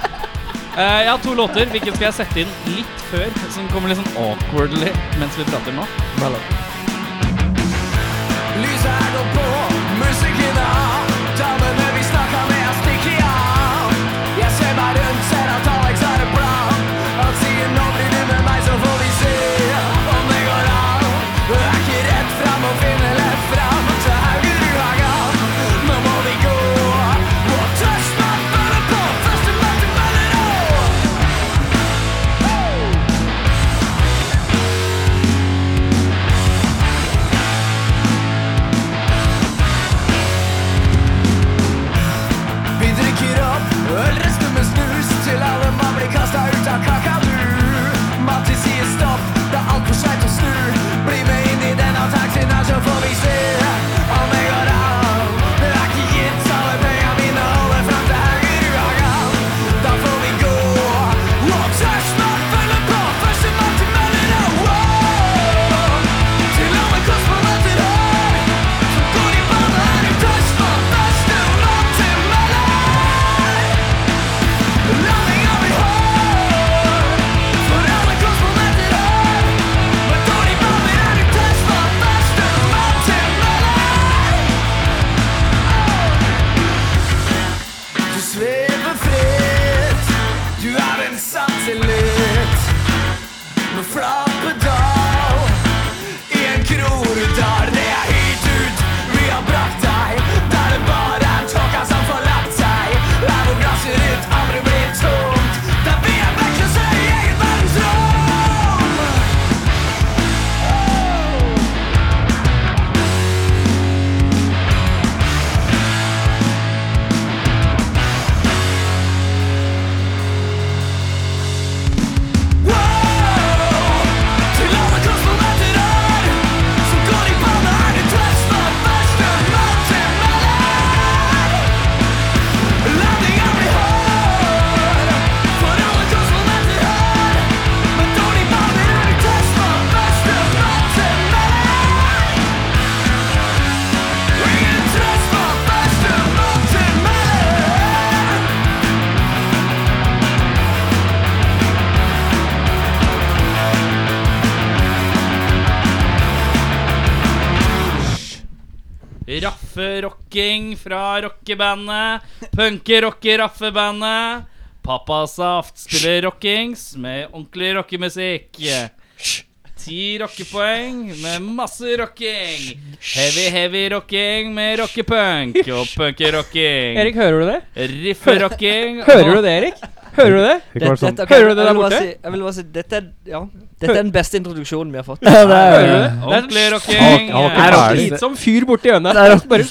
Speaker 3: Eh, jeg har to låter. Hvilken skal jeg sette inn litt før? Som kommer litt sånn awkwardly mens vi prater nå.
Speaker 12: Vi drikker opp øl, resten med snus Til alle mann blir kastet ut av kakadu Matti sier stopp, det er alt for sent å snu Bli med inn i denne taxien her så får vi se Om det går an Det er ikke gitt alle penger mine holder frem til Haugerudhagen Da får vi gå Og tørs man følger på Første mann til meldene wow. Til alle kosmonauter her Så går de bare her og tørs man Første mann til meldene Landing av et hår For alle kosmonauter her Men går de bare her og tørs man Første mann til meldene Du svever fritt Du er en satellitt Med flappedal I en kronedal Det er hit ut vi har brakt deg Der det bare er tåka som forlatt seg Der hvor glasset ditt aldri blir tomt Der vi er vektløse i eget verdensrom Yeah!
Speaker 3: Rafferocking fra rockebandet. Punkerocke-raffebandet. Pappa Saft spiller rockings med ordentlig rockemusikk. Ti rockepoeng med masse rocking. Heavy, heavy rocking med rockepunk og punkerocking.
Speaker 2: Erik, hører du det?
Speaker 3: Riff-rocking.
Speaker 2: Hører du det, Erik? Hører du det?
Speaker 10: Det går sånn
Speaker 2: Hører du det der
Speaker 7: jeg vil bare
Speaker 2: borte?
Speaker 7: Si, jeg vil bare si, dette er, ja, dette er den beste introduksjonen vi har fått.
Speaker 2: Hører du det? sånn-
Speaker 3: Ordentlig rocking.
Speaker 10: Har- har
Speaker 2: Det
Speaker 10: ikke
Speaker 2: er
Speaker 10: vært-
Speaker 3: Er
Speaker 2: rockefeed som fyr borti hjørnet. Bare, bare
Speaker 3: Er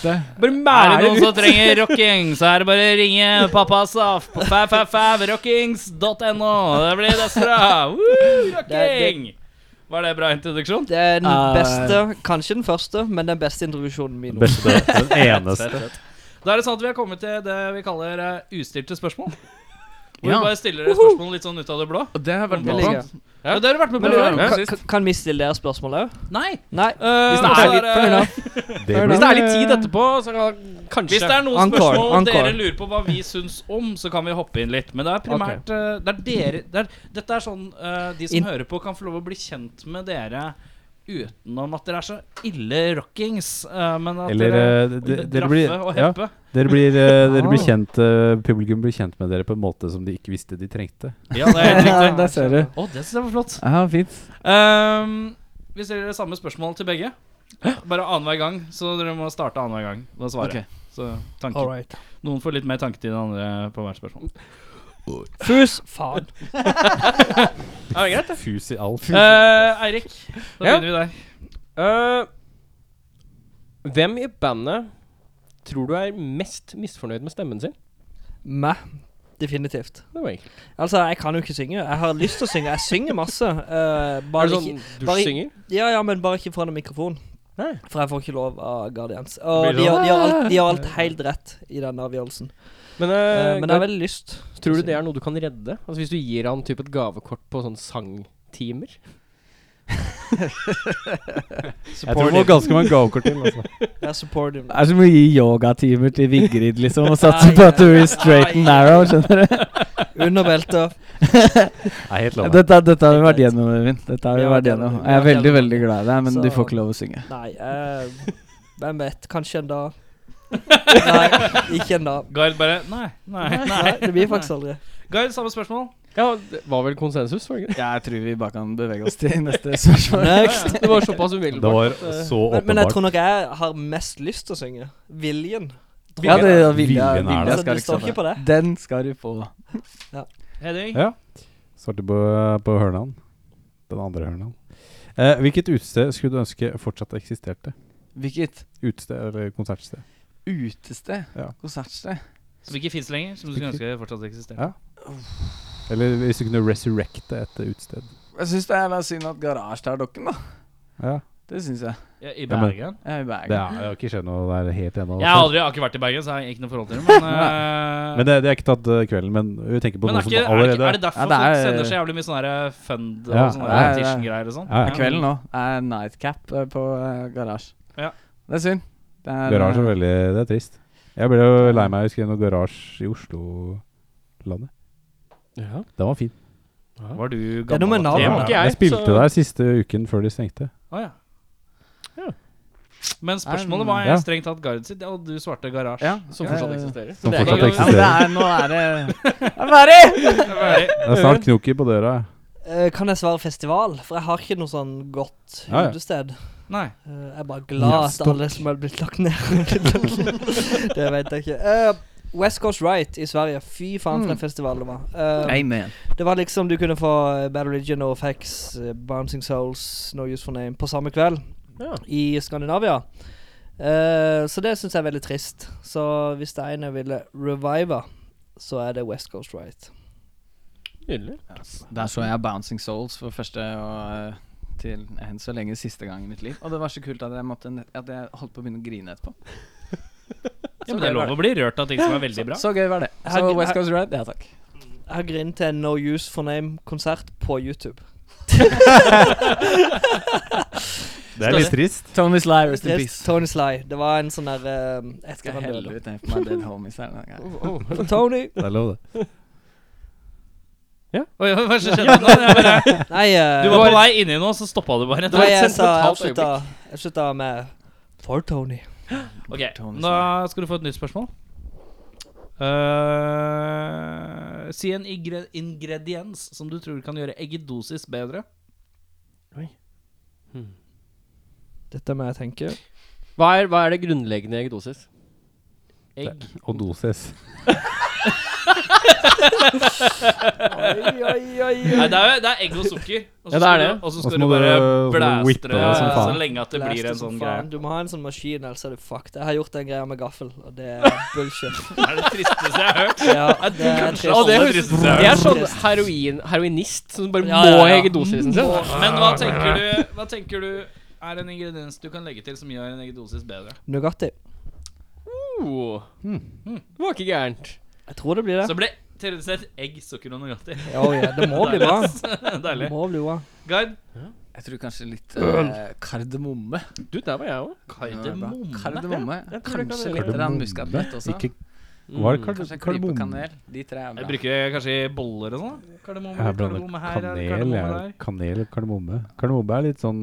Speaker 3: det
Speaker 2: mæler
Speaker 3: noen som trenger rocking, så er det bare å ringe pappa Saf på 555rockings.no. Det blir destra. Woo, rocking! Var det bra introduksjon?
Speaker 7: Det er den
Speaker 2: Eh.
Speaker 7: beste, kanskje den første, men den beste introduksjonen min. nå.
Speaker 10: Beste, den eneste.
Speaker 3: Da er det sånn at vi har kommet til det vi kaller eh, ustilte spørsmål. Hvor
Speaker 11: Ja.
Speaker 3: vi bare stiller dere spørsmål litt sånn ut av det blå.
Speaker 11: Og det har vært
Speaker 7: Det
Speaker 11: bra.
Speaker 7: liker jeg.
Speaker 3: Ja. Det har dere vært med
Speaker 7: Men
Speaker 3: på
Speaker 7: du,
Speaker 3: før.
Speaker 7: kan,
Speaker 3: Sist.
Speaker 7: kan- kan vi stille dere spørsmål òg?
Speaker 3: Nei.
Speaker 7: Nei.
Speaker 3: Eh,
Speaker 2: Hvis det
Speaker 3: og så
Speaker 2: er litt-
Speaker 3: det-
Speaker 7: Fair enough.
Speaker 10: Det
Speaker 2: Hvis det er litt tid
Speaker 10: blir-
Speaker 2: etterpå, så kan kanskje
Speaker 3: Hvis det er noen
Speaker 7: Encore,
Speaker 3: spørsmål dere
Speaker 7: encore.
Speaker 3: lurer på hva vi syns om, så kan vi hoppe inn litt. Men det er primært eh, Det er dere det er, Dette er sånn eh, de som
Speaker 7: In-
Speaker 3: hører på, kan få lov å bli kjent med dere utenom at dere er så ille rockings. eh, men at
Speaker 10: Eller
Speaker 3: dere
Speaker 10: eh, de- dere blir
Speaker 3: Raffe og
Speaker 10: ja,
Speaker 3: Heppe.
Speaker 10: dere blir, eh, dere blir
Speaker 7: Ah.
Speaker 10: kjent eh, Publikum blir kjent med dere på en måte som de ikke visste de trengte.
Speaker 3: Ja, det er helt riktig.
Speaker 9: Der ser du.
Speaker 3: Å, det syns jeg var flott.
Speaker 9: Ja, fint.
Speaker 3: Ehm, vi stiller samme spørsmål til begge. Bare annenhver gang, så dere må starte annenhver gang med å svare.
Speaker 9: Ok.
Speaker 3: Så tanken. Noen får litt mer tanketid enn andre på hvert spørsmål.
Speaker 7: Fus. Faen.
Speaker 3: Er det greit?
Speaker 10: Fus i alt.
Speaker 3: Eh, Eirik, da
Speaker 2: Ja.
Speaker 3: begynner vi der.
Speaker 2: Eh, Hvem i bandet tror du er mest misfornøyd med stemmen sin?
Speaker 7: Meg. Definitivt.
Speaker 2: Det var enkelt.
Speaker 7: Altså, jeg kan jo ikke synge. Jeg har lyst til å synge. Jeg synger masse. eh,
Speaker 2: Er
Speaker 7: bare
Speaker 2: det
Speaker 7: ikke,
Speaker 2: sånn
Speaker 7: bare-
Speaker 2: dusjsynger?
Speaker 7: ja, ja, men bare ikke foran en mikrofon.
Speaker 2: Nei.
Speaker 7: For jeg får ikke lov av Guardians. Og
Speaker 3: Blir
Speaker 7: de
Speaker 3: det
Speaker 7: gjør, de, gjør
Speaker 2: sånn?
Speaker 7: alt, de gjør alt helt rett i den avgjørelsen.
Speaker 2: Men, eh,
Speaker 7: Eh, men jeg
Speaker 2: Gar-
Speaker 7: har veldig lyst.
Speaker 2: tror du det er noe du kan redde? Altså Hvis du gir han typ et gavekort på sånn sangtimer?
Speaker 10: Jeg tror det var ganske mange gavekort til. Altså.
Speaker 7: Jeg supporter dem.
Speaker 9: Det er som å gi yogatimer til Vigrid, liksom, og satse på at du blir straight and narrow. skjønner du?
Speaker 7: Under beltet.
Speaker 10: Nei, helt lov.
Speaker 9: Dette, dette har vi vært gjennom, Øyvind. Dette har vi vært gjennom. Jeg er veldig, veldig glad i deg, men
Speaker 7: Så-
Speaker 9: du får ikke lov å synge.
Speaker 7: Nei, eh, hvem vet. Kanskje en dag. Nei, ikke en dag.
Speaker 3: Gard bare Nei. nei, nei.
Speaker 7: Nei, det blir faktisk aldri.
Speaker 3: Gard, samme spørsmål.
Speaker 2: Ja, det var vel konsensus? Var det, ikke?
Speaker 9: Jeg tror vi bare kan bevege oss til neste spørsmål.
Speaker 7: Next.
Speaker 2: det var såpass
Speaker 10: Det
Speaker 2: umiddelbart.
Speaker 10: var så
Speaker 7: Men, men jeg
Speaker 10: åpenbart.
Speaker 7: tror nok jeg har mest lyst til å synge. Viljen.
Speaker 9: Ja, det er vilja,
Speaker 10: Viljen er der.
Speaker 9: vilja
Speaker 7: Altså,
Speaker 9: skal
Speaker 7: det står
Speaker 9: liksom
Speaker 7: ikke på det.
Speaker 9: Den skal du få.
Speaker 3: Henning.
Speaker 10: Ja. Svarte på, på hørnaen. Den andre hørnaen. Eh, hvilket utested skulle du ønske fortsatt eksisterte?
Speaker 9: Hvilket
Speaker 10: Utested eller konsertsted?
Speaker 9: utested?
Speaker 10: Ja.
Speaker 9: Konsertsted?
Speaker 3: Som ikke fins lenger, som du skulle ønske fortsatt eksisterte.
Speaker 10: Ja. Eller hvis du kunne resurrecte et utested?
Speaker 9: Jeg syns det er jævla synd at Garasje tar dokken, da.
Speaker 10: Ja.
Speaker 9: Det syns jeg.
Speaker 3: Ja, I
Speaker 10: Ja, men-
Speaker 3: Bergen.
Speaker 9: Jeg er i
Speaker 10: Det
Speaker 9: Bergen.
Speaker 10: er, jeg har ikke skjedd noe der helt ennå.
Speaker 3: jeg, har aldri, jeg har ikke vært i Bergen, så jeg har ikke noe forhold til det. Men, eh,
Speaker 10: Men det, det er ikke tatt eh, kvelden, men vi tenker på
Speaker 3: men
Speaker 10: noe
Speaker 3: er, ikke,
Speaker 10: som
Speaker 3: er, det,
Speaker 10: allerede
Speaker 3: ikke- er det derfor
Speaker 9: Ja, det
Speaker 3: folk
Speaker 9: er-
Speaker 3: sender så jævlig mye sånn her fund og
Speaker 10: Ja,
Speaker 9: ja,
Speaker 3: sånne
Speaker 9: ja.
Speaker 3: petition-greier og sånn?
Speaker 10: Ja, ja.
Speaker 9: Ja, Kvelden nå er nightcap eh, på eh, Garasje.
Speaker 3: Ja.
Speaker 9: Det er synd. Det er,
Speaker 10: Garasje er
Speaker 9: eh,
Speaker 10: veldig Det er trist. Jeg ble jo lei meg. Jeg husker noe garasje i Oslo-landet.
Speaker 2: Ja.
Speaker 10: Den var fin.
Speaker 3: Var du
Speaker 7: er noe
Speaker 3: gammel?
Speaker 7: med navn.
Speaker 3: Det
Speaker 7: Ja,
Speaker 3: var
Speaker 2: ikke
Speaker 3: jeg.
Speaker 2: jeg,
Speaker 10: jeg spilte
Speaker 2: så-
Speaker 10: der siste uken før de stengte.
Speaker 3: Å, ja. Men spørsmålet
Speaker 9: Nei,
Speaker 3: var
Speaker 10: ja.
Speaker 3: strengt tatt Gard sitt, og du svarte garasje.
Speaker 9: Ja,
Speaker 2: Som
Speaker 9: eh,
Speaker 2: fortsatt eksisterer.
Speaker 10: Som
Speaker 2: Det er
Speaker 10: fortsatt
Speaker 9: Ja,
Speaker 2: jo-
Speaker 9: men det
Speaker 10: eksisterer.
Speaker 9: er, nå er det Jeg er ferdig!
Speaker 10: Det er snart knoker på døra.
Speaker 7: Eh, kan jeg svare festival? For jeg har ikke noe sånn godt
Speaker 10: Ja, ja.
Speaker 7: utested.
Speaker 3: Nei.
Speaker 7: Eh, jeg er bare glad at alle som er blitt lagt ned Det vet jeg ikke. Eh, West Coast Right i Sverige. Fy faen,
Speaker 10: Mm.
Speaker 7: for en festival det var. Eh,
Speaker 9: Amen.
Speaker 7: Det var liksom du kunne få eh, Bad Religion, NoFX, eh, Bouncing Souls, No Use for Name på samme kveld
Speaker 2: Ja.
Speaker 7: i Skandinavia. Eh, så det syns jeg er veldig trist. Så hvis det er en jeg ville revive, så er det West Coast Right.
Speaker 2: Nydelig.
Speaker 9: Der så jeg Bouncing Souls for første og eh, til enn så lenge siste gang i mitt liv. Og det var så kult at jeg, måtte, ne- at jeg holdt på å begynne å grine etterpå.
Speaker 3: Ja, men det er lov å bli rørt av ting som er veldig bra.
Speaker 9: Så gøy var det.
Speaker 7: Her-
Speaker 9: Så West
Speaker 7: her-
Speaker 9: Coast Ride, ja takk.
Speaker 7: Jeg har grinet til en No Use for Name-konsert på YouTube.
Speaker 10: Det er litt trist.
Speaker 9: Tony Sly, rest in
Speaker 7: Trist.
Speaker 9: peace.
Speaker 7: Tony Sly. Det var en sånn der eh,
Speaker 9: Skal
Speaker 7: Jeg skal
Speaker 9: jeg helle
Speaker 7: helle
Speaker 9: ut en for meg dead homies her? denne gangen?
Speaker 7: ut Tony.
Speaker 10: Det er lov, det.
Speaker 3: Oi, oi, hva som skjedde nå? Jeg bare,
Speaker 7: Nei, eh,
Speaker 3: du var på vei inni nå, så stoppa du bare.
Speaker 7: nei, jeg
Speaker 2: et
Speaker 7: sa jeg
Speaker 2: sentimentalt
Speaker 7: avslutta, jeg avslutta med For Tony.
Speaker 3: Ok, da skal du få et nytt spørsmål. Eh, si en ingre ingrediens som du tror kan gjøre eggedosis bedre.
Speaker 7: Dette må jeg tenke.
Speaker 2: Hva er, hva er det grunnleggende i eggedosis? Egg?
Speaker 1: Og doses.
Speaker 7: Oi, oi, oi.
Speaker 3: Nei, det er, det er egg og sukker. Og
Speaker 2: Ja, det
Speaker 3: så
Speaker 2: er
Speaker 3: skal
Speaker 2: det.
Speaker 3: du- Og så
Speaker 1: Og så
Speaker 3: skal du
Speaker 1: må
Speaker 3: bare
Speaker 1: du-
Speaker 3: blæste
Speaker 1: whippe
Speaker 3: det
Speaker 1: det som
Speaker 3: så
Speaker 1: faen.
Speaker 3: lenge at det
Speaker 7: Blæste
Speaker 3: blir en
Speaker 7: som
Speaker 3: sånn
Speaker 7: faen.
Speaker 3: greie.
Speaker 7: Du må ha en sånn maskin, ellers er du fucked. Jeg har gjort den greia med gaffel, og det er bullshit.
Speaker 3: Det er det tristeste jeg har hørt.
Speaker 7: Ja, det er
Speaker 3: Kanskje
Speaker 7: trist.
Speaker 2: Å, det
Speaker 3: aller
Speaker 2: høres-
Speaker 3: tristeste jeg
Speaker 2: Jeg
Speaker 3: har
Speaker 2: er
Speaker 3: hørt.
Speaker 2: sånn heroin, heroinist som bare
Speaker 7: Ja, ja,
Speaker 2: må
Speaker 7: ja. Mm.
Speaker 2: egge dosisen sin.
Speaker 3: Men hva tenker du, hva tenker du er en ingrediens du kan legge til som gjør en eggedosis bedre?
Speaker 7: Nugatti.
Speaker 2: Oh. Det var ikke gærent.
Speaker 7: Jeg tror det blir det.
Speaker 3: Så ble teoretisk sett egg, sukker og Nugatti.
Speaker 7: Oh, ja, det må bli bra. Det
Speaker 3: Deilig.
Speaker 7: må bli bra.
Speaker 3: Guide.
Speaker 9: Jeg tror kanskje litt eh, kardemomme.
Speaker 2: Du, der var jeg òg.
Speaker 3: Kardemomme.
Speaker 9: Kardemomme.
Speaker 2: jeg tror det
Speaker 9: Kanskje
Speaker 2: kan
Speaker 9: litt
Speaker 2: være
Speaker 9: rann muskatnøtt også.
Speaker 1: Ikke
Speaker 3: Mm,
Speaker 1: Var det kar-
Speaker 9: Kanskje en klype
Speaker 1: kardemomme?
Speaker 9: kanel. De tre er
Speaker 2: Mm.
Speaker 3: Jeg
Speaker 9: bra.
Speaker 3: bruker det kanskje i boller og sånn. da. Kardemomme,
Speaker 1: Jeg
Speaker 3: her,
Speaker 1: blander
Speaker 3: kardemomme her, er det
Speaker 1: kanel,
Speaker 3: kardemomme
Speaker 1: jeg.
Speaker 3: der.
Speaker 1: Kanel og kardemomme. Kardemomme er litt sånn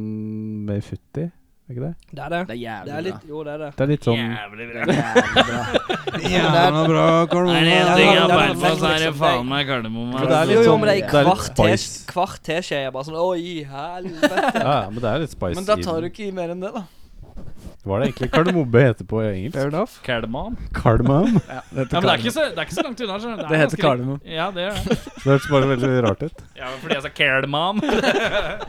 Speaker 1: mer futtig, er ikke det?
Speaker 7: Det er det.
Speaker 9: Det er
Speaker 7: Det er
Speaker 9: jævlig bra.
Speaker 7: litt, jo, det er det.
Speaker 1: Det er litt sånn
Speaker 3: Jævlig
Speaker 9: Jævlig
Speaker 3: bra.
Speaker 9: bra.
Speaker 7: Jævla
Speaker 1: bra
Speaker 3: Er det
Speaker 7: Ja,
Speaker 3: en
Speaker 7: ja,
Speaker 3: ting
Speaker 7: ja,
Speaker 3: jeg
Speaker 7: ja,
Speaker 3: bærer på,
Speaker 7: perfekt,
Speaker 3: så er det
Speaker 7: liksom.
Speaker 3: faen meg kardemomme.
Speaker 1: For det er
Speaker 3: altså.
Speaker 1: litt
Speaker 7: Jo, jo,
Speaker 1: sånn-
Speaker 7: men
Speaker 1: det
Speaker 7: det er ei
Speaker 1: er litt
Speaker 7: kvart te-
Speaker 1: spice.
Speaker 7: kvart teskje. Jeg er bare sånn Oi, helvete.
Speaker 1: Ja, ja, men det er litt spicy.
Speaker 9: Men da tar
Speaker 1: i
Speaker 9: du
Speaker 1: den.
Speaker 9: ikke i mer enn det, da.
Speaker 1: Var det egentlig kardemomme heter på engelsk?
Speaker 9: enough.
Speaker 3: Kardemom.
Speaker 1: Cardamom?
Speaker 3: Ja, men det er ikke så, det er ikke så langt unna. skjønner du. Det, er
Speaker 9: Det heter
Speaker 3: ganske likt.
Speaker 9: kardemomme.
Speaker 3: Ja, det gjør det.
Speaker 1: Det hørtes bare veldig rart ut.
Speaker 3: Ja, men fordi jeg sa kardemom.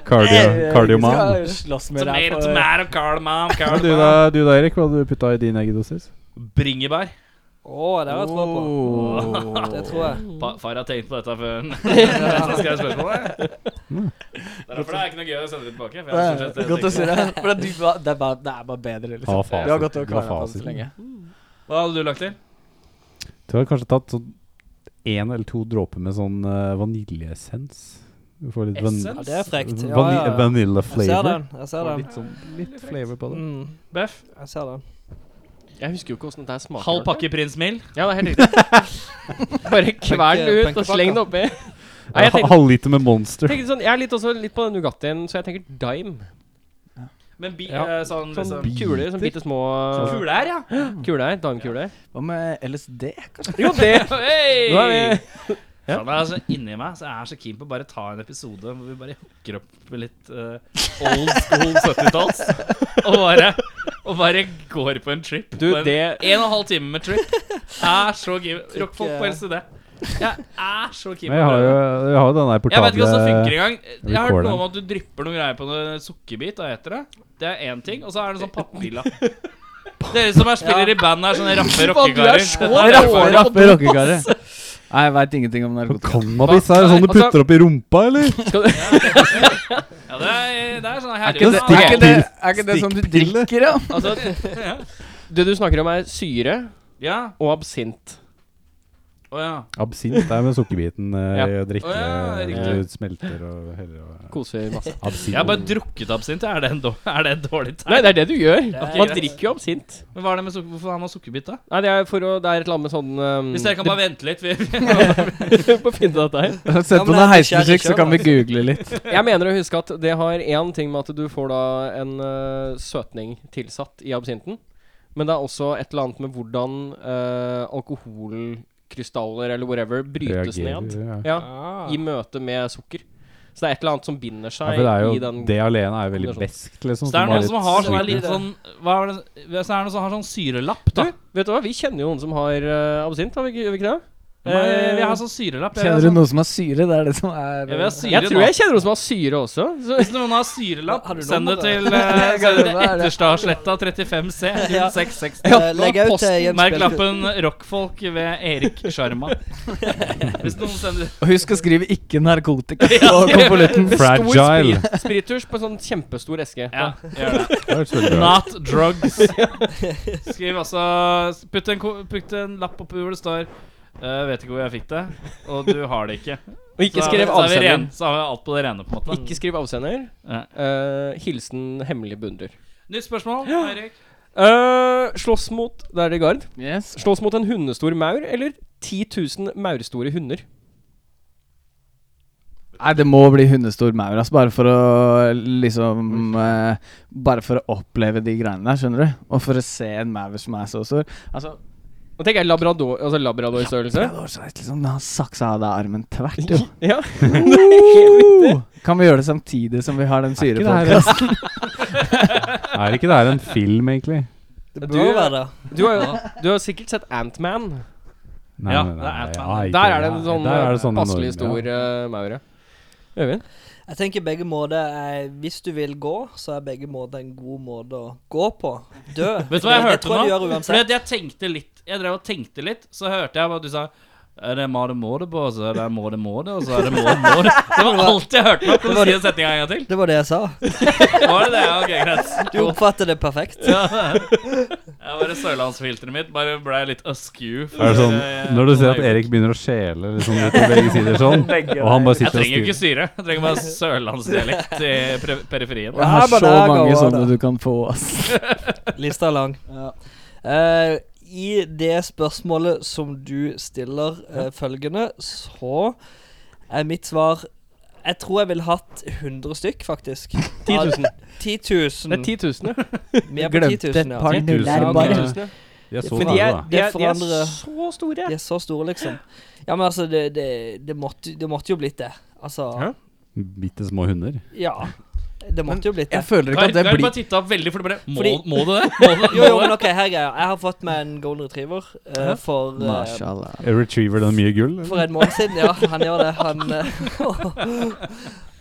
Speaker 1: Cardio, cardioman.
Speaker 9: Skal slåss med deg
Speaker 3: Tomato,
Speaker 9: på
Speaker 3: tomato, kardemom,
Speaker 1: Men Du
Speaker 3: kardemom.
Speaker 1: da, du da, Erik, hva hadde du putta i din eggedosis?
Speaker 3: Bringebær.
Speaker 7: Å, det har jeg tro på.
Speaker 9: Oh.
Speaker 3: Oh.
Speaker 7: Det tror jeg.
Speaker 3: Pa- Far har tenkt på dette før han skrev spørsmålet. Det er derfor det er ikke noe gøy å sende det tilbake. For jeg har stort sett
Speaker 9: Godt å
Speaker 3: tenkt
Speaker 9: si det. For at du, ba- det, er bare, det er bare bedre,
Speaker 1: Ah,
Speaker 9: liksom.
Speaker 1: fasit.
Speaker 9: Vi har gått og
Speaker 1: Det var
Speaker 9: kverna på det så
Speaker 1: fasiten.
Speaker 9: lenge.
Speaker 3: på. Hva hadde du lagt til?
Speaker 1: Du har kanskje tatt sånn én eller to dråper med sånn eh, vaniljeessens. Du får litt van
Speaker 3: Essens?
Speaker 7: Ja, det er frekt. Ja,
Speaker 1: vani
Speaker 7: ja, ja.
Speaker 1: vanilla
Speaker 7: Jeg ser
Speaker 1: flavor.
Speaker 7: den. Jeg ser den.
Speaker 1: Litt, sånn, litt flavor på det.
Speaker 7: Mm,
Speaker 3: Beff?
Speaker 7: jeg ser den.
Speaker 2: Jeg husker jo ikke åssen dette her smaker.
Speaker 3: Halv pakke Prins Mill?
Speaker 2: Ja, det er helt riktig. Bare kvern det ut og
Speaker 7: Tenkepakka.
Speaker 2: sleng det oppi. Nei,
Speaker 1: Ja,
Speaker 2: jeg tenkte,
Speaker 1: Halvliter med Monster.
Speaker 2: tenkte sånn, jeg er litt, også litt på den Nugattien, så jeg tenker dime.
Speaker 3: Men bi,
Speaker 7: Ja.
Speaker 3: eh, sånn,
Speaker 2: Sånn
Speaker 3: liksom
Speaker 2: kuler. Sånn bitte små
Speaker 3: Kule her, ja.
Speaker 2: kuler. Dimekuler.
Speaker 9: Hva med LSD? kanskje?
Speaker 2: Jo, det
Speaker 3: Hey!
Speaker 2: Nå er Ja.
Speaker 3: Faen, det er så inni meg så jeg er så keen på å bare ta en episode hvor vi bare hooker opp med litt eh, old school 70-talls. Og bare, og bare går på en trip.
Speaker 2: Du,
Speaker 3: på en,
Speaker 2: det
Speaker 3: en og en halv time med trip. Er så keen. Rockfolk på
Speaker 7: Ikke-
Speaker 3: LCD. Jeg er så keen
Speaker 1: Men
Speaker 3: på
Speaker 1: jeg
Speaker 3: å
Speaker 1: har jo
Speaker 3: prøve.
Speaker 1: jeg har jo den der
Speaker 3: Jeg vet ikke hvordan det funker
Speaker 1: portable
Speaker 3: engang. Jeg har hørt
Speaker 1: recorderen.
Speaker 3: noe om at du drypper noe greier på en sukkerbit. Hva heter det? Det er én ting. Og så er det en sånn pappbilla. Dere som er spiller i band, er sånne rappe rockekarer. Dette er derfor.
Speaker 9: Rappe rockekarer. Nei, jeg veit ingenting om narkotika.
Speaker 1: Cannabis er det sånn du
Speaker 2: Altså-
Speaker 1: putter opp i rumpa, eller?
Speaker 3: Ja, det er, det er sånn
Speaker 9: Er ikke det,
Speaker 3: herre...
Speaker 9: er ikke det, er ikke det som du drikker, ja?
Speaker 2: Altså, det du snakker om, er syre
Speaker 3: Ja.
Speaker 2: og absint.
Speaker 3: Å ja.
Speaker 1: Absint er med sukkerbiten eh, i å drikke.
Speaker 3: Å, ja,
Speaker 1: eh, smelter og heller og
Speaker 2: Koser masse.
Speaker 1: Absint.
Speaker 3: Jeg har bare drukket absint. Er det en dårlig, er det en dårlig tegn?
Speaker 2: Nei, det er det du gjør. Man
Speaker 3: greit.
Speaker 2: drikker jo absint.
Speaker 3: Men hva er det med sukker, Hvorfor har man sukkerbit, da?
Speaker 2: Nei, det er, for å, det er et eller annet med sånn um,
Speaker 3: Hvis dere kan bare vente litt vi,
Speaker 2: det- på å finne dette her.
Speaker 9: Sett
Speaker 7: Ja, men
Speaker 9: på
Speaker 7: det
Speaker 9: noe
Speaker 7: er nysgjerrig
Speaker 9: heismusikk, så
Speaker 7: selv,
Speaker 9: kan vi google litt.
Speaker 2: Jeg mener å huske at det har én ting med at du får da en eh, søtning tilsatt i absinten. Men det er også et eller annet med hvordan eh, alkoholkrystaller eller whatever brytes ned
Speaker 1: Ja.
Speaker 2: ja,
Speaker 3: Ah.
Speaker 2: i møte med sukker. Så det er et eller annet som binder
Speaker 1: Ja,
Speaker 2: seg
Speaker 1: for det, er jo,
Speaker 2: i den
Speaker 1: det alene er jo veldig
Speaker 2: kombinasjonen.
Speaker 1: beskt, liksom.
Speaker 3: Så det er noen
Speaker 1: litt
Speaker 3: som har sånn
Speaker 1: sweetness.
Speaker 3: er litt sånn hva er det, Så er det noen som har sånn syrelapp,
Speaker 2: Du,
Speaker 3: da.
Speaker 2: vet du hva? Vi kjenner jo noen som har eh, absint, har vi ikke, gjør vi ikke det?
Speaker 3: Eh, Vi har sånn syrelapp. Jeg,
Speaker 9: Kjenner du noe som er syre? Det er det som er
Speaker 3: jeg vil ha syre,
Speaker 2: Jeg tror
Speaker 3: da.
Speaker 2: jeg kjenner noen som har syre også. Så,
Speaker 3: Hvis noen har syrelapp,
Speaker 7: Har du noe
Speaker 3: send det
Speaker 7: med det?
Speaker 3: til eh, send det til
Speaker 9: Hva er det?
Speaker 3: Etterstadsletta 35C.
Speaker 7: Ja.
Speaker 3: 0660.
Speaker 7: Eh, Legg ut eh, Jens
Speaker 3: Merk
Speaker 7: Bjelke.
Speaker 3: lappen 'Rockfolk' ved Erik Sjarma. Hvis noen sender
Speaker 9: Og husk å skrive 'ikke narkotika' på konvolutten.
Speaker 1: Fragile.
Speaker 2: Stor sprit- Spiritus på en sånn kjempestor eske.
Speaker 3: Ja, gjør det.
Speaker 1: Det høres veldig bra ut.
Speaker 3: Not drugs. Skriv altså Putt en, ko- putt en lapp oppi hvor det står «Jeg vet ikke hvor jeg fikk det, og du har det ikke.
Speaker 2: Og ikke
Speaker 3: Så-
Speaker 2: skriv
Speaker 3: så er vi
Speaker 2: avsender.
Speaker 3: ren- Så har vi alt på det rene, på en måte.
Speaker 2: Ikke skriv avsender.
Speaker 7: Mm.
Speaker 3: Ja.
Speaker 2: Eh, hilsen hemmelig beundrer.
Speaker 3: Nytt spørsmål, Eirik.
Speaker 2: Eh, slåss mot Der er det gard.
Speaker 9: Yes.
Speaker 2: Slåss mot en hundestor maur eller 10 000 maurstore hunder?
Speaker 9: Nei, det må bli hundestor maur, ass. Bare for å liksom eh, Bare for å oppleve de greiene der, skjønner du. Og for å se en maur som er så stor. Altså
Speaker 2: Nå tenker jeg labrador, altså labradorstørrelse.
Speaker 9: Det var så litt liksom, Han saksa av deg armen tvert, jo.
Speaker 2: Ja.
Speaker 9: Kan vi gjøre det samtidig som vi har den
Speaker 10: Er ikke det her
Speaker 9: syrepodkasten?
Speaker 10: Er ikke det her en film, egentlig?
Speaker 7: Det
Speaker 2: Du-
Speaker 7: bør jo være det.
Speaker 2: Du har, jo- du har sikkert sett Antman.
Speaker 10: Nei,
Speaker 3: Ja,
Speaker 10: nei,
Speaker 3: det
Speaker 10: nei,
Speaker 3: er et
Speaker 10: ja,
Speaker 3: band.
Speaker 10: ikke-
Speaker 2: Der er det en
Speaker 10: ja,
Speaker 2: sånn
Speaker 10: der er det sånn enorm,
Speaker 2: passelig stor eh, maure. Øyvind?
Speaker 7: Jeg tenker begge måter er Hvis du vil gå, så er begge måter en god måte å gå på. Dø.
Speaker 3: Vet du hva jeg
Speaker 7: Det- det
Speaker 3: hørte
Speaker 7: tror jeg
Speaker 3: nå?
Speaker 7: du gjør
Speaker 3: Fordi
Speaker 7: uansett.
Speaker 3: at jeg tenkte litt Jeg drev og tenkte litt, så hørte jeg at du sa er det må det må det på, og så er det må det må det, og så er det må det må det. Det var alt jeg hørte nå. Kan du si den setninga en gang til?
Speaker 7: Det var det jeg sa.
Speaker 3: Var det det? Ja, Ok, greit.
Speaker 7: Du oppfatter det perfekt.
Speaker 3: Ja. Jeg bare Sørlandsfilteret mitt bare ble litt askew. for,
Speaker 10: Er det sånn,
Speaker 3: eh,
Speaker 10: når du ser at
Speaker 3: noen øyeblikk.
Speaker 10: Erik begynner å skjele liksom, ut på begge sider sånn, og han bare
Speaker 3: Jeg
Speaker 10: sitter og
Speaker 3: trenger jo ikke
Speaker 10: skriver
Speaker 3: syre. Jeg trenger bare sørlandsdialekt i pre- periferien.
Speaker 9: Jeg har
Speaker 7: Ja,
Speaker 9: så
Speaker 7: bare
Speaker 9: mange
Speaker 7: gå,
Speaker 9: sånne
Speaker 7: da.
Speaker 9: du kan få, ass.
Speaker 7: Lista er lang. Eh, I det spørsmålet som du stiller eh, følgende, så er mitt svar Jeg tror jeg ville hatt 100 stykk, faktisk. 10 000. 10
Speaker 2: Det er
Speaker 7: 000.
Speaker 2: 10 000, ja.
Speaker 7: Vi er på 10 000, ja.
Speaker 10: nuller
Speaker 2: Ja,
Speaker 10: bare.
Speaker 2: 10 000, ja.
Speaker 10: De er så
Speaker 7: For
Speaker 2: Men de
Speaker 10: store,
Speaker 2: er,
Speaker 10: da.
Speaker 2: de er, de
Speaker 7: forandrer-
Speaker 2: er så store.
Speaker 7: De er så store, liksom. Ja, men altså, det, det, det, måtte, det måtte jo blitt det.
Speaker 2: Ja.
Speaker 7: Altså
Speaker 10: Bitte små hunder.
Speaker 7: Ja. Det måtte jo blitt det.
Speaker 9: Jeg føler ikke
Speaker 3: Kar,
Speaker 9: at det
Speaker 3: Kar
Speaker 9: blir
Speaker 3: bare titta veldig for det bare Må,
Speaker 7: Fordi-
Speaker 3: må du det? Må du,
Speaker 7: Jo, jo,
Speaker 3: må
Speaker 7: men
Speaker 3: du?
Speaker 7: ok, her er greia. Jeg har fått meg en golden retriever eh, for eh,
Speaker 9: Mashallah.
Speaker 10: Er Retriever den mye gull? eller?
Speaker 7: For en måned siden, ja. Han gjør det. Han eh,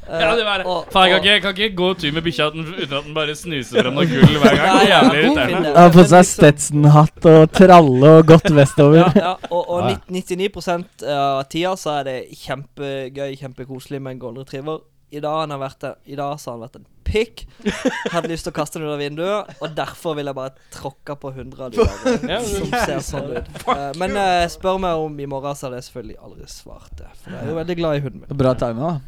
Speaker 3: Ja, det bare,
Speaker 7: og-
Speaker 3: faen, jeg kan
Speaker 7: og-
Speaker 3: ikke, jeg kan ikke gå tur med bikkja uten uten at den bare snuser frem noe gull hver gang. Det er Jævlig irriterende.
Speaker 7: Finne-
Speaker 9: Han har på
Speaker 7: men
Speaker 9: seg
Speaker 7: liksom-
Speaker 9: Stetson-hatt og tralle og godt
Speaker 7: Ja,
Speaker 9: vestover.
Speaker 7: ja, og, og
Speaker 10: Ja, ja.
Speaker 7: nitt- 99 av tida så er det kjempegøy, kjempekoselig med en golden retriever. I dag, han har vært en, I dag så har han vært en pikk. Hadde lyst til å kaste den ut av vinduet, og derfor vil jeg bare tråkke på 100 av de
Speaker 2: Ja,
Speaker 7: der, som
Speaker 2: men-
Speaker 7: ser sånn ut. Eh, men eh, spør meg om i morgen, så hadde jeg selvfølgelig aldri svart det. For jeg er jo veldig glad i hunden min.
Speaker 9: Bra tegna, da.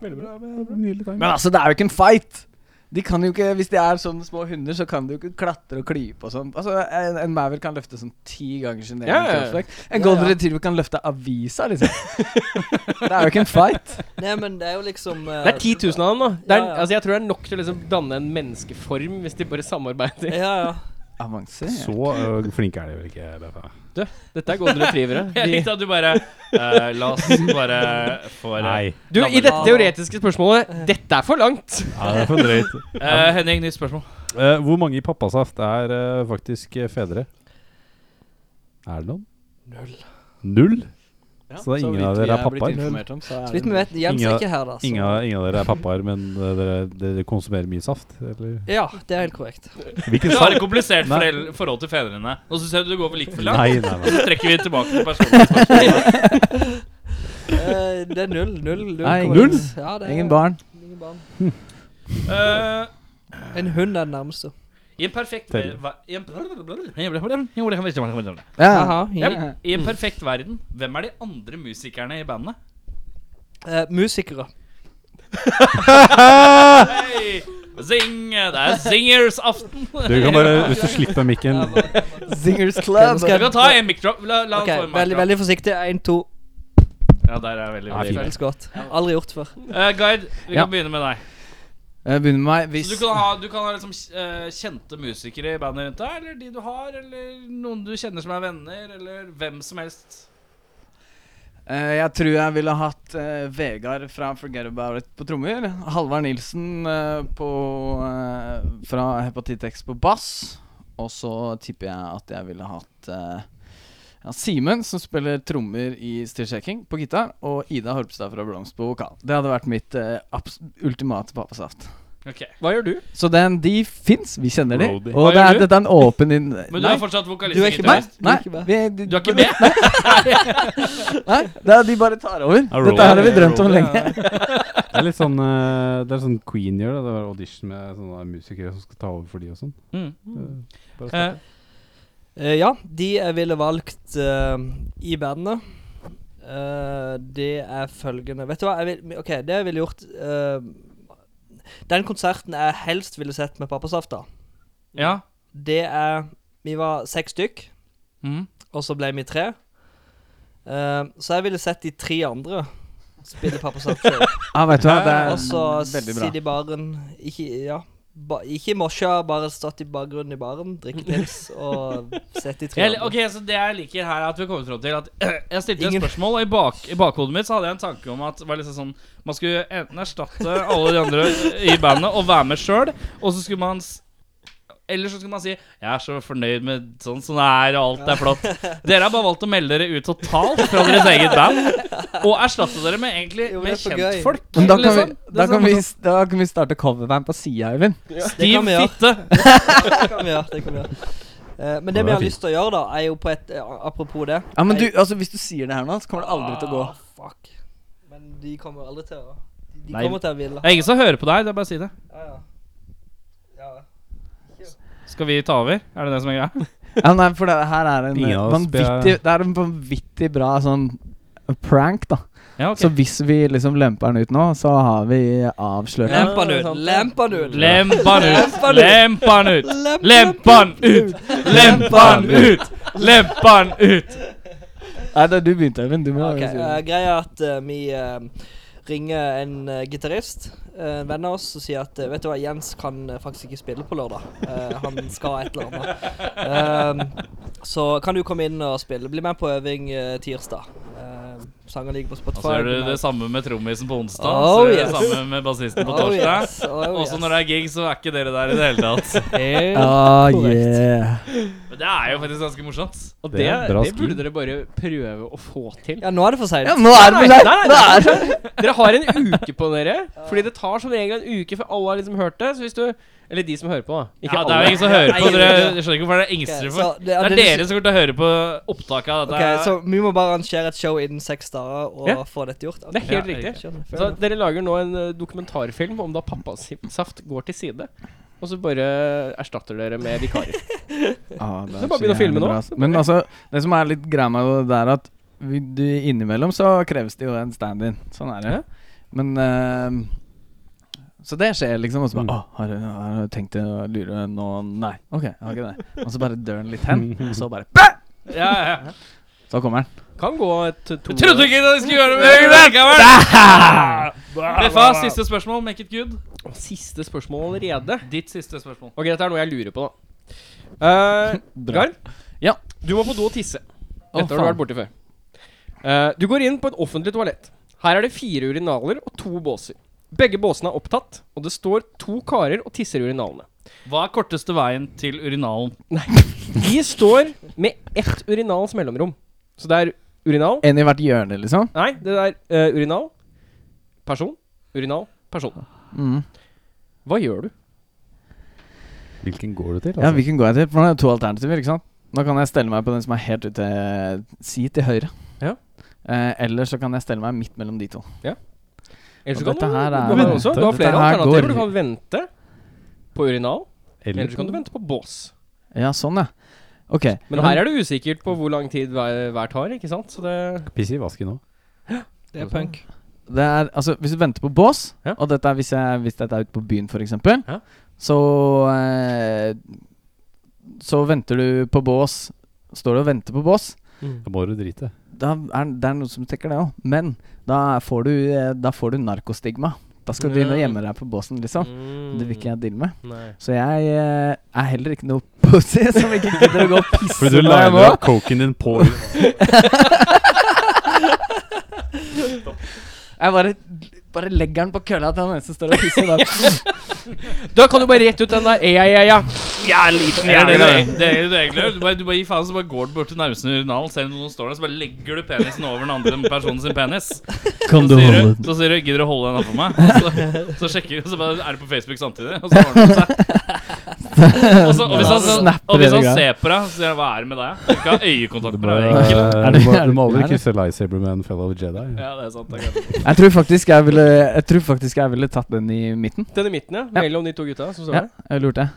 Speaker 2: Veldig bra.
Speaker 9: Men altså, det er jo ikke en fight! De kan jo ikke, Hvis de er sånne små hunder, så kan de jo ikke klatre og klype og sånn. Altså, En, en maur kan løfte sånn ti ganger sin egen
Speaker 2: Ja, ja, ja.
Speaker 9: kroppsvekt. En golden
Speaker 7: Ja, ja.
Speaker 9: retriever kan løfte avisa, liksom. det er jo ikke en fight.
Speaker 7: Nei, men det er jo liksom eh,
Speaker 2: Det er 10 000 av dem, da. Det er,
Speaker 7: Ja, ja.
Speaker 2: altså, jeg tror det er nok til å liksom danne en menneskeform hvis de bare samarbeider.
Speaker 7: Ja, ja.
Speaker 9: Avansert.
Speaker 10: Så øh, flinke er de vel ikke, BFA.
Speaker 2: Dette er golden retrievere.
Speaker 3: Jeg
Speaker 2: De,
Speaker 3: likte at du bare eh, La oss bare få
Speaker 10: Nei.
Speaker 2: du, I dette teoretiske spørsmålet Dette er for langt!
Speaker 10: Ja, det er for drøyt.
Speaker 3: Eh, Henning, nytt spørsmål.
Speaker 10: Eh, hvor mange i Pappasaft er eh, faktisk eh, fedre? Er det noen? Null. Null? så det er ingen av dere er pappaer?
Speaker 9: om, så
Speaker 7: Så vidt vi vet, Jens er
Speaker 10: Inga-
Speaker 7: ikke her,
Speaker 9: Altså-
Speaker 7: da. så-
Speaker 10: Ingen, av- ingen av dere er pappaer, men eh, dere, dere konsumerer mye saft? Eller?
Speaker 7: Ja, det er helt korrekt.
Speaker 10: Hvilken
Speaker 3: Du har et
Speaker 10: saft?
Speaker 3: komplisert
Speaker 10: Nei.
Speaker 3: forel- forhold til fedrene. Nå syns jeg du går for litt for langt.
Speaker 10: Nei, nei, nei.
Speaker 3: Så trekker vi tilbake til personlig spørsmål.
Speaker 7: Eh, det er null. Null. null
Speaker 9: Nei,
Speaker 7: korrekt.
Speaker 9: null?
Speaker 7: Ja, det er,
Speaker 9: Ingen barn.
Speaker 7: ingen barn.
Speaker 3: Eh,
Speaker 7: En hund er den nærmeste.
Speaker 3: I en perfekt
Speaker 10: Tell.
Speaker 3: ver- I en-
Speaker 9: Ja.
Speaker 7: Aha, ja.
Speaker 3: Ja, I en perfekt verden, hvem er de andre musikerne i bandet?
Speaker 7: Eh, musikere.
Speaker 10: Ah!
Speaker 3: Hei! Zing! Det er singersaften!
Speaker 10: Du kan bare, hvis du slipper mikken
Speaker 9: Zingers
Speaker 7: Club.
Speaker 3: Vi kan ta en mikrop. La, la han
Speaker 7: Ok,
Speaker 3: få en
Speaker 7: veldig,
Speaker 3: mikrop.
Speaker 7: veldig forsiktig. Én, to.
Speaker 3: Ja, der er jeg veldig,
Speaker 10: Ja,
Speaker 3: veldig.
Speaker 10: fint.
Speaker 7: Veldig godt. Aldri gjort før.
Speaker 3: Eh, guide, vi
Speaker 9: Ja.
Speaker 3: kan begynne med deg.
Speaker 9: Jeg begynner Eh, med meg.
Speaker 3: Så
Speaker 9: Hvis
Speaker 3: du kan ha, du kan ha liksom, eh, kjente musikere i bandet rundt deg, eller de du har, eller noen du kjenner som er venner, eller hvem som helst.
Speaker 9: Eh, jeg tror jeg ville hatt eh, Vegard fra Forget About It på trommer. Halvard Nilsen eh, på, eh, fra Hepatitt X på bass. Og så tipper jeg at jeg ville hatt eh, ja, Simen, som spiller trommer i Stillshaking, på gitar. Og Ida Horpstad fra Blomst på vokal. Det hadde vært mitt eh, abs- ultimate pappasaft.
Speaker 3: Ok.
Speaker 2: Hva gjør du?
Speaker 9: Så den, de fins, vi kjenner de.
Speaker 10: Roadie.
Speaker 9: Og
Speaker 3: Hva
Speaker 9: det
Speaker 3: gjør
Speaker 9: er,
Speaker 3: du?
Speaker 9: dette er en åpen inn...
Speaker 3: Men du
Speaker 9: Nei,
Speaker 3: er fortsatt vokalist.
Speaker 7: Du er
Speaker 3: og
Speaker 7: ikke
Speaker 9: nei,
Speaker 3: gitarist.
Speaker 9: nei,
Speaker 7: Du er ikke med.
Speaker 9: vi,
Speaker 3: Du er ikke med?
Speaker 9: nei det er, de bare tar over.
Speaker 10: roadie.
Speaker 9: Dette her har vi drømt om lenge.
Speaker 10: Det er litt sånn eh, Det er sånn Queen gjør, da. Det var audition med sånne musikere som skal ta over for de og sånn.
Speaker 3: Mm.
Speaker 10: Bare
Speaker 3: Eh,
Speaker 10: starte.
Speaker 7: Eh, ja, de jeg ville valgt eh, i bandet eh, Det er følgende Vet du hva, jeg vil, ok, det jeg ville gjort eh, Den konserten jeg helst ville sett med Pappasafta,
Speaker 3: ja.
Speaker 7: det er Vi var seks stykk,
Speaker 3: Mm.
Speaker 7: og så ble vi tre. Eh, så jeg ville sett de tre andre spille Pappasafta.
Speaker 9: Ja, vet du hva, det er
Speaker 7: Og så
Speaker 9: Eh, veldig bra.
Speaker 7: sitter i baren ikke, Ja, ba, ikke i mosja, bare stått i bakgrunnen i baren, drikke pils og sett i
Speaker 3: Jeg,
Speaker 7: trynet.
Speaker 3: ok, så Det jeg liker her, er at vi kommer frem til at jeg stilte
Speaker 7: Ingen-
Speaker 3: et spørsmål, og i, bak, i bakhodet mitt så hadde jeg en tanke om at det var liksom sånn man skulle enten erstatte alle de andre i bandet og være med sjøl, og så skulle man s- eller så skulle man si 'Jeg er så fornøyd med sånn som det er, og alt er flott'. Dere har bare valgt å melde dere ut totalt fra deres eget band og erstatte dere med egentlig
Speaker 7: Jo, men
Speaker 3: med
Speaker 7: det er for gøy.
Speaker 3: kjentfolk.
Speaker 9: Men da kan,
Speaker 3: liksom.
Speaker 9: vi, da, kan vi, da kan vi starte coverband på sida, Eivind.
Speaker 7: Det kan vi
Speaker 3: Stiv
Speaker 7: gjøre.
Speaker 3: fitte.
Speaker 7: Det kan vi gjøre. Det kan vi gjøre. Eh, men det vi har lyst til å gjøre, da, er jo på et eh, Apropos det.
Speaker 9: Ja, men
Speaker 7: er-
Speaker 9: du, altså Hvis du sier det her nå, så kommer det aldri til å gå.
Speaker 7: Ah, fuck. Men de kommer aldri til å De
Speaker 3: Nei.
Speaker 7: kommer til å ville.
Speaker 3: Det er ingen som hører på deg, det er bare å si det.
Speaker 7: Ja, ja. Ja.
Speaker 3: Skal vi ta over? Er det det som er greia?
Speaker 9: Ja, nei, for det her er en
Speaker 10: Ingen
Speaker 9: eh,
Speaker 10: av oss blir-
Speaker 9: vanvittig Det er en vanvittig bra sånn prank, da.
Speaker 3: Ja, ok.
Speaker 9: Så hvis vi liksom lemper den ut nå, så har vi avslørt den.
Speaker 7: Lemp han ut! Lemp han ut!
Speaker 3: Lemp han ut!
Speaker 7: Lemp han ut.
Speaker 3: Lemp han ut!
Speaker 7: Lemp
Speaker 3: Lemp han ut! Lemp han ut! Lemp han ut!
Speaker 9: Nei, det er du begynte, Eivind. Du må
Speaker 7: Ok,
Speaker 9: si det.
Speaker 7: eh, Greia er at eh, vi eh, ringer en eh, gitarist, eh, en venn av oss, og sier at eh, Vet du hva, Jens kan eh, faktisk ikke spille på lørdag. Eh, han skal et eller annet. Eh, så kan du komme inn og spille. Bli med på øving eh, tirsdag. Uh, Sangene ligger på
Speaker 3: Og
Speaker 7: Spotify.
Speaker 3: så gjør du det samme med trommisen på onsdag.
Speaker 7: Oh,
Speaker 3: så gjør du det
Speaker 7: yes.
Speaker 3: samme med bassisten på
Speaker 7: Oh,
Speaker 3: torsdag.
Speaker 7: yes. Oh,
Speaker 3: Også
Speaker 7: yes.
Speaker 3: når det er gig, så er ikke dere der i det hele tatt.
Speaker 9: Ah,
Speaker 7: korrekt.
Speaker 9: yeah.
Speaker 3: Men det er jo faktisk ganske morsomt.
Speaker 2: Og det,
Speaker 10: Det er bra
Speaker 2: det burde
Speaker 10: skill.
Speaker 2: dere bare prøve å få til.
Speaker 7: Ja, nå er det for seint.
Speaker 9: Ja, nå er det
Speaker 2: Nei,
Speaker 9: der!
Speaker 2: nei,
Speaker 9: Nå
Speaker 2: nei,
Speaker 9: er det
Speaker 2: Dere har en uke på dere. Fordi det tar som regel en uke før alle har liksom hørt det. Så hvis du Eller de som hører på, da. Ikke
Speaker 3: Ja, det er jo
Speaker 2: alle.
Speaker 3: ingen som hører på.
Speaker 7: Nei,
Speaker 3: Dere
Speaker 7: ja.
Speaker 3: jeg skjønner ikke hvorfor dere er engstelige for.
Speaker 7: det,
Speaker 3: Det er
Speaker 7: det du
Speaker 3: dere som kommer til å høre på opptaket av
Speaker 7: Ok,
Speaker 3: dette.
Speaker 7: Så vi må bare arrangere et show innen seks dager og
Speaker 2: Ja.
Speaker 7: få dette gjort?
Speaker 2: Det er helt
Speaker 3: Ja,
Speaker 2: riktig.
Speaker 7: Skjønner.
Speaker 2: Så dere lager nå en eh, dokumentarfilm om da pappas saft går til side. Og så bare erstatter dere med vikarer.
Speaker 9: Ah, det
Speaker 2: er bare å begynne å filme nå.
Speaker 9: Men altså, det som er litt greia med det, det er at vi, du, innimellom så kreves det jo en stand-in. Sånn er det. Men eh, Så det skjer, liksom. Og
Speaker 2: Mm.
Speaker 9: så bare Å, har du- har du tenkt å lure nå? Nei. Ok, jeg har ikke det. Og så bare dør den litt hen, og så bare bæ!
Speaker 3: Ja, ja, ja.
Speaker 9: Så kommer den.
Speaker 2: Kan gå et to
Speaker 3: Trodde ikke dere skulle gjøre det med dere likevel! Beffa, siste spørsmål. Make it good.
Speaker 2: Å, Siste spørsmål allerede.
Speaker 3: Ditt siste spørsmål.
Speaker 2: Ok, dette er noe jeg lurer på, da. Eh, Garm,
Speaker 9: Ja.
Speaker 2: du må på do og tisse.
Speaker 9: Å,
Speaker 2: Dette har du
Speaker 9: faen.
Speaker 2: vært borti før. Eh, du går inn på et offentlig toalett. Her er det fire urinaler og to båser. Begge båsene er opptatt, og det står to karer og tisser i urinalene.
Speaker 3: Hva er korteste veien til urinalen?
Speaker 2: De står med ett urinals mellomrom. Så det er urinal
Speaker 9: En i hvert hjørne, liksom.
Speaker 2: Nei, det er eh, urinal, person, urinal, person.
Speaker 9: Mm.
Speaker 2: Hva gjør du?
Speaker 10: Hvilken går du til? altså?
Speaker 9: Ja, hvilken går jeg til? For nå har jeg to alternativer, ikke sant? Nå kan jeg stelle meg på den som er helt ute Si til høyre.
Speaker 2: Ja.
Speaker 9: Eh, eller så kan jeg stelle meg midt mellom de to. Og
Speaker 2: Ellers så kan
Speaker 9: dette
Speaker 2: du,
Speaker 9: her
Speaker 2: du,
Speaker 9: er-
Speaker 2: kan vente også. du har
Speaker 9: dette
Speaker 2: flere
Speaker 9: her går-
Speaker 2: alternativer. Du kan vente på urinal,
Speaker 10: Eller-
Speaker 2: eller så kan du vente på bås.
Speaker 9: Ja, sånn, ja. Ok.
Speaker 2: Men her er det usikkert på hvor lang tid hver, hver tar, ikke sant? Så det
Speaker 10: Pisse i vasken nå.
Speaker 7: Det er punk.
Speaker 9: Det er, altså, hvis du venter på bås,
Speaker 2: Ja.
Speaker 9: og dette er hvis, jeg, hvis dette er ute på byen f.eks., eksempel
Speaker 2: Ja.
Speaker 9: så eh, Så venter du på bås. Står du og venter på bås,
Speaker 10: Da må du drite.
Speaker 9: da er det er noe som trekker det òg. Men da får, du, eh, da får du narkostigma. Da skal du inn og gjemme deg på båsen, liksom. Det vil ikke
Speaker 10: Mm.
Speaker 9: jeg deale med.
Speaker 2: Mm, Nei.
Speaker 9: Så jeg eh, er heller ikke noe pussy som ikke gidder å gå og pisse
Speaker 10: Fordi du
Speaker 9: når
Speaker 10: liner
Speaker 9: jeg må.
Speaker 10: opp coken din på
Speaker 9: Jeg bare, bare legger den på kølla til han eneste som står og pisser. Da.
Speaker 2: Da kan du bare rett ut den der. Ja, ja, ja. Jeg er liten,
Speaker 3: Det er det
Speaker 2: jeg.
Speaker 3: du egentlig- det er det du egentlig gjør. Du bare, du bare gir faen, så bare går du bort til nausen i urinalen, ser om noen står der, så bare legger du penisen over den andre personen sin penis.
Speaker 10: Kan
Speaker 3: Så sier du, så sier du 'gidder du å holde den oppå meg'? Og Så, så sjekker du, og så bare er du på Facebook samtidig, og så ordner det seg. Og, så, og, hvis han, så, og hvis han ser på deg, så sier han 'hva er det med deg'? Du kan ha øyekontakt med deg. egentlig.
Speaker 10: du, må, du må aldri kysse lightsaber med en fellow Jedi.
Speaker 3: Ja, det er sant. Det er greit.
Speaker 9: Jeg tror faktisk jeg ville Jeg tror faktisk jeg ville tatt den i midten.
Speaker 2: Den i midten, ja. Mellom de to gutta som står
Speaker 9: Ja,
Speaker 2: der.
Speaker 9: jeg lurte.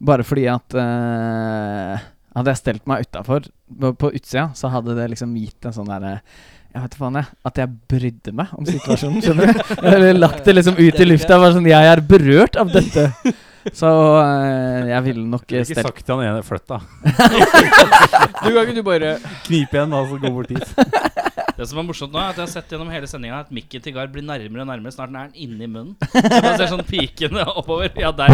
Speaker 9: Bare fordi at eh, Hadde jeg stelt meg utafor, på utsida, så hadde det liksom gitt en sånn derre jeg vet faen jeg, At jeg brydde meg om situasjonen. skjønner du? Jeg ville lagt det liksom ut i lufta. Bare sånn, Jeg er berørt av dette. Så eh, jeg ville nok eh,
Speaker 1: Ikke
Speaker 9: stelt
Speaker 1: sagt til han ene Flytt, da.
Speaker 2: Du kan ikke du bare
Speaker 1: Knip igjen, da, så gå bort hit.
Speaker 3: Det som er morsomt nå, er at jeg har sett gjennom hele sendinga at mikken til Gard blir nærmere og nærmere. Snart er den inni munnen. Så man ser sånn pikene oppover. Ja, der.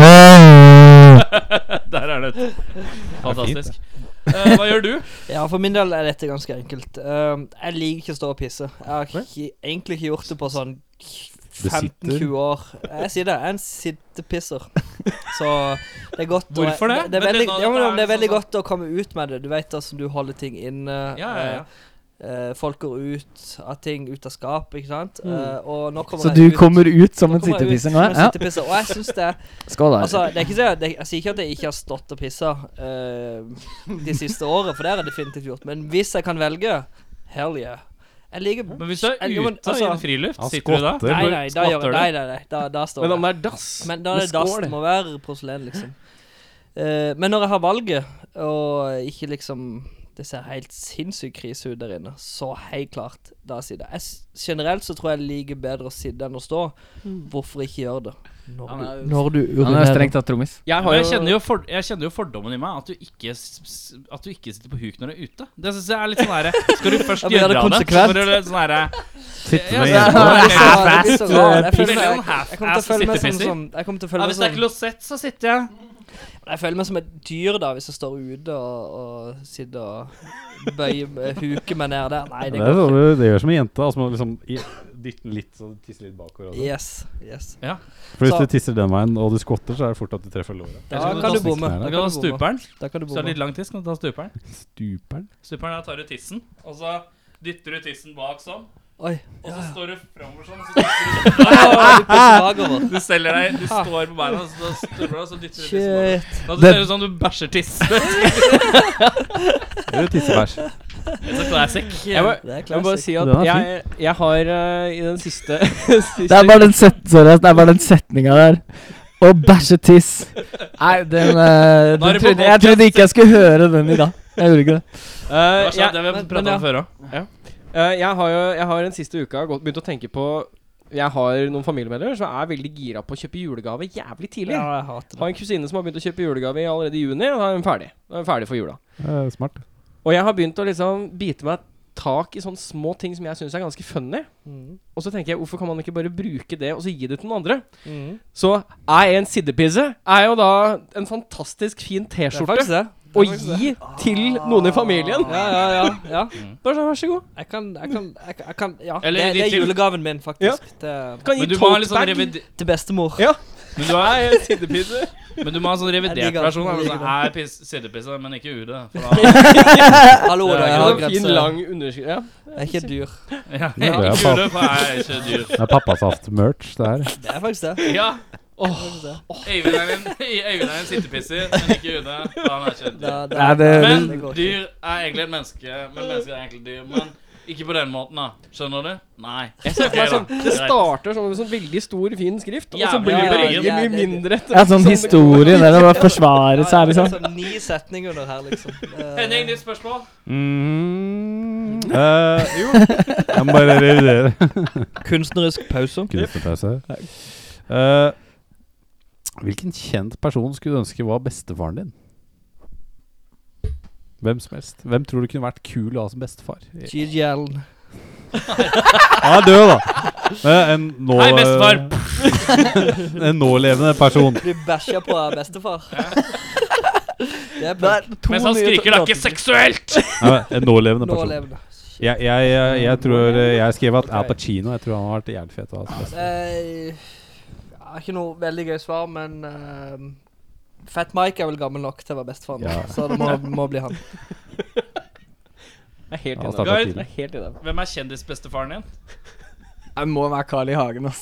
Speaker 3: Der er det. Fantastisk. Eh, hva gjør du?
Speaker 7: Ja, for min del er dette ganske enkelt. Ehm, jeg liker ikke å stå og pisse. Jeg har ikke, egentlig ikke gjort det på sånn
Speaker 1: Du sitter?
Speaker 7: 15-20 år. Jeg sier det, jeg er en sittepisser. Så det er godt å-
Speaker 3: Hvorfor det?
Speaker 7: Det er
Speaker 3: Men
Speaker 7: veldig,
Speaker 3: det- nå-
Speaker 7: ja, men,
Speaker 3: dette er
Speaker 7: det er
Speaker 3: liksom
Speaker 7: veldig
Speaker 3: sånn-
Speaker 7: godt å komme ut med det. Du vet altså, du holder ting inne.
Speaker 3: Ja, ja, ja.
Speaker 7: eh, eh, folk går ut av ting, ut av skapet, ikke sant.
Speaker 9: Mm.
Speaker 7: Eh, og nå kommer
Speaker 9: Så
Speaker 7: jeg
Speaker 9: du
Speaker 7: ut-
Speaker 9: kommer ut som
Speaker 7: nå
Speaker 9: en
Speaker 7: kommer jeg ut
Speaker 9: sittepisser
Speaker 7: som
Speaker 9: nå?
Speaker 7: en
Speaker 9: Ja.
Speaker 7: sittepisser, Og jeg syns det
Speaker 9: Skål, da.
Speaker 7: Altså, det er ikke så, det, jeg sier ikke at jeg ikke har stått og pissa eh, de siste årene, for det har jeg definitivt gjort. Men hvis jeg kan velge Hell yeah. Jeg liker
Speaker 3: Men hvis du er
Speaker 7: jeg- jo, men altså,
Speaker 3: ute i en friluft,
Speaker 1: Han
Speaker 3: sitter du da?
Speaker 1: skvatter.
Speaker 7: Nei, nei, da, gjør,
Speaker 3: Skvatter du?
Speaker 7: nei, nei, nei da, da står
Speaker 2: Men
Speaker 7: jeg.
Speaker 2: om det er dass
Speaker 7: Men da er det dass. Det må være porselen, liksom. Eh, men når jeg har valget, og ikke liksom Det ser helt sinnssykt krise ut der inne, så helt klart, da sier jeg det. Jeg s- Generelt så tror jeg jeg liker bedre å sitte enn å stå. Hvorfor ikke gjøre det?
Speaker 9: Når du
Speaker 13: Han er strengt
Speaker 9: tatt trommis.
Speaker 2: Jeg har
Speaker 3: Men
Speaker 2: jo
Speaker 3: jeg, kjenner jo for, jeg kjenner jo fordommen i meg, at du ikke, s- s- at du ikke sitter på huk når du er ute. Det synes jeg er litt sånn herre Skal du først
Speaker 7: Ja, men gjør
Speaker 3: gjøre
Speaker 7: det
Speaker 3: av det, så
Speaker 7: konsekvent.
Speaker 3: må du litt sånn herre
Speaker 1: Sitte
Speaker 3: Ja,
Speaker 1: med
Speaker 3: ja.
Speaker 1: jenta.
Speaker 7: det blir så rart, det blir så rart. Jeg føler
Speaker 3: Veldig
Speaker 7: meg-
Speaker 3: sånn half-ass
Speaker 7: Jeg kommer til å sånn- føle meg som,
Speaker 3: sittepisser.
Speaker 7: som Jeg kommer til å sånn-
Speaker 3: Ja,
Speaker 7: føle meg
Speaker 3: hvis det er
Speaker 7: som
Speaker 3: klosett, så sitter jeg.
Speaker 7: Jeg føler meg som et dyr da Hvis jeg står ute og, og sitter og bøyer meg- Huker meg ned der Nei,
Speaker 1: Det,
Speaker 7: det
Speaker 1: er
Speaker 7: går
Speaker 1: sånn
Speaker 7: ikke
Speaker 1: du- det gjør som en jente. Altså, man liksom i- dytter den litt så tisser litt bakover. og sånn.
Speaker 7: Yes, yes
Speaker 1: For hvis
Speaker 7: Så-
Speaker 1: du tisser den veien og du skvatter, så er det fort at du treffer låret.
Speaker 7: Da
Speaker 3: skal
Speaker 7: kan
Speaker 3: du
Speaker 7: du bomme
Speaker 1: knærne.
Speaker 3: Da
Speaker 7: Da
Speaker 3: kan
Speaker 7: kan
Speaker 3: du
Speaker 7: du bomme
Speaker 3: stuperen.
Speaker 7: Da kan du
Speaker 2: Sånn
Speaker 3: Så er det
Speaker 7: bomme
Speaker 3: litt lang tiss, kan du ta stuperen.
Speaker 1: Stuperen.
Speaker 3: Stuperen, da tar du tissen, og så dytter du tissen bak sånn.
Speaker 7: Oi
Speaker 3: Og så står du framover sånn, og så dytter
Speaker 7: Du pusser bakover
Speaker 3: du Du selger deg, du står på beina, og så stupper du, og så
Speaker 2: sånn-
Speaker 3: dytter du tissen bakover.
Speaker 7: Shit
Speaker 3: Da ser det ut som du bæsjer tiss.
Speaker 1: Eller tissebæsj.
Speaker 3: Så classic.
Speaker 2: Jeg må-
Speaker 7: Det er
Speaker 2: jeg må bare
Speaker 7: classic
Speaker 2: si at
Speaker 1: Den er
Speaker 2: jeg, jeg har eh, i den siste, siste
Speaker 9: Det er bare den, set sorry, ass, det er bare den setninga der. Å bæsje tiss. Nei, den, eh,
Speaker 3: Da er
Speaker 9: den
Speaker 3: det på
Speaker 9: trodde, Jeg trodde ikke jeg skulle høre den i dag. Jeg gjorde ikke det.
Speaker 2: Eh,
Speaker 3: Det har
Speaker 2: jeg,
Speaker 3: vi
Speaker 7: men-
Speaker 3: pratet
Speaker 7: men ja.
Speaker 3: om før òg.
Speaker 2: eh, jeg har jo Jeg har den siste uka gått, begynt å tenke på Jeg har noen familiemedlemmer som er veldig gira på å kjøpe julegave jævlig tidlig.
Speaker 7: Ja, jeg hater det
Speaker 2: Har en kusine som har begynt å kjøpe julegave allerede i juni. Og da er hun ferdig. Da er hun ferdig for jula.
Speaker 1: Eh, Smart.
Speaker 2: Og jeg har begynt å liksom bite meg tak i sånne små ting som jeg syns er ganske funny.
Speaker 7: Mhm.
Speaker 2: Og så tenker jeg, hvorfor kan man ikke bare bruke det og så gi det til noen andre?
Speaker 7: Mhm.
Speaker 2: Så er en siddepisse er jo da en fantastisk fin
Speaker 7: Det er
Speaker 2: T-skjorte
Speaker 7: faktisk det Ah.
Speaker 2: å gi til noen i familien.
Speaker 7: Ja, ja, ja, ja.
Speaker 2: Bare sånn, vær så god.
Speaker 7: Jeg kan, jeg kan, jeg kan, jeg kan Ja,
Speaker 3: Eller
Speaker 7: det, det
Speaker 3: litt
Speaker 7: er
Speaker 3: til.
Speaker 7: julegaven min
Speaker 2: Ja.
Speaker 7: faktisk til,
Speaker 2: Kan
Speaker 3: Men
Speaker 2: gi
Speaker 3: du må ha litt sånn
Speaker 2: tote bag
Speaker 3: revid-
Speaker 7: til bestemor
Speaker 2: Ja.
Speaker 3: Men du har
Speaker 2: Nei, en siddepisse.
Speaker 3: Men du må ha en sånn
Speaker 7: Jeg
Speaker 3: revidert
Speaker 7: digger det.
Speaker 3: versjon. Altså,
Speaker 7: Jeg digger
Speaker 3: er piss- sidepisse, men ikke UD. For da,
Speaker 7: Hallo,
Speaker 3: Det er
Speaker 7: da
Speaker 3: ikke
Speaker 7: jeg har
Speaker 2: En fin,
Speaker 7: grenser
Speaker 2: lang underskrift. Ja.
Speaker 7: Jeg er ikke dyr
Speaker 3: ja,
Speaker 1: Ja, det er
Speaker 3: ikke
Speaker 1: faen.
Speaker 3: UD, for jeg er ikke dyr.
Speaker 1: Det er pappasaft-merch, det her.
Speaker 7: Det er faktisk det
Speaker 3: Ja,
Speaker 7: Det
Speaker 3: Øyvind er en, Øyvind er en sittepisser, men ikke UD. For han er ikke dyr.
Speaker 7: Da- da-
Speaker 9: Nei, det-
Speaker 3: Men
Speaker 7: det går ikke.
Speaker 3: dyr er egentlig et menneske. Men mennesker er egentlig dyr. Men ikke på den måten, da. Skjønner du? Nei. Ok,
Speaker 2: Det, er
Speaker 3: da.
Speaker 2: sånn, det
Speaker 3: Greit.
Speaker 2: starter som en sånn veldig stor, fin skrift, og så
Speaker 3: Jævlig
Speaker 2: blir det
Speaker 3: mye
Speaker 2: veldig
Speaker 7: penger.
Speaker 2: mye mindre etter
Speaker 9: Det er sånn
Speaker 2: som det går.
Speaker 9: historie der det bare forsvarer seg,
Speaker 7: det er
Speaker 9: liksom.
Speaker 7: sånn ni setninger under her, liksom. Eh,
Speaker 3: Henning, ditt spørsmål?
Speaker 1: Mm. Eh, jo. Jeg må bare revidere.
Speaker 7: Kunstnerisk pause.
Speaker 1: Kunstnerpause. Eh, hvilken kjent person skulle du ønske var bestefaren din? Hvem som helst. Hvem tror du kunne vært kul å ha som bestefar?
Speaker 7: Gigi Allen.
Speaker 1: Han er død, da! Eh, en nå,
Speaker 3: Hei, bestefar!
Speaker 1: En nålevende person.
Speaker 7: Blir bæsja på av bestefar. Det er
Speaker 9: Det er
Speaker 7: punk.
Speaker 9: to
Speaker 3: Mens han
Speaker 9: nye
Speaker 3: skriker, det er ikke seksuelt!
Speaker 1: Ja, en nålevende
Speaker 7: Nå
Speaker 1: person.
Speaker 7: levende. Shit.
Speaker 1: Jeg, jeg, jeg, jeg tror eh, jeg skrev at Al
Speaker 7: Ok.
Speaker 1: Pacino Jeg tror han har vært jævlig fet. å ha som bestefar.
Speaker 7: Eh, Jeg har ikke noe veldig gøy svar, men eh, Fat Mike er vel gammel nok til å være bestefar nå,
Speaker 1: Ja.
Speaker 7: så det må, må bli han.
Speaker 2: Jeg er helt
Speaker 1: Han
Speaker 2: enig.
Speaker 1: startet
Speaker 3: Guard.
Speaker 1: tidlig.
Speaker 2: Jeg er helt enig.
Speaker 3: Hvem er kjendisbestefaren din?
Speaker 9: Jeg må være Carl I. Hagen, ass.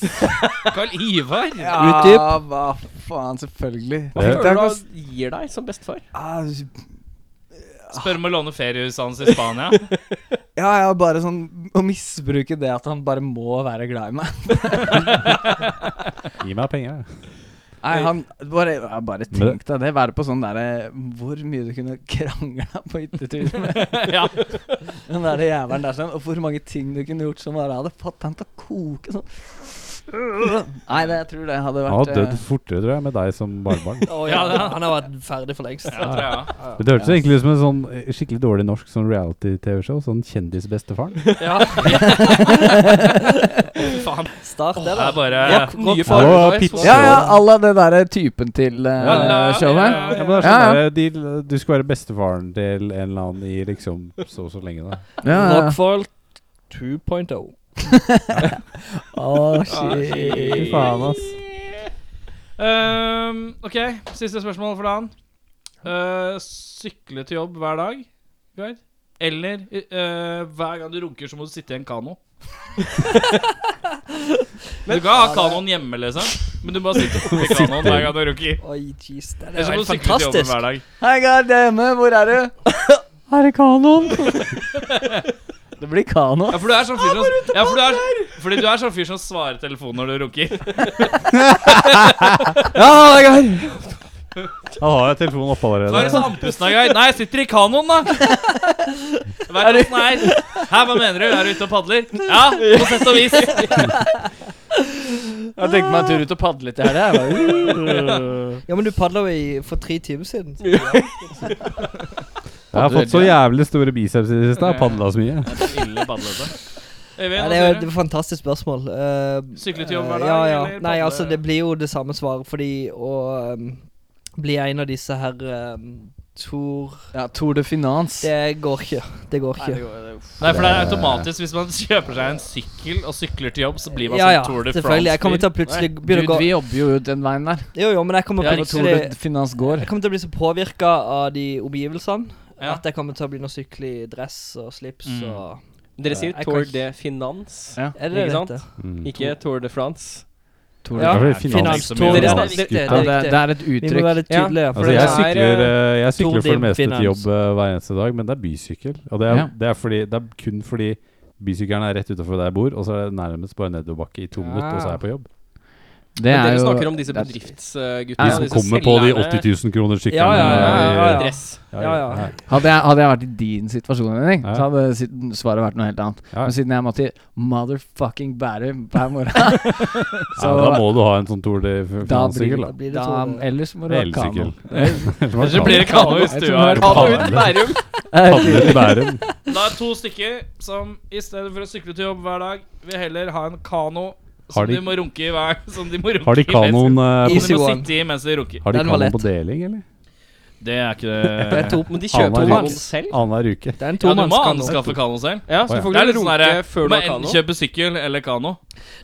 Speaker 3: Carl Ivar?
Speaker 9: Utdyp.
Speaker 7: Utdyp.
Speaker 9: hva faen, selvfølgelig.
Speaker 2: Hva
Speaker 1: Det-
Speaker 2: føler du han gir deg som bestefar?
Speaker 9: Ah,
Speaker 3: Spør om å låne feriehuset hans i Spania.
Speaker 9: Ja, jeg er bare sånn Å misbruke det at han bare må være glad i meg.
Speaker 1: Gi meg penger. jeg.
Speaker 9: Nei, han Bare, ja, bare
Speaker 1: Men-
Speaker 9: tenk deg det. Være på sånn derre Hvor mye du kunne krangla på hyttetur med
Speaker 3: ja.
Speaker 9: den derre jævelen der sånn. Og hvor mange ting du kunne gjort som bare hadde fått han til å koke sånn. Nei, det, jeg tror det hadde
Speaker 1: Han
Speaker 9: vært
Speaker 1: har dødd
Speaker 9: eh,
Speaker 1: fortere, tror jeg, med deg som barnebarn.
Speaker 7: Å ja, han har vært ferdig for lengst.
Speaker 1: Men Det hørtes egentlig ut som en sånn eh, skikkelig dårlig norsk sånn reality-TV-show. Sånn Kjendisbestefaren.
Speaker 7: Ja. Faen. Start det, da.
Speaker 14: er bare
Speaker 7: Rock- rock-
Speaker 1: Å,
Speaker 7: rock-
Speaker 1: pitch.
Speaker 9: Ja, ja, alle den derre typen til eh,
Speaker 2: Ja,
Speaker 9: showet.
Speaker 2: ja,
Speaker 1: Ja, men det er
Speaker 9: Ja,
Speaker 1: sånn
Speaker 9: ja.
Speaker 1: der, de, Du skal være bestefaren til en eller annen i liksom så og så lenge, da.
Speaker 9: Ja, ja.
Speaker 7: Rockfall 2.0.
Speaker 3: oh.
Speaker 9: Å,
Speaker 1: Fy
Speaker 9: shit.
Speaker 1: faen, ass.
Speaker 3: Ehm, OK, siste spørsmål for dagen. Eh, sykle til jobb hver dag, Guide? Eller eh, hver gang du runker, så må du sitte i en kano. Men, du kan ha kanoen hjemme, liksom, men du må sitte oppi kanoen hver gang du runker.
Speaker 7: Oi, jeez. Det
Speaker 3: Eller
Speaker 7: er
Speaker 3: så må
Speaker 7: helt
Speaker 3: du sykle til jobben
Speaker 7: fantastisk.
Speaker 3: hver dag.
Speaker 9: Hei, goddemme, hvor er du? Her er kanoen. det blir kano.
Speaker 3: Ja, for du er sånn fyr som ja, for du er, Fordi du er sånn fyr som svarer telefonen når du runker.
Speaker 1: Han har jo telefonen oppe
Speaker 3: Da er du
Speaker 1: allerede.
Speaker 3: så andpusten av Guide. Nei, jeg sitter i kanoen, da. Vær åssen det er. Hæ, hva mener du? Er du ute og padler? Ja, på sett og vis.
Speaker 9: Jeg tenkte meg en tur ut og padle litt i helga.
Speaker 7: Ja, men du padla jo i- for tre timer siden.
Speaker 1: Jeg har fått så jævlig store biceps i det siste. Jeg har padla så mye.
Speaker 3: Ille altså. padlete.
Speaker 7: Ja,
Speaker 3: Øyvind,
Speaker 7: det
Speaker 3: hva
Speaker 7: er jo
Speaker 3: sier
Speaker 7: et
Speaker 3: du?
Speaker 7: fantastisk spørsmål. Eh,
Speaker 3: Sykle til jobb hver
Speaker 7: eh,
Speaker 3: dag,
Speaker 7: Ja, ja.
Speaker 3: eller
Speaker 7: Nei,
Speaker 3: padle?
Speaker 7: altså, det blir jo det samme svaret, fordi å um, bli en av disse her um, Tor
Speaker 9: Ja, Tour de Finance.
Speaker 7: Det går ikke. Det går ikke.
Speaker 3: Nei, for det er automatisk hvis man kjøper seg en sykkel og sykler til jobb, så blir man
Speaker 7: Ja, ja,
Speaker 3: sånn Tour de
Speaker 7: selvfølgelig. Jeg kommer
Speaker 3: France-fyr.
Speaker 7: til å plutselig begynne å
Speaker 9: Gud,
Speaker 7: gå
Speaker 9: vi jobber jo den veien der.
Speaker 7: Jo, jo, men jeg kommer
Speaker 3: Ja,
Speaker 9: Tour
Speaker 7: plutselig
Speaker 9: de Finance går.
Speaker 7: Jeg kommer til å bli så påvirka av de omgivelsene
Speaker 3: Ja.
Speaker 7: at jeg kommer til å begynne å sykle i dress og slips
Speaker 3: Mm.
Speaker 7: og
Speaker 2: Dere sier
Speaker 7: Jeg
Speaker 2: Tour
Speaker 7: kan-
Speaker 2: de Finance,
Speaker 9: Ja.
Speaker 7: Er det det
Speaker 2: Ikke sant?
Speaker 7: det heter?
Speaker 1: Mm.
Speaker 2: ikke Tour de France.
Speaker 9: Tour de
Speaker 7: Ja,
Speaker 1: Ja, for
Speaker 7: finans-
Speaker 1: finans-
Speaker 7: Tour de
Speaker 2: Dere-
Speaker 7: France.
Speaker 2: dere-
Speaker 7: Det
Speaker 9: Ja, det, det
Speaker 7: er riktig.
Speaker 9: er et
Speaker 7: Vi må
Speaker 9: uttrykk.
Speaker 7: være litt
Speaker 2: Ja.
Speaker 7: tydelige. for
Speaker 1: Altså,
Speaker 7: det
Speaker 1: jeg
Speaker 7: er-
Speaker 2: sy-
Speaker 1: sykler, eh, jeg
Speaker 14: Tour
Speaker 1: sykler for
Speaker 14: de
Speaker 1: det meste til
Speaker 14: Finance.
Speaker 1: jobb eh, hver eneste dag, men det er bysykkel. Og det er,
Speaker 9: Ja.
Speaker 1: det er, fordi, det er kun fordi bysykkelen er rett utafor der jeg bor, og så er det nærmest bare nedoverbakke i to minutter, og så er jeg på jobb.
Speaker 9: Det
Speaker 2: Men
Speaker 9: er
Speaker 2: dere
Speaker 9: jo
Speaker 2: snakker om disse
Speaker 9: det er-
Speaker 2: bedriftsguttene.
Speaker 1: De
Speaker 9: Ja,
Speaker 1: som kommer på de 80 000 kroners syklene.
Speaker 7: Ja, ja, ja, ja, ja.
Speaker 2: Dress.
Speaker 7: Ja, ja.
Speaker 9: Hadde jeg, hadde jeg vært i din situasjon, Henning,
Speaker 1: Ja.
Speaker 9: så hadde sit- svaret vært noe helt annet.
Speaker 1: Ja.
Speaker 9: Men siden jeg måtte i motherfucking Bærum hver morgen,
Speaker 1: Ja, da må du ha en sånn Tour de
Speaker 9: da
Speaker 1: Finance-sykkel,
Speaker 9: blir
Speaker 1: da.
Speaker 7: Da blir det
Speaker 9: da,
Speaker 7: Tour de-
Speaker 9: Ellers må du ha kano.
Speaker 1: Elsykkel. Ellers
Speaker 3: Så blir det kano i
Speaker 9: Jeg tror det
Speaker 3: stua.
Speaker 9: er
Speaker 3: her.
Speaker 1: kano.
Speaker 2: Ut i Bærum.
Speaker 1: Padler til Bærum.
Speaker 3: Da er to stykker som i stedet for å sykle til jobb hver dag, vil heller ha en kano
Speaker 1: Har
Speaker 3: som
Speaker 1: de-
Speaker 3: de må runke i hver Som de må runke
Speaker 1: Har de
Speaker 3: i mens-
Speaker 1: kanoen eh,
Speaker 3: Som de
Speaker 7: Easy
Speaker 3: må
Speaker 7: one.
Speaker 3: sitte i mens de runker.
Speaker 1: Har de
Speaker 7: Den var
Speaker 1: kanon
Speaker 7: lett.
Speaker 1: på deling, eller?
Speaker 14: Det er ikke
Speaker 2: Det
Speaker 14: det
Speaker 2: er to, men de
Speaker 1: Alle er
Speaker 2: kjøper kanoen
Speaker 1: rundt.
Speaker 2: selv.
Speaker 1: Annenhver uke.
Speaker 7: Det er en
Speaker 3: Ja, du må
Speaker 7: tomannskano.
Speaker 3: anskaffe kano selv.
Speaker 2: Ja, så
Speaker 1: Å,
Speaker 2: du
Speaker 1: ja.
Speaker 2: får
Speaker 3: Det
Speaker 2: ikke
Speaker 3: er litt sånn
Speaker 2: runke
Speaker 3: der,
Speaker 2: før
Speaker 3: Du
Speaker 2: du
Speaker 3: må
Speaker 2: har
Speaker 3: enten
Speaker 2: kano.
Speaker 3: kjøpe sykkel eller kano.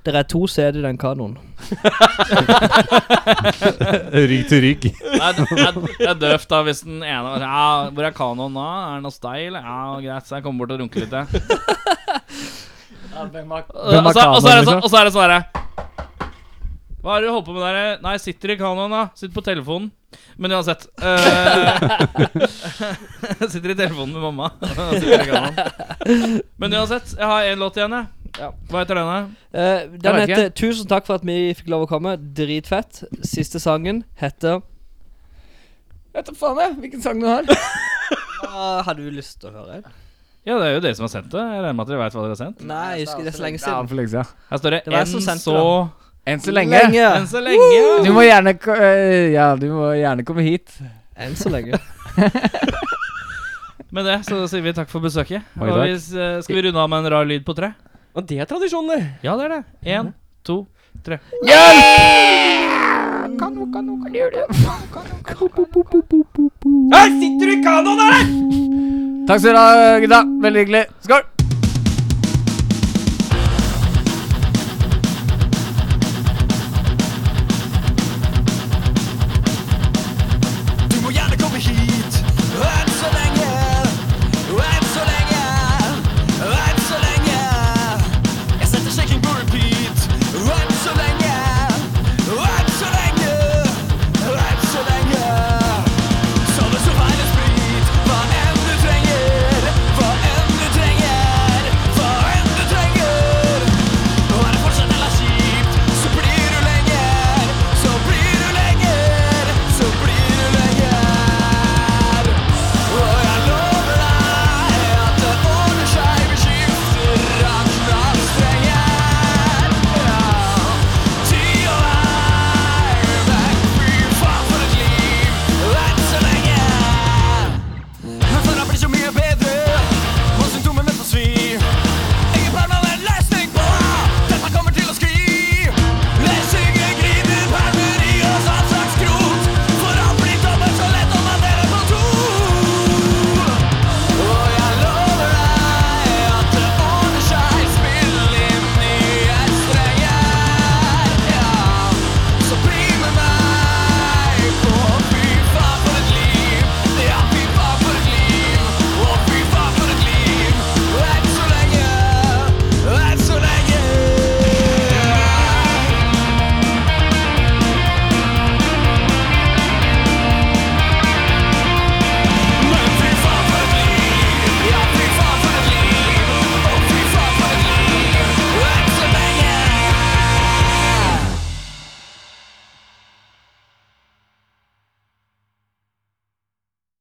Speaker 7: Det er to sæd i den kanoen.
Speaker 1: Rygg til rygg.
Speaker 3: Nei, Det er, det er døvt, da, hvis den ene var sånn, ja, 'Hvor er kanoen nå? Er den hos deg, eller?' 'Ja, greit, så jeg kommer bort og runker litt, jeg'.
Speaker 9: Hvem
Speaker 3: Og
Speaker 9: har
Speaker 3: så og så er det
Speaker 9: kanoen,
Speaker 3: sånn og så er det sånn herre Hva er det du holder på med der? eh? Nei, sitter i kanoen, da. Sitter på telefonen. Men uansett eh, Sitter i telefonen med mamma. Sitter i kanoen. Men uansett, jeg har én låt igjen, jeg. Hva heter den, da?
Speaker 9: Jeg
Speaker 7: Eh, den
Speaker 9: vet
Speaker 7: heter 'Tusen takk for at vi fikk lov å komme'. Dritfett. Siste sangen heter
Speaker 9: Vet da faen jeg hvilken sang du har.
Speaker 7: Hva Har du lyst til å høre?
Speaker 3: Ja, det er jo dere som har sendt det. Jeg regner med at dere vet hva dere har sendt.
Speaker 7: Nei, jeg husker det er så lenge
Speaker 9: Ja,
Speaker 7: siden.
Speaker 9: for lenge siden.
Speaker 3: Her står det,
Speaker 7: Det var jeg som
Speaker 3: enn
Speaker 7: sendte
Speaker 3: så
Speaker 9: Enn så lenge.
Speaker 3: Enn så lenge.
Speaker 9: Du må gjerne, ko- øh, ja, du må gjerne komme hit.
Speaker 7: Enn så lenge.
Speaker 3: Med det så sier vi takk for besøket.
Speaker 1: Mange
Speaker 3: Og
Speaker 1: takk.
Speaker 3: vi, s- eh, skal vi runde av med en rar lyd på tre?
Speaker 2: Og det er tradisjoner.
Speaker 3: Ja, det er det. Én, to, tre.
Speaker 2: Her sitter du i kanoen, der!
Speaker 9: Takk skal du ha, gutta. Veldig hyggelig. Skål!